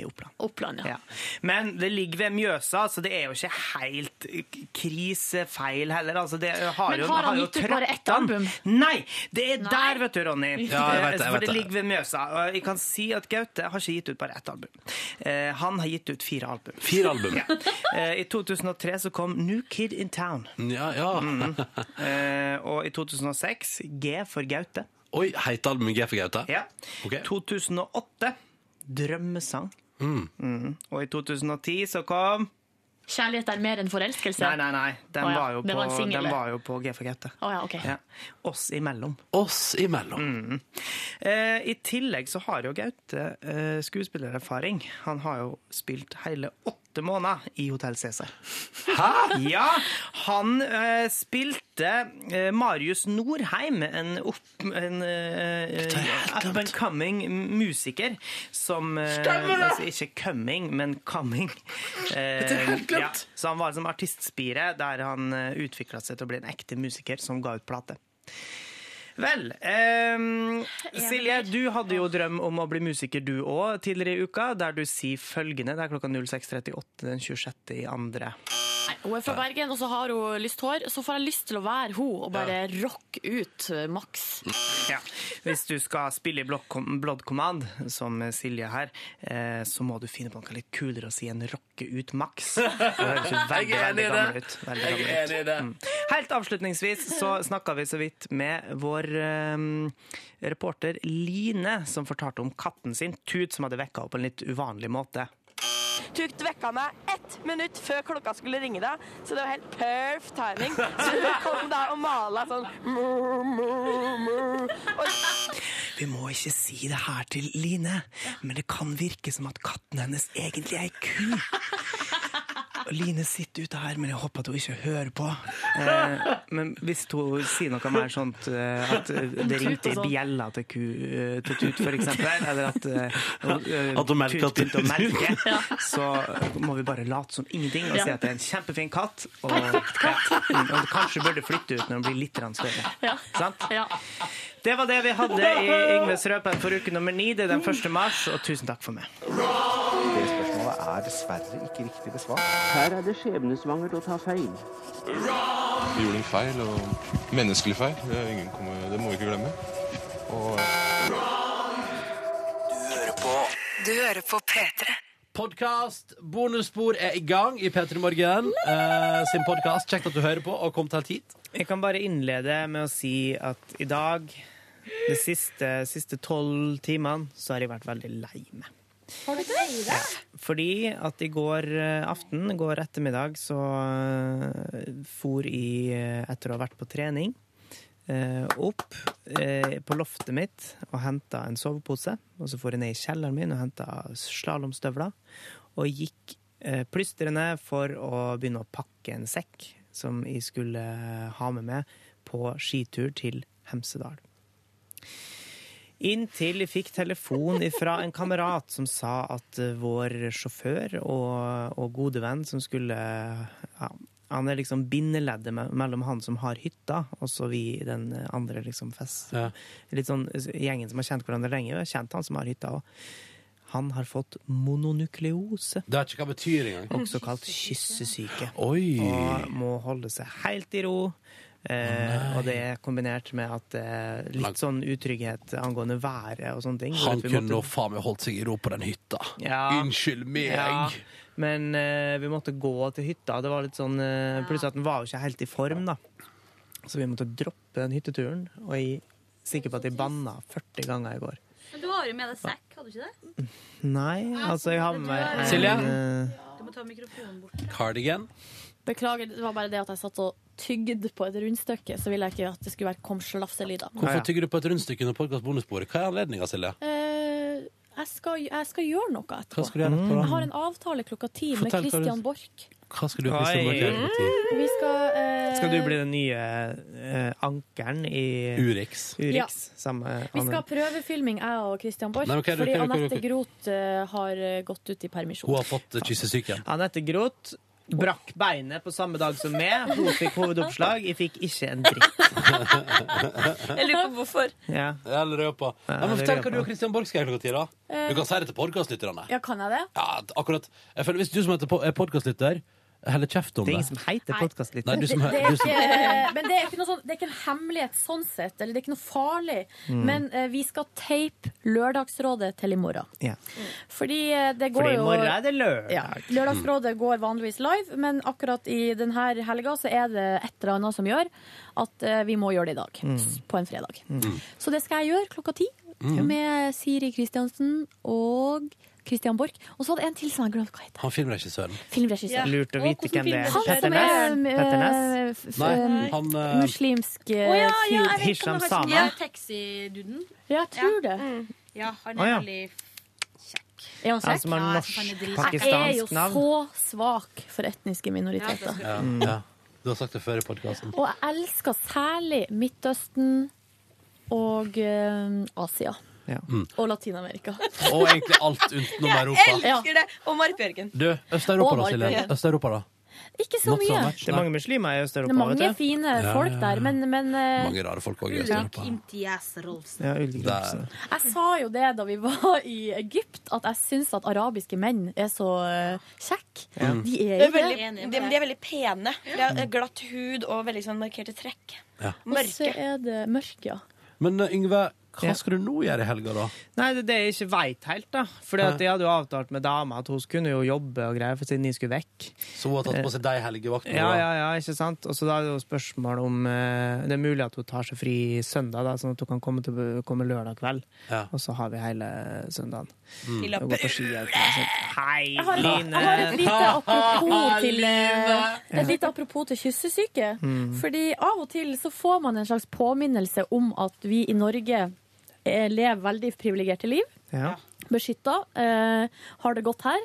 Oppland.
Oppland, ja.
Ja. Men det ligger ved Mjøsa, så det er jo ikke helt krisefeil heller. Altså, det har
Men
jo,
har han
jo
gitt ut bare ett
traktan.
album?
Nei! Det er der, vet du, Ronny.
Ja, jeg vet det, jeg
Eh,
vet
For det
det.
ligger ved Mjøsa. Og Jeg kan si at Gaute har ikke gitt ut bare ett album. Eh, Han har gitt ut fire album.
Fire album.
Ja. Eh, I 2003 så kom New Kid in Town. Mm.
Ja, ja.
Eh, Og i 2006 G for Gaute.
Oi, heter albumet G for Gaute?
Ja.
Ok.
2008 Drømmesang.
Mm.
Mm. Og i 2010 så kom
Kjærlighet er mer enn forelskelse.
Nei, nei, nei. Den,
Å ja,
var, jo
det
på,
var en single,
den
det.
var jo på G for Gaute.
Å ja, ok.
Ja. Oss imellom.
Oss imellom.
Mm. Eh, I tillegg så har jo Gaute eh, skuespillererfaring. Han har jo spilt hele åtte måneder i Hotell Cæsar. Hæ?! Ja, han eh, spilte eh, Marius Norheim, en, opp, en eh, up and coming musiker som eh,
Stemmer det!
altså Ikke coming, men coming. Eh,
Dette er helt glemt.
ja, så han var som artistspire, der han utvikla seg til å bli en ekte musiker som ga ut plate. Vel, ehm, Silje, du hadde jo drøm om å bli musiker du òg tidligere i uka, der du sier følgende, det er klokka 06.38 den 26. i andre.
Nei, Hun er fra Bergen, og så har hun lyst hår. Så får jeg lyst til å være hun og bare rocke ut eh, maks.
Ja. Hvis du skal spille i Block Com- Blood Command, som Silje her, eh, så må du finne på noe litt kulere å si enn rocke ut maks. Det høres jo veldig,
Jeg er enig i
veldig gammel
det.
ut. Veldig
Jeg er
gammel ut.
enig i det.
Mm. Helt avslutningsvis så snakka vi så vidt med vår eh, reporter Line, som fortalte om katten sin, Tut, som hadde vekka opp på en litt uvanlig måte.
Tukt vekka meg ett minutt før klokka skulle ringe deg, så det var helt perf timing. Så hun kom der og mala sånn «Mu, mu, mu». Og
Vi må ikke si det her til Line, men det kan virke som at katten hennes egentlig er ei ku. Og Line sitter ute her, men jeg håper at hun ikke hører på. Eh, men hvis hun sier noe mer sånt eh, at det ringte i bjella til ku eh, til Tut, for eksempel, eller at, eh, eh,
At hun melker
Tut begynte å
at det-
melke, så må vi bare late som ingenting og
Ja.
si at det er en kjempefin katt. Og, Ja, mm, og kanskje burde flytte ut når den blir litt grann større.
Ja.
Sant?
Ja.
Det var det vi hadde i Yngves Røpen for uke nummer ni. Det er den 1. mars, og tusen takk for meg.
Det spørsmålet er dessverre ikke riktig besvart. Her er det skjebnesvangert å ta feil.
Vi gjorde en feil, og menneskelig feil. Det, er ingen kommer, det må vi ikke glemme. Og...
Du hører på P3.
Podkast Bonusspor er i gang i P3 Morgen eh, sin podkast. Kjekt at du hører på og kom helt hit.
Jeg kan bare innlede med å si at i dag, de siste siste tolv timene, så har jeg vært veldig lei meg.
Har du ikke det?
Fordi at i går eh, aften, i går ettermiddag, så eh, for jeg, eh, etter å ha vært på trening, eh, opp eh, på loftet mitt og henta en sovepose. Og så for jeg ned i kjelleren min og henta slalåmstøvler. Og gikk eh, plystrende for å begynne å pakke en sekk som jeg skulle ha med meg på skitur til Hemsedal. Inntil jeg fikk telefon fra en kamerat som sa at eh, vår sjåfør og, og gode venn som skulle ja, Han er liksom bindeleddet me mellom han som har hytta, og så vi i den andre liksom fest... Litt sånn eh, gjengen som har kjent hverandre lenge, har kjent han som har hytta òg. Han har fått mononukleose.
Det vet ikke hva det betyr engang.
Også kalt kyssesyke.
Oi.
Og må holde seg helt i ro. Eh, og det er kombinert med at eh, litt sånn utrygghet angående været og sånne ting. gjorde
Han
at vi
kunne
måtte-
nå faen meg holdt seg i ro på den hytta.
Ja.
Unnskyld meg!
Ja, men eh, vi måtte gå til hytta. Det var litt sånn, eh, Plutselig at den var jo ikke helt i form, da. Så vi måtte droppe den hytteturen. Og jeg er sikker på at jeg banna 40 ganger i går.
Men du har jo med deg sekk, hadde du ikke det?
Nei, altså jeg har med meg en,
Silje?
eh,
Du må ta mikrofonen bort.
Cardigan.
Beklager, det var bare det at jeg satt og tygde på et rundstykke, så ville jeg ikke at det skulle være kom slafselyder.
Hvorfor tygger du på et rundstykke under podkast bonusbordet? Hva er anledninga, Silje?
Eh, jeg, skal, jeg skal gjøre noe etterpå.
Hva skal du gjøre etterpå, da?
Jeg har en avtale klokka ti med
Fortell hva du-
Christian Borch.
Hva skal du
Oi.
Christian Borch, gjøre med tid?
Vi skal, eh,
Skal du bli den nye eh, ankeren i
Urix?
Ja.
sammen med
Vi skal
Anne.
ha prøvefilming, jeg og Christian Borch,
Nei, men hva er det-
fordi
hva er det- hva er det-
Anette Groth eh, har eh, gått ut i permisjon.
Hun har fått eh, kyssesyken.
Anette Groth brakk beinet på samme dag som meg. Hun fikk hovedoppslag, jeg fikk ikke en dritt.
Jeg lurer på hvorfor.
Ja.
Eller røpa. Ja, men
eller
fortell hva
røpa.
du og Christian Borch skal gjøre klokka ti, da.
Eh.
Du kan si det til podkastlytterne.
Ja, kan jeg det?
Ja, at akkurat. Jeg føler Hvis du som heter po- er podkastlytter, heller kjeft om det. Det er ingen
som heter podkastlytter.
Nei, du som,
Det, det,
hø-
er
du som,
ikke, men det er ikke, noe sånn, det er ikke en hemmelighet sånn sett, eller det er ikke noe farlig.
Mm.
Men eh, vi skal tape Lørdagsrådet til i morgen.
Ja.
Fordi eh, det går
Fordi i
jo
morgen er det lørdag.
Ja, Lørdagsrådet går vanligvis live, men akkurat i denne helga så er det et eller annet som gjør at eh, vi må gjøre det i dag.
Mm.
s- På en fredag. Så det skal jeg gjøre klokka ti
Mm.
med Siri Kristiansen og Christian Borch. Og så hadde jeg en til som jeg glemte hva heter.
han filmregissøren.
Filmregissør.
Lurt å vite hvem det er.
Han som er eh, f- f-
Nei, han eh,
muslimsk eh,
Å ja, ja, jeg
fyr.
vet ikke om det var sånn. Ja, taxiduden.
Ja, jeg tror det.
Ja, han
Å,
er
ja.
veldig
Er han
Han som har
Ja, jeg
norsk-
synes han er dritfett.
pakistansk
Jeg
navn.
er jo så svak for etniske minoriteter.
ja,
Mm.
ja. Du har sagt det før i podkasten.
Og jeg elsker særlig Midtøsten og eh, Asia.
Mm.
Og Latin-Amerika.
Og egentlig alt utenom Europa.
elsker det! Og Marit Bjørgen.
Du, Øst-Europa
Og
da, Silje.
Norge.
Øst-Europa da.
Ikke så
Not so
mye.
much,
Det er mange muslimer i
Det er
Øst-Europa.
mange
vet du.
fine
ja,
folk
ja.
der, men, men eh,
Mange rare folk også i
Ulrik
Øst-Europa.
Imtiaz Rolfsen.
Ja, ulike grupper.
Jeg sa jo det da vi var i Egypt, at jeg syns at arabiske menn er så eh, kjekke.
Ja.
De
De
er
er
jo
veldig,
det.
de, de er veldig pene. De har eh, glatt hud og veldig sånn markerte trekk.
Og så er det mørke, ja.
Men eh, Yngve,
Ja.
hva skal du nå gjøre i helga, da?
Nei, det er det jeg ikke veit helt, da. For
Nei.
jeg hadde jo avtalt med dama at hun kunne jo jobbe og greier, for siden jeg skulle vekk.
Så hun har tatt på seg deg helgevakt? nå,
Ja,
da?
ja, ja, ikke sant? Og så da er det jo spørsmål om eh, Det er mulig at hun tar seg fri søndag, da, sånn at hun kan komme, til, komme lørdag kveld. Og så har vi hele søndagen.
Mm.
Til å gå på ski. og sånt. Hei,
Jeg har,
Line!
jeg har et lite apropos til, eh,
Line.
et lite apropos til kyssesyke.
Mm.
Fordi av og til så får man en slags påminnelse om at vi i Norge eh, lever veldig privilegerte liv.
Ja.
Beskytta. Eh, har det godt her.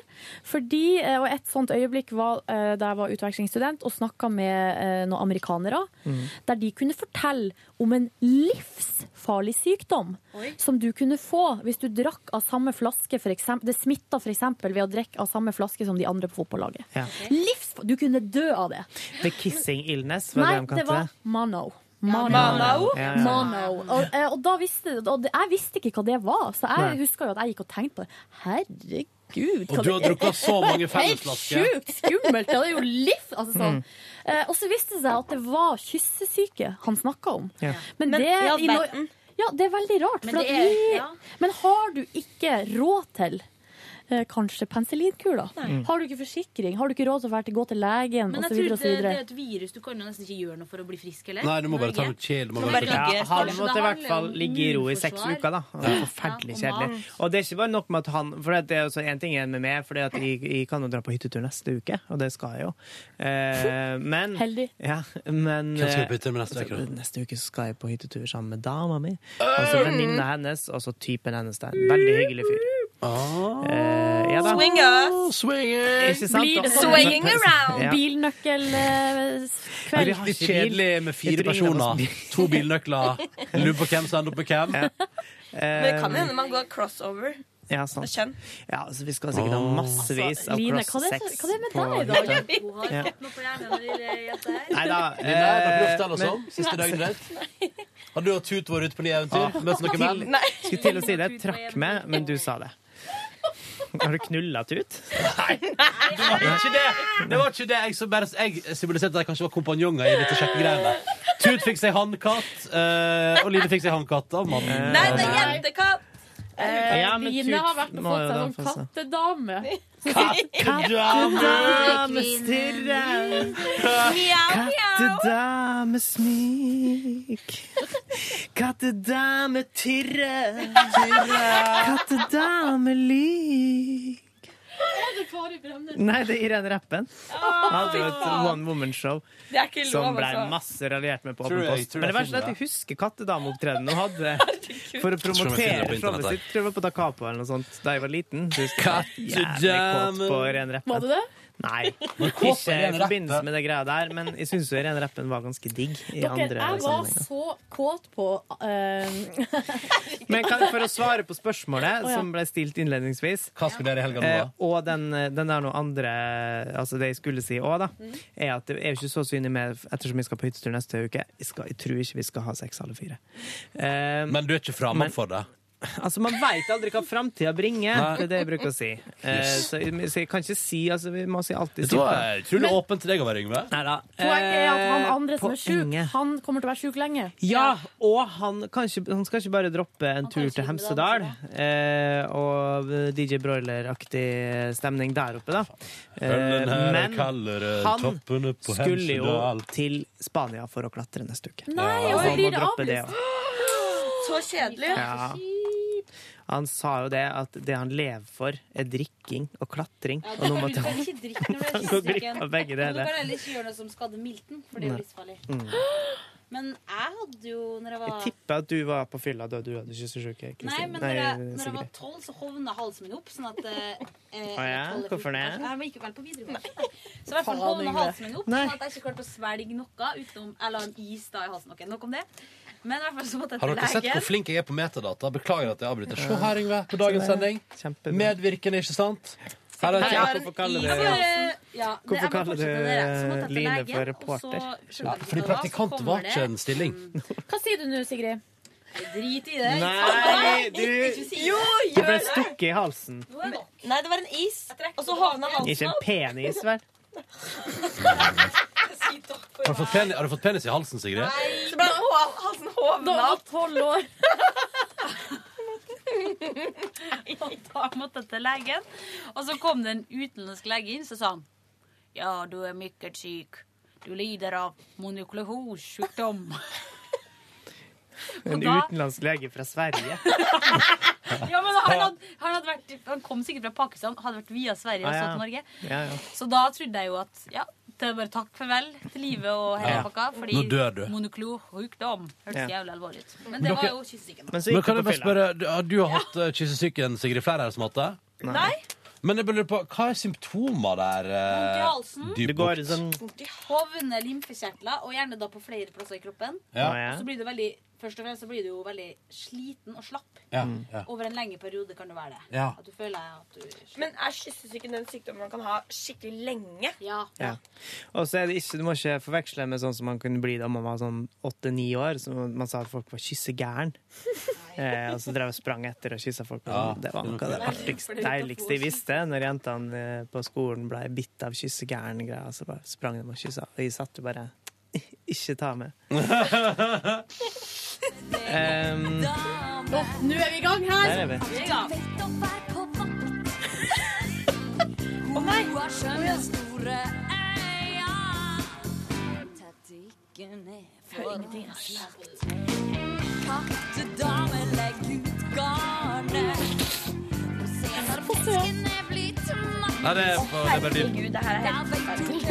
Fordi, eh, og et sånt øyeblikk var eh, da jeg var utvekslingsstudent og snakka med eh, noen amerikanere,
Mm.
der de kunne fortelle om en livsfarlig sykdom som du kunne få hvis du drakk av samme flaske, for eksempel, det smitta f.eks. ved å drikke av samme flaske som de andre på fotballaget.
Ja.
Livsf- du kunne dø av det.
The kissing illness, var
Nei,
det de
det
kalte
var
det?
Mano.
Ja,
Mano.
Mano? Ja, ja.
Mano. Og, eh, og, da visste, og det- jeg visste ikke hva det var, så jeg
Nei.
husker jo at jeg gikk og tenkte på det. Herregud.
Og du
hva
har
det er.
drukket så mange fellesflasker.
Helt sjukt skummelt. Ja, det er jo liv. Altså, sånn.
Mm.
eh, og så viste det seg at det var kyssesyke han snakka om.
Ja.
Men,
Men
det,
i all
i Nor- ja, det er veldig rart.
Men
Men, for
det
at
er-
vi,
ja.
men har du ikke råd til eh, Kanskje penicillinkula?
Nei.
Har du ikke forsikring? Har du ikke råd til å være til gå til legen? Og
Men jeg
så videre,
tror
og så
det, det
videre.
er et virus. Du kan jo nesten ikke gjøre noe for å bli frisk, eller?
Nei, du må bare ta
Norge.
noe chill. du må
Du må
bare-
bare ligge
Ja, han
stille.
måtte i hvert fall ligge i ro i seks
immunforsvar.
uker, da. Det var forferdelig
Ja, og
kjedelig. Og det er ikke bare nok med at han For det er også en ting igjen med meg, for jeg, jeg kan jo dra på hyttetur neste uke, og det skal jeg jo. Eh, men
Heldig.
Ja, men
Hvem skal du på hyttetur med neste uke, da?
eh, Neste uke skal jeg på hyttetur sammen med dama mi, og så venninna hennes, og så typen hennes der. Veldig hyggelig fyr.
Ah.
Eh, ja da.
Swingers! Swingers!
Ikke sant, da? Ja.
eh,
Bilnøkkelkveld.
Riktig kjedelig med fire personer. To bilnøkler. Lurer på hvem som ender opp med hvem.
Men det kan jo hende man går crossover.
Eh, Ja, sant.
Det er kjønn.
Ja, så vi skal sikkert ha
Ah.
Åh.
massevis
Altså,
av
Line,
cross
hva er det- hva
sex
er det med
på
deg i dag?
dette.
Hun har
Ja.
fått noe på hjernen når dere gjetter her.
Nei da.
Line, har dere
eh,
gjort det eller sånn?
men-
Siste døgnet ditt? Har du og Tut vært ute på nye eventyr?
Ja.
Møtt noen menn?
Til- Ah. Skulle til å si det. Trakk meg, men du sa det. Har du knulla ut?
Det var ikke det! Det var ikke det. Jeg, så bare, jeg symboliserte at jeg kanskje var kompanjonger i dette kjekke greiene. Tut fikk seg hannkatt, eh, og Line fikk seg hannkatt av mannen.
Nei, det er jentekatt!
Eh,
Ja, men
Line
Tut
har vært og
må
fått
jo
seg
da
sånn
få se.
kattedame.
Kattedame stirrer.
Mjau,
Kattedame smik. Kattedame tyrre. Kattedame lik.
Er det Kari Bremnes?
Nei, det er Irene Rappen.
Ah,
Hadde jo et
faen.
one woman-show
Det er ikke lov,
som ble
altså.
masse raljert med på
Tror
Åpen
jeg-
post.
tror jeg
Men det verste er
finner
at jeg husker kattedameopptredenen hun hadde for å
Tror jeg finner det på
promotere
internett
showet
her.
sitt. Tror jeg var på Da Capo eller noe sånt da jeg var liten. Så husker jeg var Jævlig kåt på Irene Rappen.
Var du det?
Nei,
kåt på
ikke i
Irene
forbindelse med det greia der, men jeg syns jo Irene Rappen var ganske digg i
Dere,
andre
jeg var
sammenhenger.
så kåt på eh,
Men kan, for å svare på spørsmålet
Å, ja.
som ble stilt innledningsvis
Hva skulle dere i helga nå, da?
Eh, og den, den der noe andre Altså det jeg skulle si òg, da, er at det er jo ikke så synlig med Ettersom vi skal på hyttetur neste uke, jeg, skal, jeg tror ikke vi skal ha sex alle fire. Eh,
Men du er ikke
men-
fremmed for det?
Altså, Man veit aldri hva framtida bringer.
Nei.
Det er det jeg bruker å si. Eh,
Yes.
så, jeg- så jeg kan ikke si altså, Vi må si alltid
Dette var utrolig åpent til deg å være, Yngve.
Poenget er at
Eh,
han andre som er sjuk,
poenget.
han kommer til å være sjuk lenge.
Ja, og han, kan ikke, han skal ikke bare droppe en tur til Hemsedal eh, og DJ Broiler-aktig stemning der oppe, da. Eh,
Øllen her er
men
kaldere,
han
toppene på
skulle jo
Hemsedal.
til Spania for å klatre neste uke.
Nei,
Så
og så
han
blir
må
det
droppe det også.
Så kjedelig.
Ja. Han sa jo det at det han lever for, er drikking og klatring. Og nå måtte han
ikke drikke når
måtte han gå glipp av
Men
begge
Du
deler.
kan heller ikke gjøre noe som skader milten, for det er jo
Nei.
livsfarlig.
Mm.
Men jeg hadde jo når jeg var
Jeg tipper at du var på fylla da du hadde kyssesyke. Kristin.
Nei, men når jeg, når jeg
Sigrid.
var tolv, så hovna halsen min opp. Sånn at eh, eh,
Å ja,
12 eller 14,
hvorfor det?
kanskje. Jeg gikk jo vel på videregående. Så i hvert fall
Faen,
hovna
Yngve.
halsen min opp,
Nei.
sånn at jeg ikke klarte å svelge noe utenom Jeg la en is da i halsen. Ok, nok om det. Men i hvert fall så måtte jeg
Har
til
dere sett hvor
legen.
flink jeg er på metadata? Beklager at jeg avbryter. Se her, Yngve, på dagens
Så det
sending. Medvirkende, ikke sant? Her er
Hei,
jeg.
hvorfor kaller
Ja,
du
bare- altså, ja, det-
Hvorfor
jeg bare
kaller
fortsetter med det. Så måtte jeg
du
til
Line
legen,
for
og så-
reporter?
Ja, fordi praktikant var ikke en stilling.
Hva sier du nå, Sigrid?
Drit i det.
Nei, du
Ikke si det. Jo,
Du ble stukket i halsen.
Nei, det var en is, og så havna
Ikke
halsen
en
opp.
penis, vel?
Har du fått penis, har du fått penis i halsen, Sigrid?
Så ble han hå-
altså,
halsen hovna
Da var
opp.
tolv år.
da måtte jeg til legen. Og så kom det en utenlandsk lege inn, så sa han Ja, du er meget syk. Du lider av monoklehossykdom.
En
da-
utenlandsk lege fra Sverige.
Ja, men han, hadde, han, hadde vært, han kom sikkert fra Pakistan, hadde vært via Sverige og så til Norge.
Ja, ja.
Så da trodde jeg jo at ja, det er bare takk farvel til livet og hele
Ja.
pakka.
Nå dør du.
Fordi monoklohukdom hørtes
Ja.
jævlig alvorlig ut.
Men
Men det
dere-
var jo kyssesyken. da.
Men kan jeg bare spørre, du, har du hatt eh, kyssesyken, Sigrid? Flere her som har hatt det?
Nei.
Men jeg bare lurer på, hva er symptomer der?
Vondt i
eh,
halsen.
dypt bort?
Vondt i hovne lymfekjertler, og gjerne da på flere plasser i kroppen.
Ja. Ja.
Så blir du veldig, først og fremst så blir du jo veldig sliten og slapp.
Ja,
Mm.
ja.
Over en lenge periode kan det være det.
Ja.
At du føler at du
Men er kyssesyken den sykdommen man kan ha skikkelig lenge?
Ja.
Ja. Og så er det ikke, Du må ikke forveksle med sånn som man kunne bli da man var sånn åtte-ni år. Så man sa at folk var kyssegæren. Eh, og så drev og sprang etter og kyssa folk. og
Ja,
sånn. det var
det er
noe av det
nok det.
artigste, deiligste jeg visste. Når jentene eh, på skolen ble bitt av kyssegæren-greia, så bare sprang de og kyssa. Og jeg satt jo bare Ikke ta meg. Em,
Nå, nå er vi i gang her.
Der er vi.
Vi Ehm. er i gang. Å nei!
Hør ingenting, ass. Kattedame, legg ut garnet. Fiskene blir tomat.
Nei, det er på- det er bare dyrt.
Herregud, det her er helt forferdelig.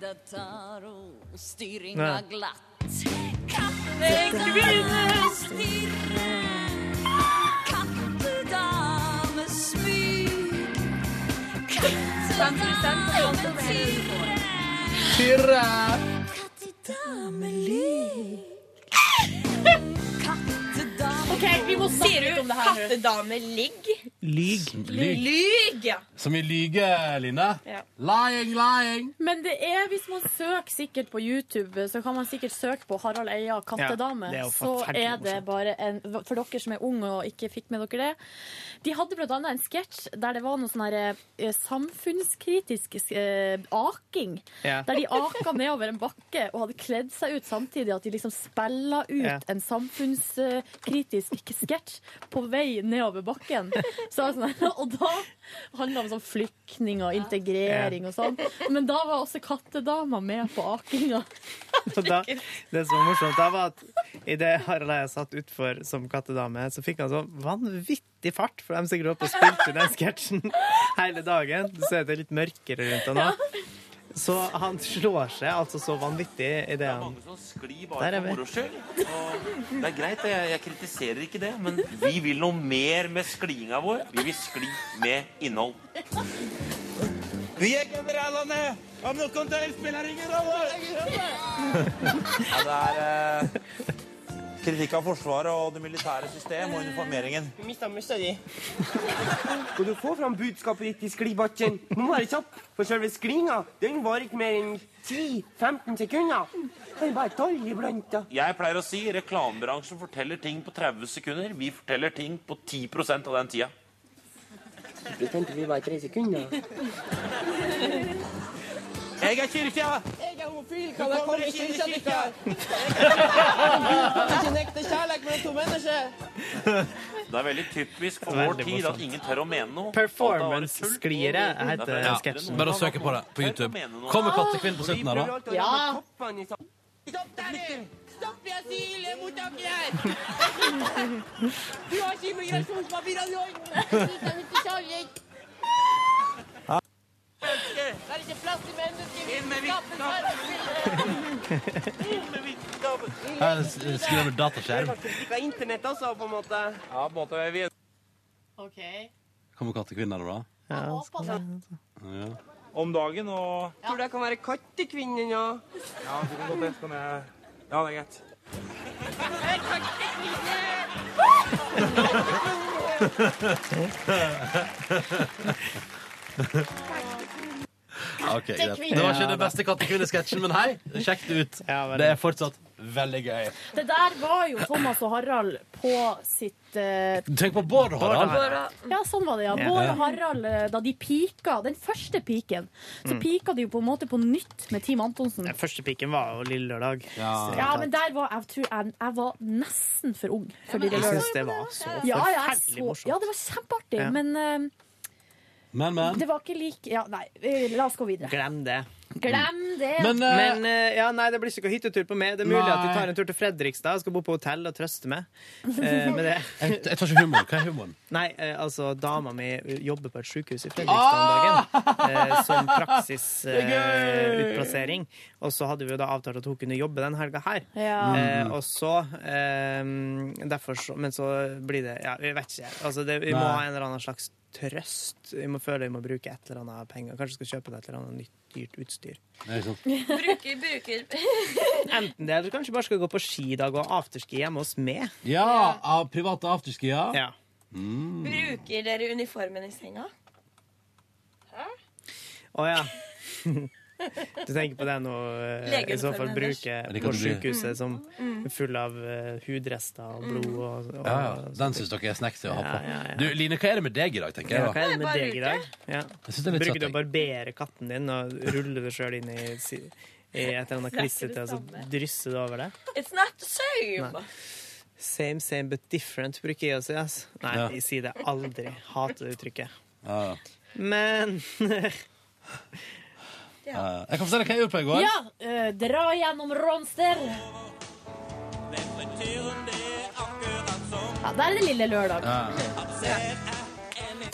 Da tar hun styringa
Nei.
glatt. Kattedame stirrer. Kattedame smyg. Kattedame tirrer. Kattedame lik.
Ok, vi må snakke litt om det her nå.
Sier du kattedame ligg?
Lyg.
Lyg, ja.
Som i lyge, Line.
Ja.
Lying, lying.
Men det er, hvis man søker sikkert på YouTube, så kan man sikkert søke på Harald Eia, kattedame.
Ja, det er jo
så
forferdelig
er det
morsomt.
bare en For dere som er unge og ikke fikk med dere det. De hadde blant annet en sketsj der det var noe sånn her eh, samfunnskritisk eh, aking.
Ja.
Der de aka nedover en bakke og hadde kledd seg ut samtidig. At de liksom spilla ut
Ja.
en samfunnskritisk sketsj på vei nedover bakken. Så jeg var sånn, her, og da handla om sånn flyktning og integrering og sånn. Men da var også kattedama med på akinga.
Og da, det som var morsomt, da var at idet Harald Eia satt utfor som kattedame, så fikk han sånn vanvittig fart, for de sikkert oppe og spilte den sketsjen hele dagen. Du ser at det er litt mørkere rundt han nå. Så han slår seg altså så vanvittig idet han
Skli
Der
bare
er
for
vi.
moro skyld. Og Det er greit, jeg, jeg kritiserer ikke det, men vi vil noe mer med sklinga vår. Vi vil skli med innhold.
Vi er generalene! Om noen dør, spiller ingen rolle!
Ja, det er eh, kritikk av Forsvaret og det militære system og uniformeringen.
Du mista mussa di. Skal du få fram budskapet ditt i sklibakken, må du være kjapp. For selve sklinga den varer ikke mer enn 10-15 sekunder. Den er bare 12 iblant. da.
Jeg pleier å si reklamebransjen forteller ting på 30 sekunder. Vi forteller ting på 10 av den tida.
Du tenkte vi bare 3 sekunder.
Jeg er kirka!
Jeg er homofil, kan jeg komme i kirka?
ikke
nekte kjærlighet mellom to mennesker.
Det er veldig typisk for vår
Veldig
tid
morsomt.
at ingen tør å mene noe.
Performance-skliere heter
Ja,
sketsjen.
bare å søke på det på YouTube. Kommer Kattekvinnen på slutten her, da?
Ja. Stopp der, du! Stopp i asylmottaket her! Du har ikke immigrasjonspapirene i orden! Du kan ikke kjærlighet. Det er ikke plass til mennesker! Inn med vitskapen! Inn med vitskapen!
Her s- skriver han med dataskjerm.
Kritikk av internett, altså, på en måte.
Ja, på en måte vi
Kommer Kattekvinnen her, da? Ja.
Om dagen og
Tror du jeg kan være kattekvinnen, ja?
Ja, du kan godt det. Kan jeg Ja, det er greit.
Ok, greit. Det var ikke den beste kattekvinnesketsjen, men hei, sjekk det ut. Det er fortsatt veldig gøy.
Det der var jo Thomas og Harald på sitt eh,
Tenk på Bård og Harald.
Ja, sånn var det, ja.
Ja.
Bård
Ja.
og Harald, eh, da de pika, den første piken, så
Mm.
pika de jo på en måte på nytt med Team Antonsen.
Den første pikken var jo Lille Lørdag.
Ja, men der var jeg tror jeg, jeg var nesten for ung. For Lille
jeg
Lørdag.
syns det var så
ja, ja, jeg
forferdelig
så, ja, det var kjempeartig,
Ja.
men eh,
Men,
det var ikke lik Ja, nei, eh, la oss gå videre.
Glem det.
Glem det!
Men, eh, ja, nei, det blir ikke noe hyttetur på meg. Det er mulig at
Nei.
jeg tar en tur til Fredrikstad og skal bo på hotell og trøste meg eh, med det.
Jeg, jeg tar ikke humoren. Hva er humoren?
Nei, eh, altså, dama mi jobber på et sykehus i Fredrikstad om dagen eh, som
Det er gøy!
praksisutplassering. og så hadde vi jo da avtalt at hun kunne jobbe den helga her.
Ja.
Eh, og så eh, Derfor så Men så blir det Ja, vi vet ikke. Altså, det, vi må
Nei.
ha en eller annen slags trøst. Vi må føle vi må bruke et eller annet penger. Kanskje skal kjøpe deg et eller annet nytt, dyrt utstyr.
Det er sant.
Bruker, bruker
Enten det, eller kanskje bare skal gå på skidag og afterski hjemme hos meg.
Ja, av private afterskier.
Ja.
Bruker dere uniformen i senga?
Å ja. Du tenker på det nå eh, i så fall
Legeuniformen
bruke
ellers.
på sykehuset
Mm.
som
Mm.
er full av eh, hudrester og blod og, og
Ja, ja. Den syns dere er snacks til å ha på.
Ja, ja, ja.
Du, Line, hva er det med deg i dag, tenker
Ja,
jeg?
hva er
da?
det med deg i dag? Ja.
Jeg synes det er litt søtt,
Bruker du å barbere katten din og rulle det sjøl inn i, si- i et eller annet
Det er ikke
klissete,
det
og så
samme.
drysser du over det?
It's not the same.
Nei. Same, same but different, bruker jeg å si. Ass. Nei,
Ja.
jeg sier det aldri. Hater det uttrykket.
Ja, ja.
Men
Ja, ja. Jeg kan fortelle hva jeg gjorde på i går.
Ja, eh, dra gjennom Ronster. Ja, der er det lille lørdag.
Jeg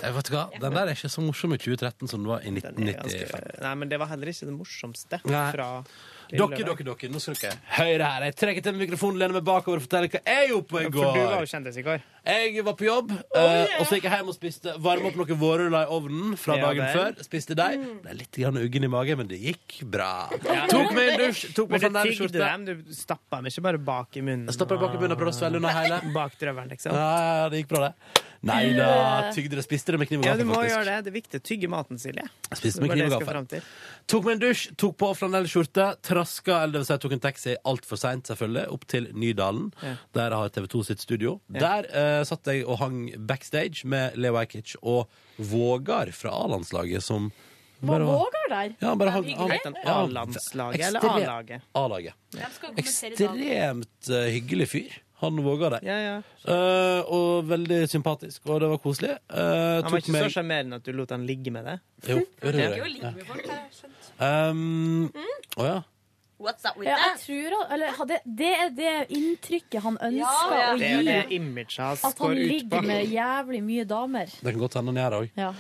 Eh, vet hva, Den der er ikke så morsom i 2013 som den var i 1990.
Nei, men det var heller ikke det morsomste
Nei.
fra
Dere, dere, dere, nå skal dere høre her. Jeg trekker til meg mikrofonen, lener meg bakover og forteller hva jeg gjorde på i går.
For du var jo kjendis i går.
Jeg var på jobb, eh, og så gikk jeg hjem og spiste varma opp noen vårruller i ovnen fra
Ja,
dagen
vel. Mm.
før. Spiste de. Ble litt grann uggen i magen, men det gikk bra.
Ja.
Tok meg en dusj, tok på
Men
sånn
du
der
tygde
skjorte.
dem, du stappa dem ikke bare bak i munnen.
Jeg stoppa bak i munnen og prøvde å svelge unna hele.
Bak drøvelen, liksom.
Ja, ja, det gikk bra, det. Nei da, tygde det, spiste det med kniv og
Ja, du
gaffel,
må
faktisk.
gjøre det. Det er viktig å tygge maten, Silje.
spiste med
Det var det
kniv og
jeg skal
gaffel.
fram til.
Tok meg en dusj, tok på flanellskjorte, traska, eller det vil si jeg tok en taxi altfor seint, selvfølgelig, opp til Nydalen.
Ja.
Der har TV 2 sitt studio.
Ja.
Der eh, satt jeg og hang backstage med Leo Ajkic og Vågar fra A-landslaget, som
Var
var-
Vågar der?
Ja, han bare hang,
Hyggelig.
han-
Heter han
ja,
A-landslaget eller
ekstre-
A-laget?
A-laget.
Hvem skal kommentere i dag?
Ekstremt eh, hyggelig fyr. Han våga det.
Ja, ja.
Eh, og veldig sympatisk, og det var koselig. Eh,
Han var
tok
ikke
meg-
så sjarmerende at du lot han ligge med det.
Jo, jo, det gjorde
Ja.
jeg. Um, å ja.
What's up with
Ja, jeg
that?
tror han, eller, hadde, det er det inntrykket han ønsker
Ja, ja.
å
Det er jo det
gi.
imaget hans
At han
går ut på.
ligger med jævlig mye damer.
Det kan godt hende han gjør det òg.
Ja.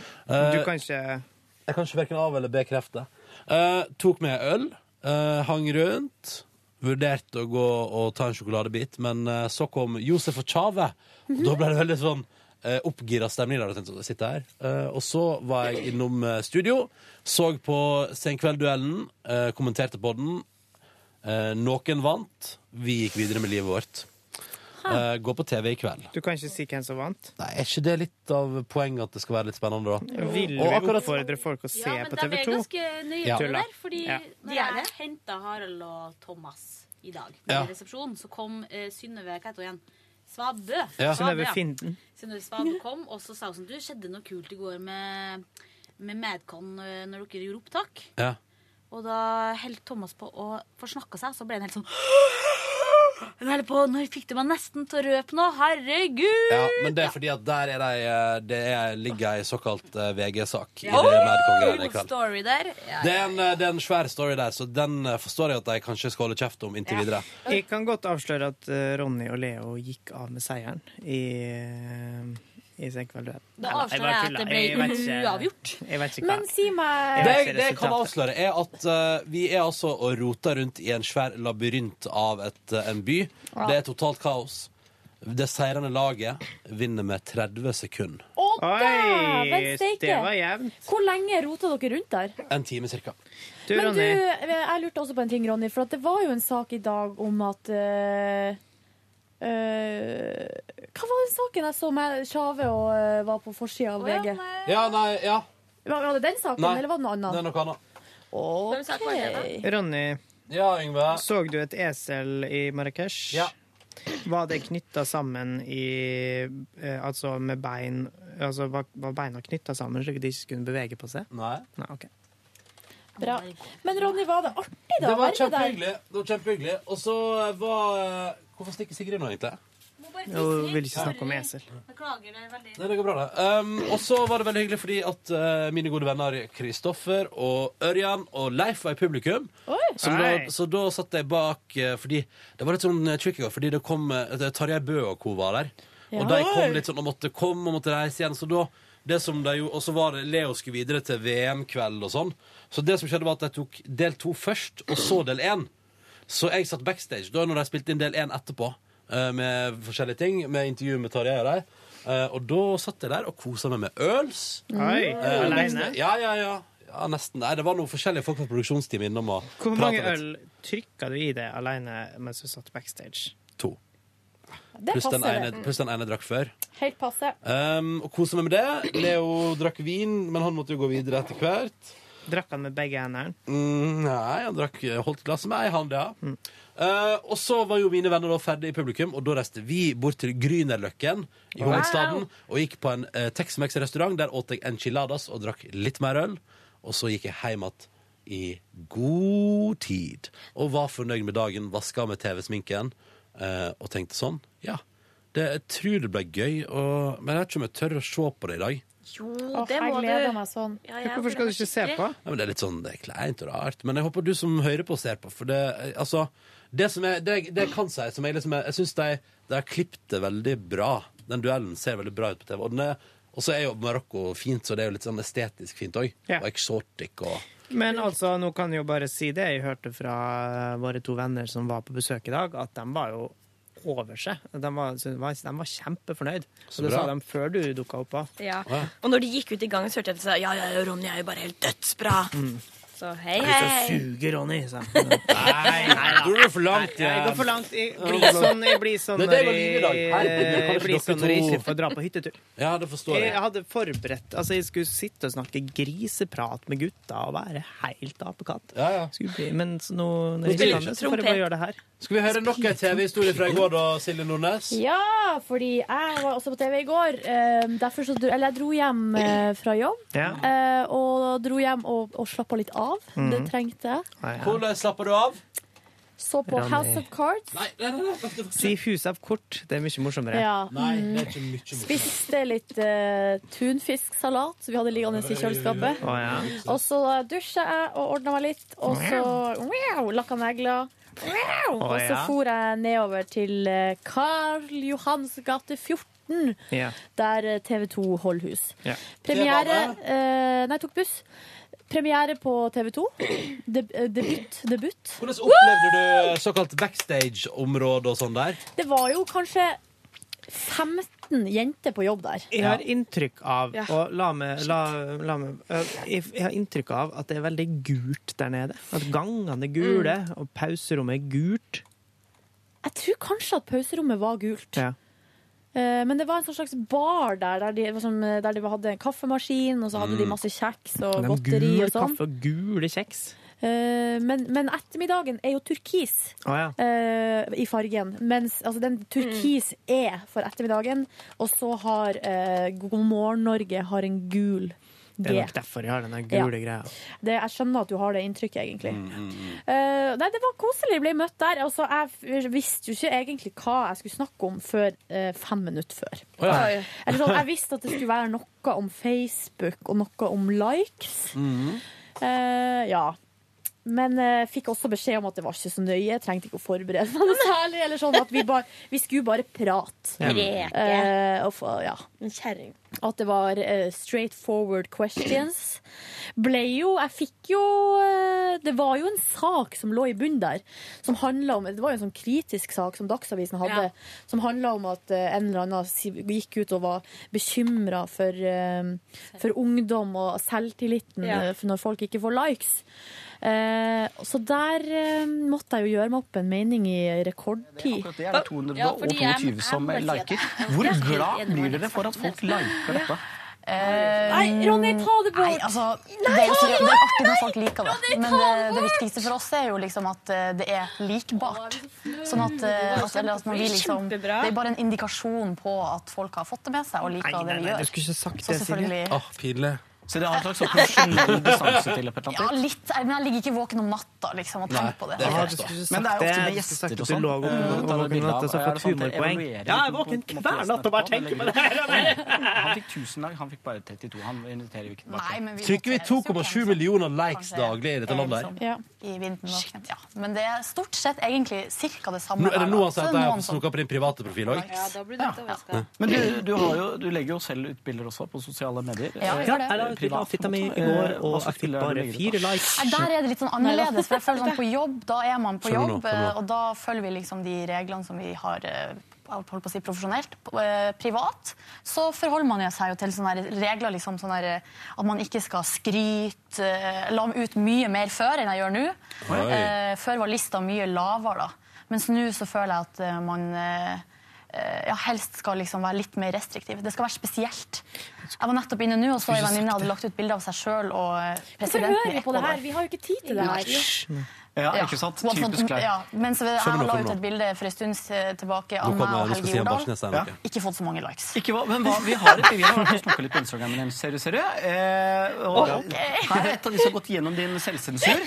Du kan ikke
Eh, Jeg kan ikke verken av- eller bekrefte. Eh, tok med øl, eh, hang rundt. Vurderte å gå og ta en sjokoladebit, men eh, så kom Josef og Tjave.
Mhm.
Og da ble det veldig sånn uh, oppgira stemning der. og jeg tenkte, «Jeg sitter her. Eh, og så var jeg innom eh, studio, så på Senkveldduellen, uh, kommenterte på den. Eh, noen vant. Vi gikk videre med livet vårt. Eh, gå på TV i kveld.
Du kan ikke si hvem som vant.
Nei, Er ikke det litt av poenget at det skal være litt spennende, da?
Vil
Og
vi
akkurat-
oppfordre folk å se
Ja, men
på
de
TV
er
2?
ganske nøye
Ja.
på det
Tulla.
der, fordi
Ja.
når jeg henta Harald og Thomas i dag i
Ja.
resepsjonen, så kom eh, Synnøve Hva heter hun igjen? Svabø.
Ja.
Svabø,
Synnøve Finden.
Synnøve Svabø kom, og så sa hun sånn Du, skjedde noe kult i går med, med Madcon eh, når dere gjorde opptak?
Ja.
Og da holdt Thomas på å forsnakke seg, så ble han helt sånn Hun holder på, Når fikk du meg nesten til å røpe nå? Herregud!
Ja, men det er fordi at der er de, eh, det er, ligger ei såkalt eh, VG-sak i
Ja. Oh,
det Madkongreiene i kveld.
Story der. Ja,
Det er, en, eh, det er en svær story der, så den eh, forstår jeg at de kanskje skal holde kjeft om inntil videre.
Jeg kan godt avsløre at eh, Ronny og Leo gikk av med seieren i, eh, i Senkveldduellen.
Da
Nei, jeg bare
avslører jeg at
tuller.
det ble
Jeg vet ikke-
uavgjort.
Jeg vet ikke hva.
Men si meg
Det jeg, det jeg kan avsløre, er at eh, vi er altså og roter rundt i en svær labyrint av et, eh, en by.
Ja.
Det er totalt kaos. Det seirende laget vinner med 30 sekunder.
Å,
Oi,
dæven steike!
det var jevnt.
Hvor lenge rota dere rundt der?
En time cirka.
Men du, eh, jeg lurte også på en ting, Ronny, for at det var jo en sak i dag om at eh, eh, Hva var den saken jeg så med Tjave og eh, var på forsida av VG?
Ja, nei, ja.
Var var det den saken,
Nei.
eller var det noe
Det er
annet?
noe annet.
Ok.
Ronny,
Ja, Yngve.
så du et esel i Marrakech?
Ja.
Var det knytta sammen i eh, Altså med bein Altså var, var beina knytta sammen slik at de ikke kunne bevege på seg?
Nei.
ok.
Bra. Men Ronny, var det artig da?
Det
å
var
være med der?
kjempehyggelig. Det var kjempehyggelig. Og så var eh, Hvorfor stikker Sigrid nå, egentlig?
Jeg vil ikke snakke om esel.
Beklager det veldig.
Nei, det går bra, det. Um, og så var det veldig hyggelig fordi at eh, mine gode venner Kristoffer og Ørjan og Leif var i publikum. Så da,
Hei.
så da satt jeg bak eh, Fordi det var litt sånn eh, tricky, fordi det kom uh, Tarjei Bø og co. var der.
Ja.
Og de kom litt sånn og måtte komme og måtte reise igjen. Så da det som de gjorde, Og så var det Leo skulle videre til VM-kveld og sånn. Så det som skjedde, var at de tok del to først, og så del én. Så jeg satt backstage da når de spilte inn del én etterpå, eh, med forskjellige ting, med intervju med Tarjei og de. Eh, og da satt jeg der og kosa meg med øls.
Oi,
Eh,
alene?
nesten- Ja, ja, ja. Ja, nesten. Nei, det var noen forskjellige folk fra produksjonsteamet innom og
Hvor
pratet
mange
litt.
øl trykka du i deg aleine mens du satt backstage?
To.
Det
Pluss den,
passer,
ene-
det.
pluss den ene drakk før.
Helt passe.
Um, og kosa meg med det. Leo drakk vin, men han måtte jo gå videre etter hvert.
Drakk han med begge hendene?
Mm, nei, han drakk, holdt glasset med ei hand, ja.
Mm.
Eh, og så var jo mine venner da ferdig i publikum, og da reiste vi bort til Grünerløkken i
Wow.
hovedstaden og gikk på en eh, Tex-Mex-restaurant. Der åt jeg enchiladas og drakk litt mer øl. Og så gikk jeg hjem igjen i god tid. Og var fornøyd med dagen, vaska med TV-sminken eh, og tenkte sånn. Ja, det, jeg tror det ble gøy, og, men jeg vet ikke om jeg tør å se på det i dag.
Jo,
Åh,
det
jeg
må du.
gleder meg sånn.
Hvorfor skal du ikke se på?
Ja, men det er litt sånn det er kleint og rart. Men jeg håper du som hører på, ser på. For det, altså, det som er, det, det jeg kan si som jeg liksom er, Jeg syns de, de har klippet det veldig bra. Den duellen ser veldig bra ut på TV. Og den er- og så er jo Marokko fint, så det er jo litt sånn estetisk fint òg. Og eksotisk og
Men altså, nå kan jeg jo bare si det. Jeg hørte fra eh, våre to venner som var på besøk i dag, at de var jo over seg. De var, de var, de var kjempefornøyd.
Så
Og det
bra.
sa de før du dukka opp òg.
Ja. Og når de gikk ut i gangen, så hørte jeg at de sa ja, ja, ja, Ronny er jo bare helt dødsbra.
Mm.
Så hei,
Du skal
hei.
suge, Ronny, sa han. Nei, nei da.
Du går for langt,
Nei, jeg går for langt. Jeg blir sånn, jeg blir sånn
Det er
når
det jeg var lydig i dag. Herregud,
jeg,
kan
jeg
ikke
blir
dere
sånn når jeg
to-
ikke får dra på hyttetur.
Ja, det forstår jeg.
Jeg hadde forberedt Altså, jeg skulle sitte og snakke griseprat med gutta og være helt apekatt. Skulle bli- Men så nå, når jeg ikke kan det, så får jeg bare gjøre det her.
Skal vi høre nok en TV-historie fra i går, da, Silje Nordnes?
Ja, fordi jeg var også på TV i går. Eh, Derfor så dro, eller jeg dro hjem eh, fra jobb.
Ja.
eh, Og dro hjem og, og slappa litt av.
Mhm.
Det trengte jeg.
Hvordan slapper du av?
Så på
Ronny.
House of Cards.
Si hus av kort. Det er mye morsommere.
Ja. Nei, det er
ikke mye morsommere.
Spiste litt eh, tunfisksalat som vi hadde liggende i kjøleskapet.
Å, ja.
Og så dusja jeg og ordna meg litt, og så wow, lakka negler. Wow,
Å,
og så
ja.
for jeg nedover til eh, Karl Johans gate 14,
Ja.
der eh, TV 2 holder hus.
Ja.
Premiere eh, Nei, tok buss. Premiere på TV 2. De, eh, debut. debut.
Hvordan opplevde du såkalt backstage-område og sånn der?
Det var jo kanskje 15 jenter på jobb der.
Jeg har inntrykk av
Ja.
og la meg, la, la meg, øh, jeg, jeg har inntrykk av at det er veldig gult der nede. At gangene er gule, og pauserommet er gult.
Jeg tror kanskje at pauserommet var gult.
Ja.
Eh, Men det var en sånn slags bar der, der de, var som- eh, der de hadde en kaffemaskin, og så hadde
Mm.
de masse kjeks og
De
godteri
gule
og sånn.
kaffe og gule kjeks.
Eh, Men, men ettermiddagen er jo turkis
Å ja.
eh, i fargen. Mens altså, den turkis er for ettermiddagen, og så har eh, God morgen Norge har en gul
Det er
G.
nok derfor jeg har den gule greia.
Det, jeg skjønner at du har det inntrykket, egentlig.
Mm,
Eh, nei, det var koselig å bli møtt der. Altså, jeg f- visste jo ikke egentlig hva jeg skulle snakke om før eh, fem minutter før.
Å, ja. Oi.
Eller sånn, jeg visste at det skulle være noe om Facebook og noe om likes. Eh, ja. Men eh, fikk også beskjed om at det var ikke så nøye. Jeg trengte ikke å forberede meg noe særlig. Eller sånn at vi, bare- vi skulle bare prate.
Ja. Preke.
Eh, og få, ja.
En kjerring.
At det var eh, straight forward questions. Ble jo Jeg fikk jo eh, Det var jo en sak som lå i bunnen der, som handla om Det var jo en sånn kritisk sak som Dagsavisen hadde, som handla om at eh, en eller annen si- gikk ut og var bekymra for, eh, for ungdom og selvtilliten
Ja.
eh, for når folk ikke får likes. Eh, så der eh, måtte jeg jo gjøre meg opp en mening i rekordtid.
Akkurat det er det 200 og 22 som liker. Hvor glad blir dere for at folk liker dette?
Nei, Ronny, ta det bort!
Eh, Nei, altså,
Nei,
det, er jo så, det
Ronny,
er artig når folk
nei,
liker det.
Ronny,
Men
ta
det,
det
det
bort!
viktigste for oss er jo liksom at eh, det er likbart. Sånn at, eh, at, eller at når vi liksom, Det er bare en indikasjon på at folk har fått det med seg og liker det vi gjør.
ikke sagt
Så det, Silje. selvfølgelig-
Åh, pinlig.
Så det har en slags sånn profesjonell distanse til et eller
Ja,
annet?
litt, men jeg ligger ikke våken om natta liksom, og
Nei,
tenker på det.
det er helt
Men
sant.
det er jo
Det
ofte med
er ikke sagt
gjester
at
og
du
sånn. Eh,
lå og- og- og- og- og- og-
så har jeg fått humorpoeng. Ja, jeg er våken hver natt og bare tenker på det her!
Han fikk 1000 lag, han fikk bare 32. Han inviterer jo ikke tilbake.
Trykker vi 2,7 millioner likes daglig i dette landet
sånn
her?
Liksom, I vinden og ja. Men det er stort sett egentlig cirka det samme.
Nå, er det
hver dag.
nå han sier
Så det er
at jeg har
noen som-
snoka på din private profil òg?
Ja,
da blir du overraska.
Men du, du, har jo, du legger jo selv ut bilder også på sosiale medier.
Ja, jeg gjør det. Ja, jeg la ut bilder av
fitta mi i går, og jeg fikk bare fire likes.
Nei, der er det litt sånn annerledes. For jeg føler sånn på jobb, da er man på
Skjønner nå,
jobb, eh,
skjønner nå.
og da følger vi liksom de reglene som vi har eh, holdt på å si profesjonelt, På, eh, privat, så forholder man jo seg jo til sånne her regler, liksom sånn her, eh, at man ikke skal skryte, eh, la meg ut mye mer før enn jeg gjør nå.
Oi.
Eh, før var lista mye lavere, da. Mens nå så føler jeg at eh, man eh, eh, ja, helst skal liksom være litt mer restriktiv. Det skal være spesielt. Jeg var nettopp inne nå og så ei
Skulle sagt
venninne hadde lagt ut bilde av seg sjøl og eh,
Hvorfor
presidenten
hører vi på det her? Vi har jo ikke tid til det her.
Ja, ikke sant?
Hun har fått-
Typisk Claire.
Ja, mens vi,
Skjønner
jeg
nå,
la
skjønner
ut
nå.
et bilde for en stund eh, tilbake
Nå
av meg
kommer-
og
nå skal
Helge
Stian
Jordal.
Barsnes her, Ja. ok.
Ikke fått så mange likes.
Ikke hva, men hva, vi har et vi har vært og snakket litt på Instagramen din, ser du, ser du? Eh, og
Ok.
Her er et av de som har gått gjennom din selvsensur.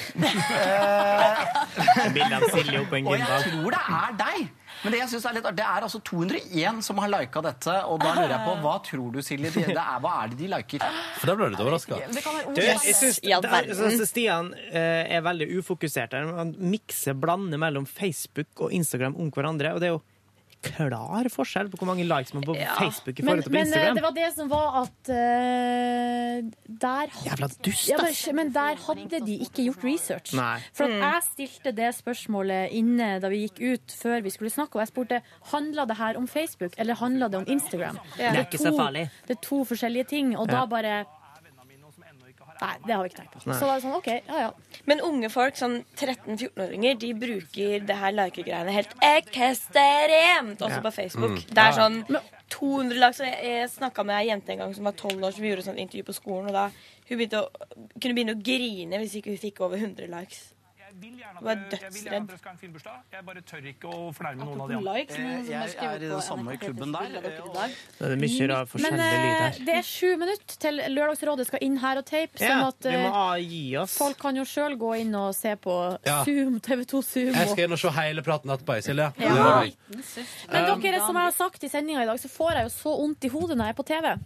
Eh,
Bilde av Silje oppå en
og jeg
gymball.
tror det er deg. Men det jeg synes er litt artig, det er altså 201 som har lika dette. Og da lurer jeg på, hva tror du, Silje? Det det er, hva er det de liker?
For da ble du litt overraska.
Det kan være
Du, jeg syns
I all
det-
verden.
altså, Stian eh, er veldig ufokusert. her. Han mikser, blander mellom Facebook og Instagram om hverandre. Og det er jo klar forskjell på hvor mange likes man får på Facebook i
Men,
forhold til på
men eh,
Instagram.
det var det som var at eh, der hadde,
Jævla dust,
ja, men,
ass.
men der hadde de ikke gjort research.
Nei. Mm.
For at jeg stilte det spørsmålet inne da vi gikk ut før vi skulle snakke, og jeg spurte handla det her om Facebook eller handla det om Instagram.
Ja. Det er ikke så farlig.
Det er to forskjellige ting, og da
Ja.
bare Nei, det har vi ikke tenkt på.
Nei.
Så da er det sånn, ok, ja ja.
Men unge folk, sånn 13-14-åringer, de bruker det her likegreiene helt ekstremt, også
Ja.
på Facebook.
Mm.
Det
Ja.
er sånn 200 lag. Så jeg, jeg snakka med ei jente en gang som var 12 år, som gjorde sånn intervju på skolen, og da hun begynte å, kunne begynne å grine hvis ikke hun fikk over 100 likes. Hun var dødsredd.
Jeg bare tør ikke å fornærme noen av de
Apropos
andre.
likes, noen som har
Jeg er
skrevet
i den samme klubben der.
Det er mye rar
Men
forskjellig lyd
eh,
her.
det er sju minutter til Lørdagsrådet skal inn her og tape, sånn
Ja,
at
vi må
eh,
ah, gi oss.
Folk kan jo sjøl gå inn og se på
Ja.
Zoom, TV2 Zoom.
Jeg
og-
skal inn og se hele praten etterpå, jeg, Silje.
Ja.
Det gjør jeg.
Men
Um,
dere, som jeg har sagt i sendinga i dag, så får jeg jo så vondt i hodet når jeg er på TV.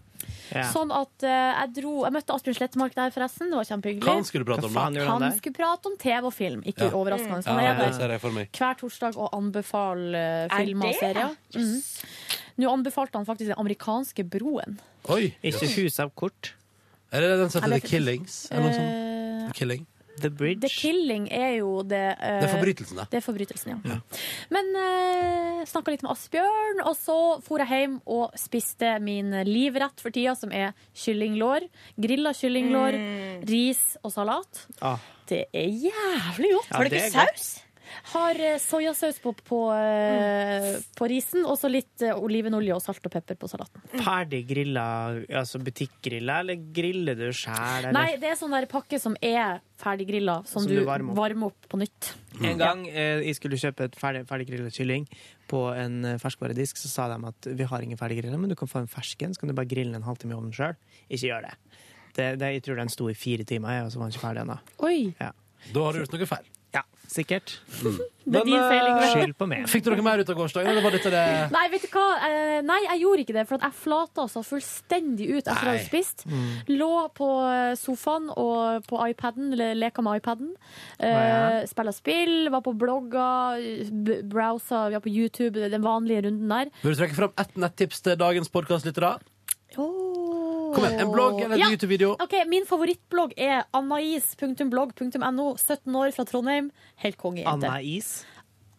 Ja.
Sånn at eh, jeg dro Jeg møtte Asbjørn Slettemark der, forresten. Det var kjempehyggelig.
Hva han skulle prate om da? Hva faen gjorde han
Han
der?
skulle prate om TV og film. Ikke
Ja. Mm.
overraskende.
Ja,
Han er
det
der
ser jeg for meg.
hver torsdag og anbefaler eh,
Er
film og
det?
serier. Mhm. Nå anbefalte han faktisk Den amerikanske broen.
Oi.
Ikke hus av kort.
Er det den som heter
Eller-
The Killings? Eller noe sånt?
Eh,
The Killing?
The Bridge?
The Killing er jo det eh,
Det er forbrytelsen, da.
Det er forbrytelsen, ja.
Ja.
Men eh, snakka litt med Asbjørn, og så for jeg hjem og spiste min livrett for tida, som er kyllinglår. Grilla kyllinglår,
Mm.
ris og salat.
Ah.
Det er jævlig godt.
Ja, Har du det ikke er godt.
Har eh, soyasaus på, på, eh,
Mm.
på risen, og så litt eh, olivenolje og salt og pepper på salaten.
Ferdig grilla, altså butikkgrilla, eller griller du sjæl, eller?
Nei, det er sånn der pakke som er ferdiggrilla, som,
Som
du
du varmer opp.
varmer opp på nytt.
Mm.
En gang eh, jeg skulle kjøpe et ferdig, ferdiggrilla kylling på en eh, ferskvaredisk, så sa de at vi har ingen ferdiggrilla, men du kan få en fersken, så kan du bare grille den en halvtime i ovnen sjøl. Ikke gjør det. det, det jeg tror den sto i fire timer, jeg, og så var den ikke ferdig ennå.
Oi.
Ja.
Da har du gjort noe feil. Mm.
Ja, sikkert. eh,
Det er din feil, Yngve.
Skyld på meg.
Fikk dere mer ut av gårsdagen, eller var dette det
Nei, vet du hva? Eh, Nei, jeg gjorde ikke det, for at jeg flata altså fullstendig ut etter å ha
Nei.
spist.
Mm.
Lå på eh, sofaen og på iPaden, eller leka med iPaden.
Å,
Eh, Spilla spill, var på blogger, b- browsa, vi var på YouTube, den vanlige runden der.
Vil du trekke fram ett nettips til dagens podkastlyttere? Kom igjen, en blogg eller en
Ja.
YouTube-video?
Ok, Min favorittblogg er anais.blogg.no. 17 år fra Trondheim. Helt kongejente.
Anna Is.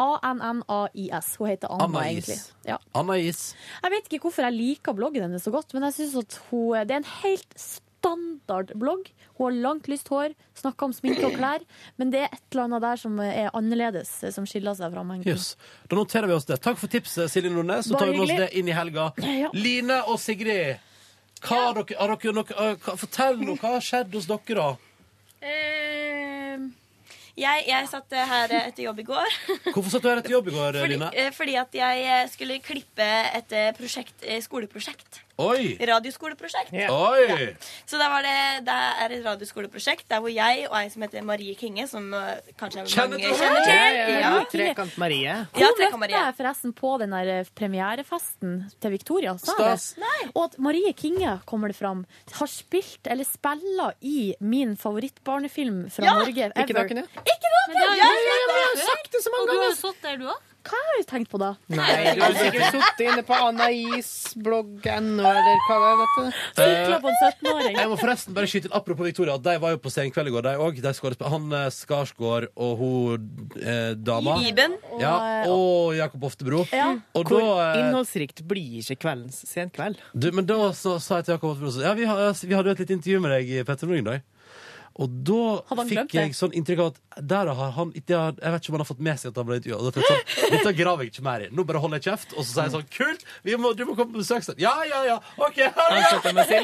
A-N-N-A-I-S. Hun heter Anna,
Anna Is.
egentlig. Ja.
Anna Is.
Jeg vet ikke hvorfor jeg liker bloggen hennes så godt, men jeg synes at hun, eh, det er en helt standard blogg. Hun har langt, lyst hår, snakker om sminke og klær, men det er et eller annet der som er annerledes, eh, som skiller seg fra mengden.
Jøss. Da noterer vi oss det. Takk for tipset, Silje Nordnes. Så
Bare
tar vi med oss
hyggelig.
det inn i helga. Line og Sigrid, hva har dere, har dere noe, eh, hva, fortell nå, hva har skjedd hos dere, da?
Ehm, Jeg, jeg satt eh, her eh, etter jobb i går.
Hvorfor satt du her etter jobb i går,
Fordi,
Line?
eh, fordi at jeg eh, skulle klippe et eh, prosjekt, eh, skoleprosjekt.
Oi!
Radioskoleprosjekt.
Oi!
Ja. Så da var det, det er et radioskoleprosjekt der hvor jeg og ei som heter Marie Kinge, som eh, kanskje
Kjenner
mange
du
kjenner til
Ja, ja, ja.
Ja.
Trekant Marie.
Hun møtte jeg forresten på den der eh, premierefesten til Victoria. Sa jeg
Stas.
det. Og at Marie Kinge, kommer det fram, har spilt eller spilla i min favorittbarnefilm fra
Ja!
Norge.
Ikke
ever.
naken, ja.
Ikke naken!
Men det har
Ja,
vi
ja,
sett
ja,
det
jeg har
før.
sagt det så
Og
mange
du har
ganger.
stått der, du òg?
Hva har jeg tenkt på da?
Nei, du har sikkert
sittet inne på anais.blogg.no, eller hva det er dette?
Sykla
på en
Eh,
17-åring.
Jeg må forresten bare skyte inn apropos Victoria. at De var jo på Senkveld i går, de òg. Han eh, Skarsgård og hun eh, dama.
Iben.
Ja, og Jakob Oftebro. Og
eh, Hvor
da eh,
innholdsrikt blir ikke kveldens senkveld?
Du, men da så, sa jeg til Jakob Oftebro Ja, vi, har, vi hadde jo et lite intervju med deg i Petter Morgen i dag. Og da
han glemt
fikk
det?
jeg sånn inntrykk av at der har han ikke- Jeg vet ikke om han har fått med seg at han ble intervjua. Sånn, Dette graver jeg ikke mer i. Nå bare holder jeg kjeft, og så sier jeg sånn Kult! Vi må, du må komme på besøk snart. Ja, ja, ja! OK!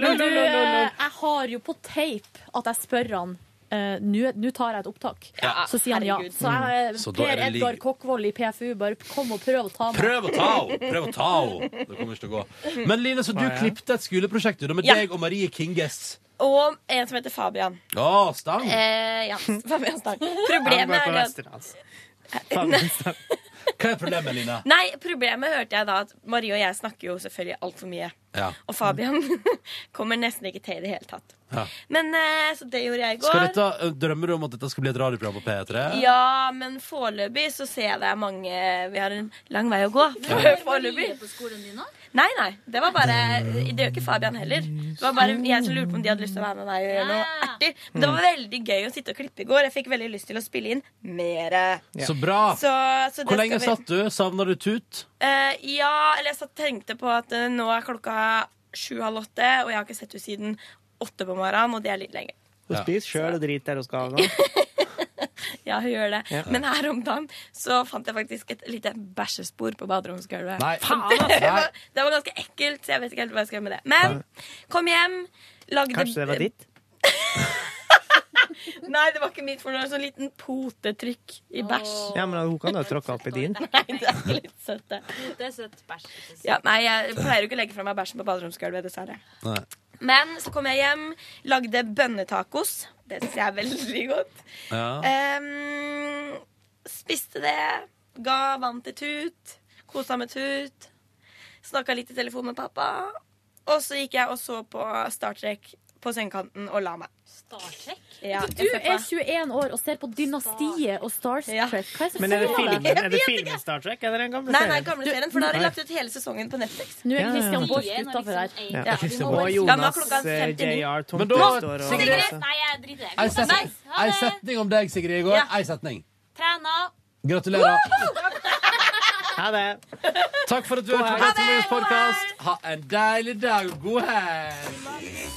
Men du, eh, jeg har jo på tape at jeg spør han eh, Nå nå tar jeg et opptak.
Ja.
Så sier han ja.
Herregud.
Så jeg, eh,
Mm. Så da er
Per
det lig-
Edgar Kokkvold i PFU, bare kom og prøv å ta meg.
Prøv å ta henne! Prøv å ta henne! Det kommer ikke til å gå. Men Line, så du
Ja, ja.
klippte et skoleprosjekt du, da, med
Ja.
deg og Marie Kinges.
Og en som heter Fabian.
Å, stang!
Eh,
Eh, ja, Fabian Stang.
Han
Problemet
går på altså.
er at
Vesterålen. Faen,
Hva er problemet, Lina?
Nei, problemet hørte jeg da at Marie og jeg snakker jo selvfølgelig altfor mye.
Ja.
Og Fabian kommer nesten ikke til i det hele tatt.
Ja.
Men eh, Så det gjorde jeg i går.
Skal dette, eh, drømmer du om at dette skal bli et radioprogram på P3?
Ja, men foreløpig så ser jeg det er mange Vi har en lang vei å gå.
Ja.
Foreløpig. Nei, nei. Det var bare Det gjør ikke Fabian heller. Det var bare jeg som lurte på om de hadde lyst til å være med meg og gjøre noe artig. Men det var veldig gøy å sitte og klippe i går. Jeg fikk veldig lyst til å spille inn mer.
Så bra.
Så, så altså, det
Hvor lenge
skal vi-
satt du? Savna du tut?
Eh, ja, eller jeg satt, tenkte på at eh, nå er klokka sju-halv åtte, og jeg har ikke sett henne siden åtte på morgenen, og det er litt lenge.
Hun spiser sjøl og driter der hun skal. nå.
Ja, hun gjør det.
Ja.
Men her om dagen så fant jeg faktisk et lite bæsjespor på baderomsgulvet.
Nei. Faen,
det,
altså.
var- det var ganske ekkelt, så jeg vet ikke helt hva jeg skal gjøre med det. Men kom hjem, lagde
Kanskje det var ditt?
Nei, det var ikke mitt, for det var sånn liten potetrykk i bæsj.
Ja, men hun kan jo tråkke opp i din.
Nei, det er ikke litt søtt, det.
Det er søtt bæsj.
Ja, nei, jeg pleier jo ikke å legge fra meg bæsjen på baderomsgulvet, dessverre.
Nei.
Men så kom jeg hjem, lagde bønnetacos. Det syns jeg er veldig godt. Eh,
Ja.
Ehm, spiste det, ga vann til Tut, kosa med Tut. Snakka litt i telefon med pappa. Og så gikk jeg og så på Star Trek på sengekanten og la meg. Ja,
du
jeg
er
ser på.
21 år og ser på Dynastiet og Star Trek. Hva er så
Men er det
feil av
filmen,
deg?
er det filmen Star Trek, eller den gamle
Nei, nei, gamle
Du-
serien, for da har de
Nei.
lagt ut hele sesongen på Netflix. liksom
Nå er
Ja, ja,
Christian
ja.
Borch utafor her.
Ja.
Ja, vi må- Ja, nå
Og
er
Jonas
klokka
eh,
59.
JR
Men
Tomte
da-
står og
Sigrid!
Nei, jeg driter i det.
Ei setning.
Nice. Ha
Ei
det.
setning om deg, Sigrid, i går.
Ja.
Ei setning.
Trena.
Gratulerer.
Ha det.
Takk for at du hørte på Petter Morgens podkast. Ha en deilig dag. God helg.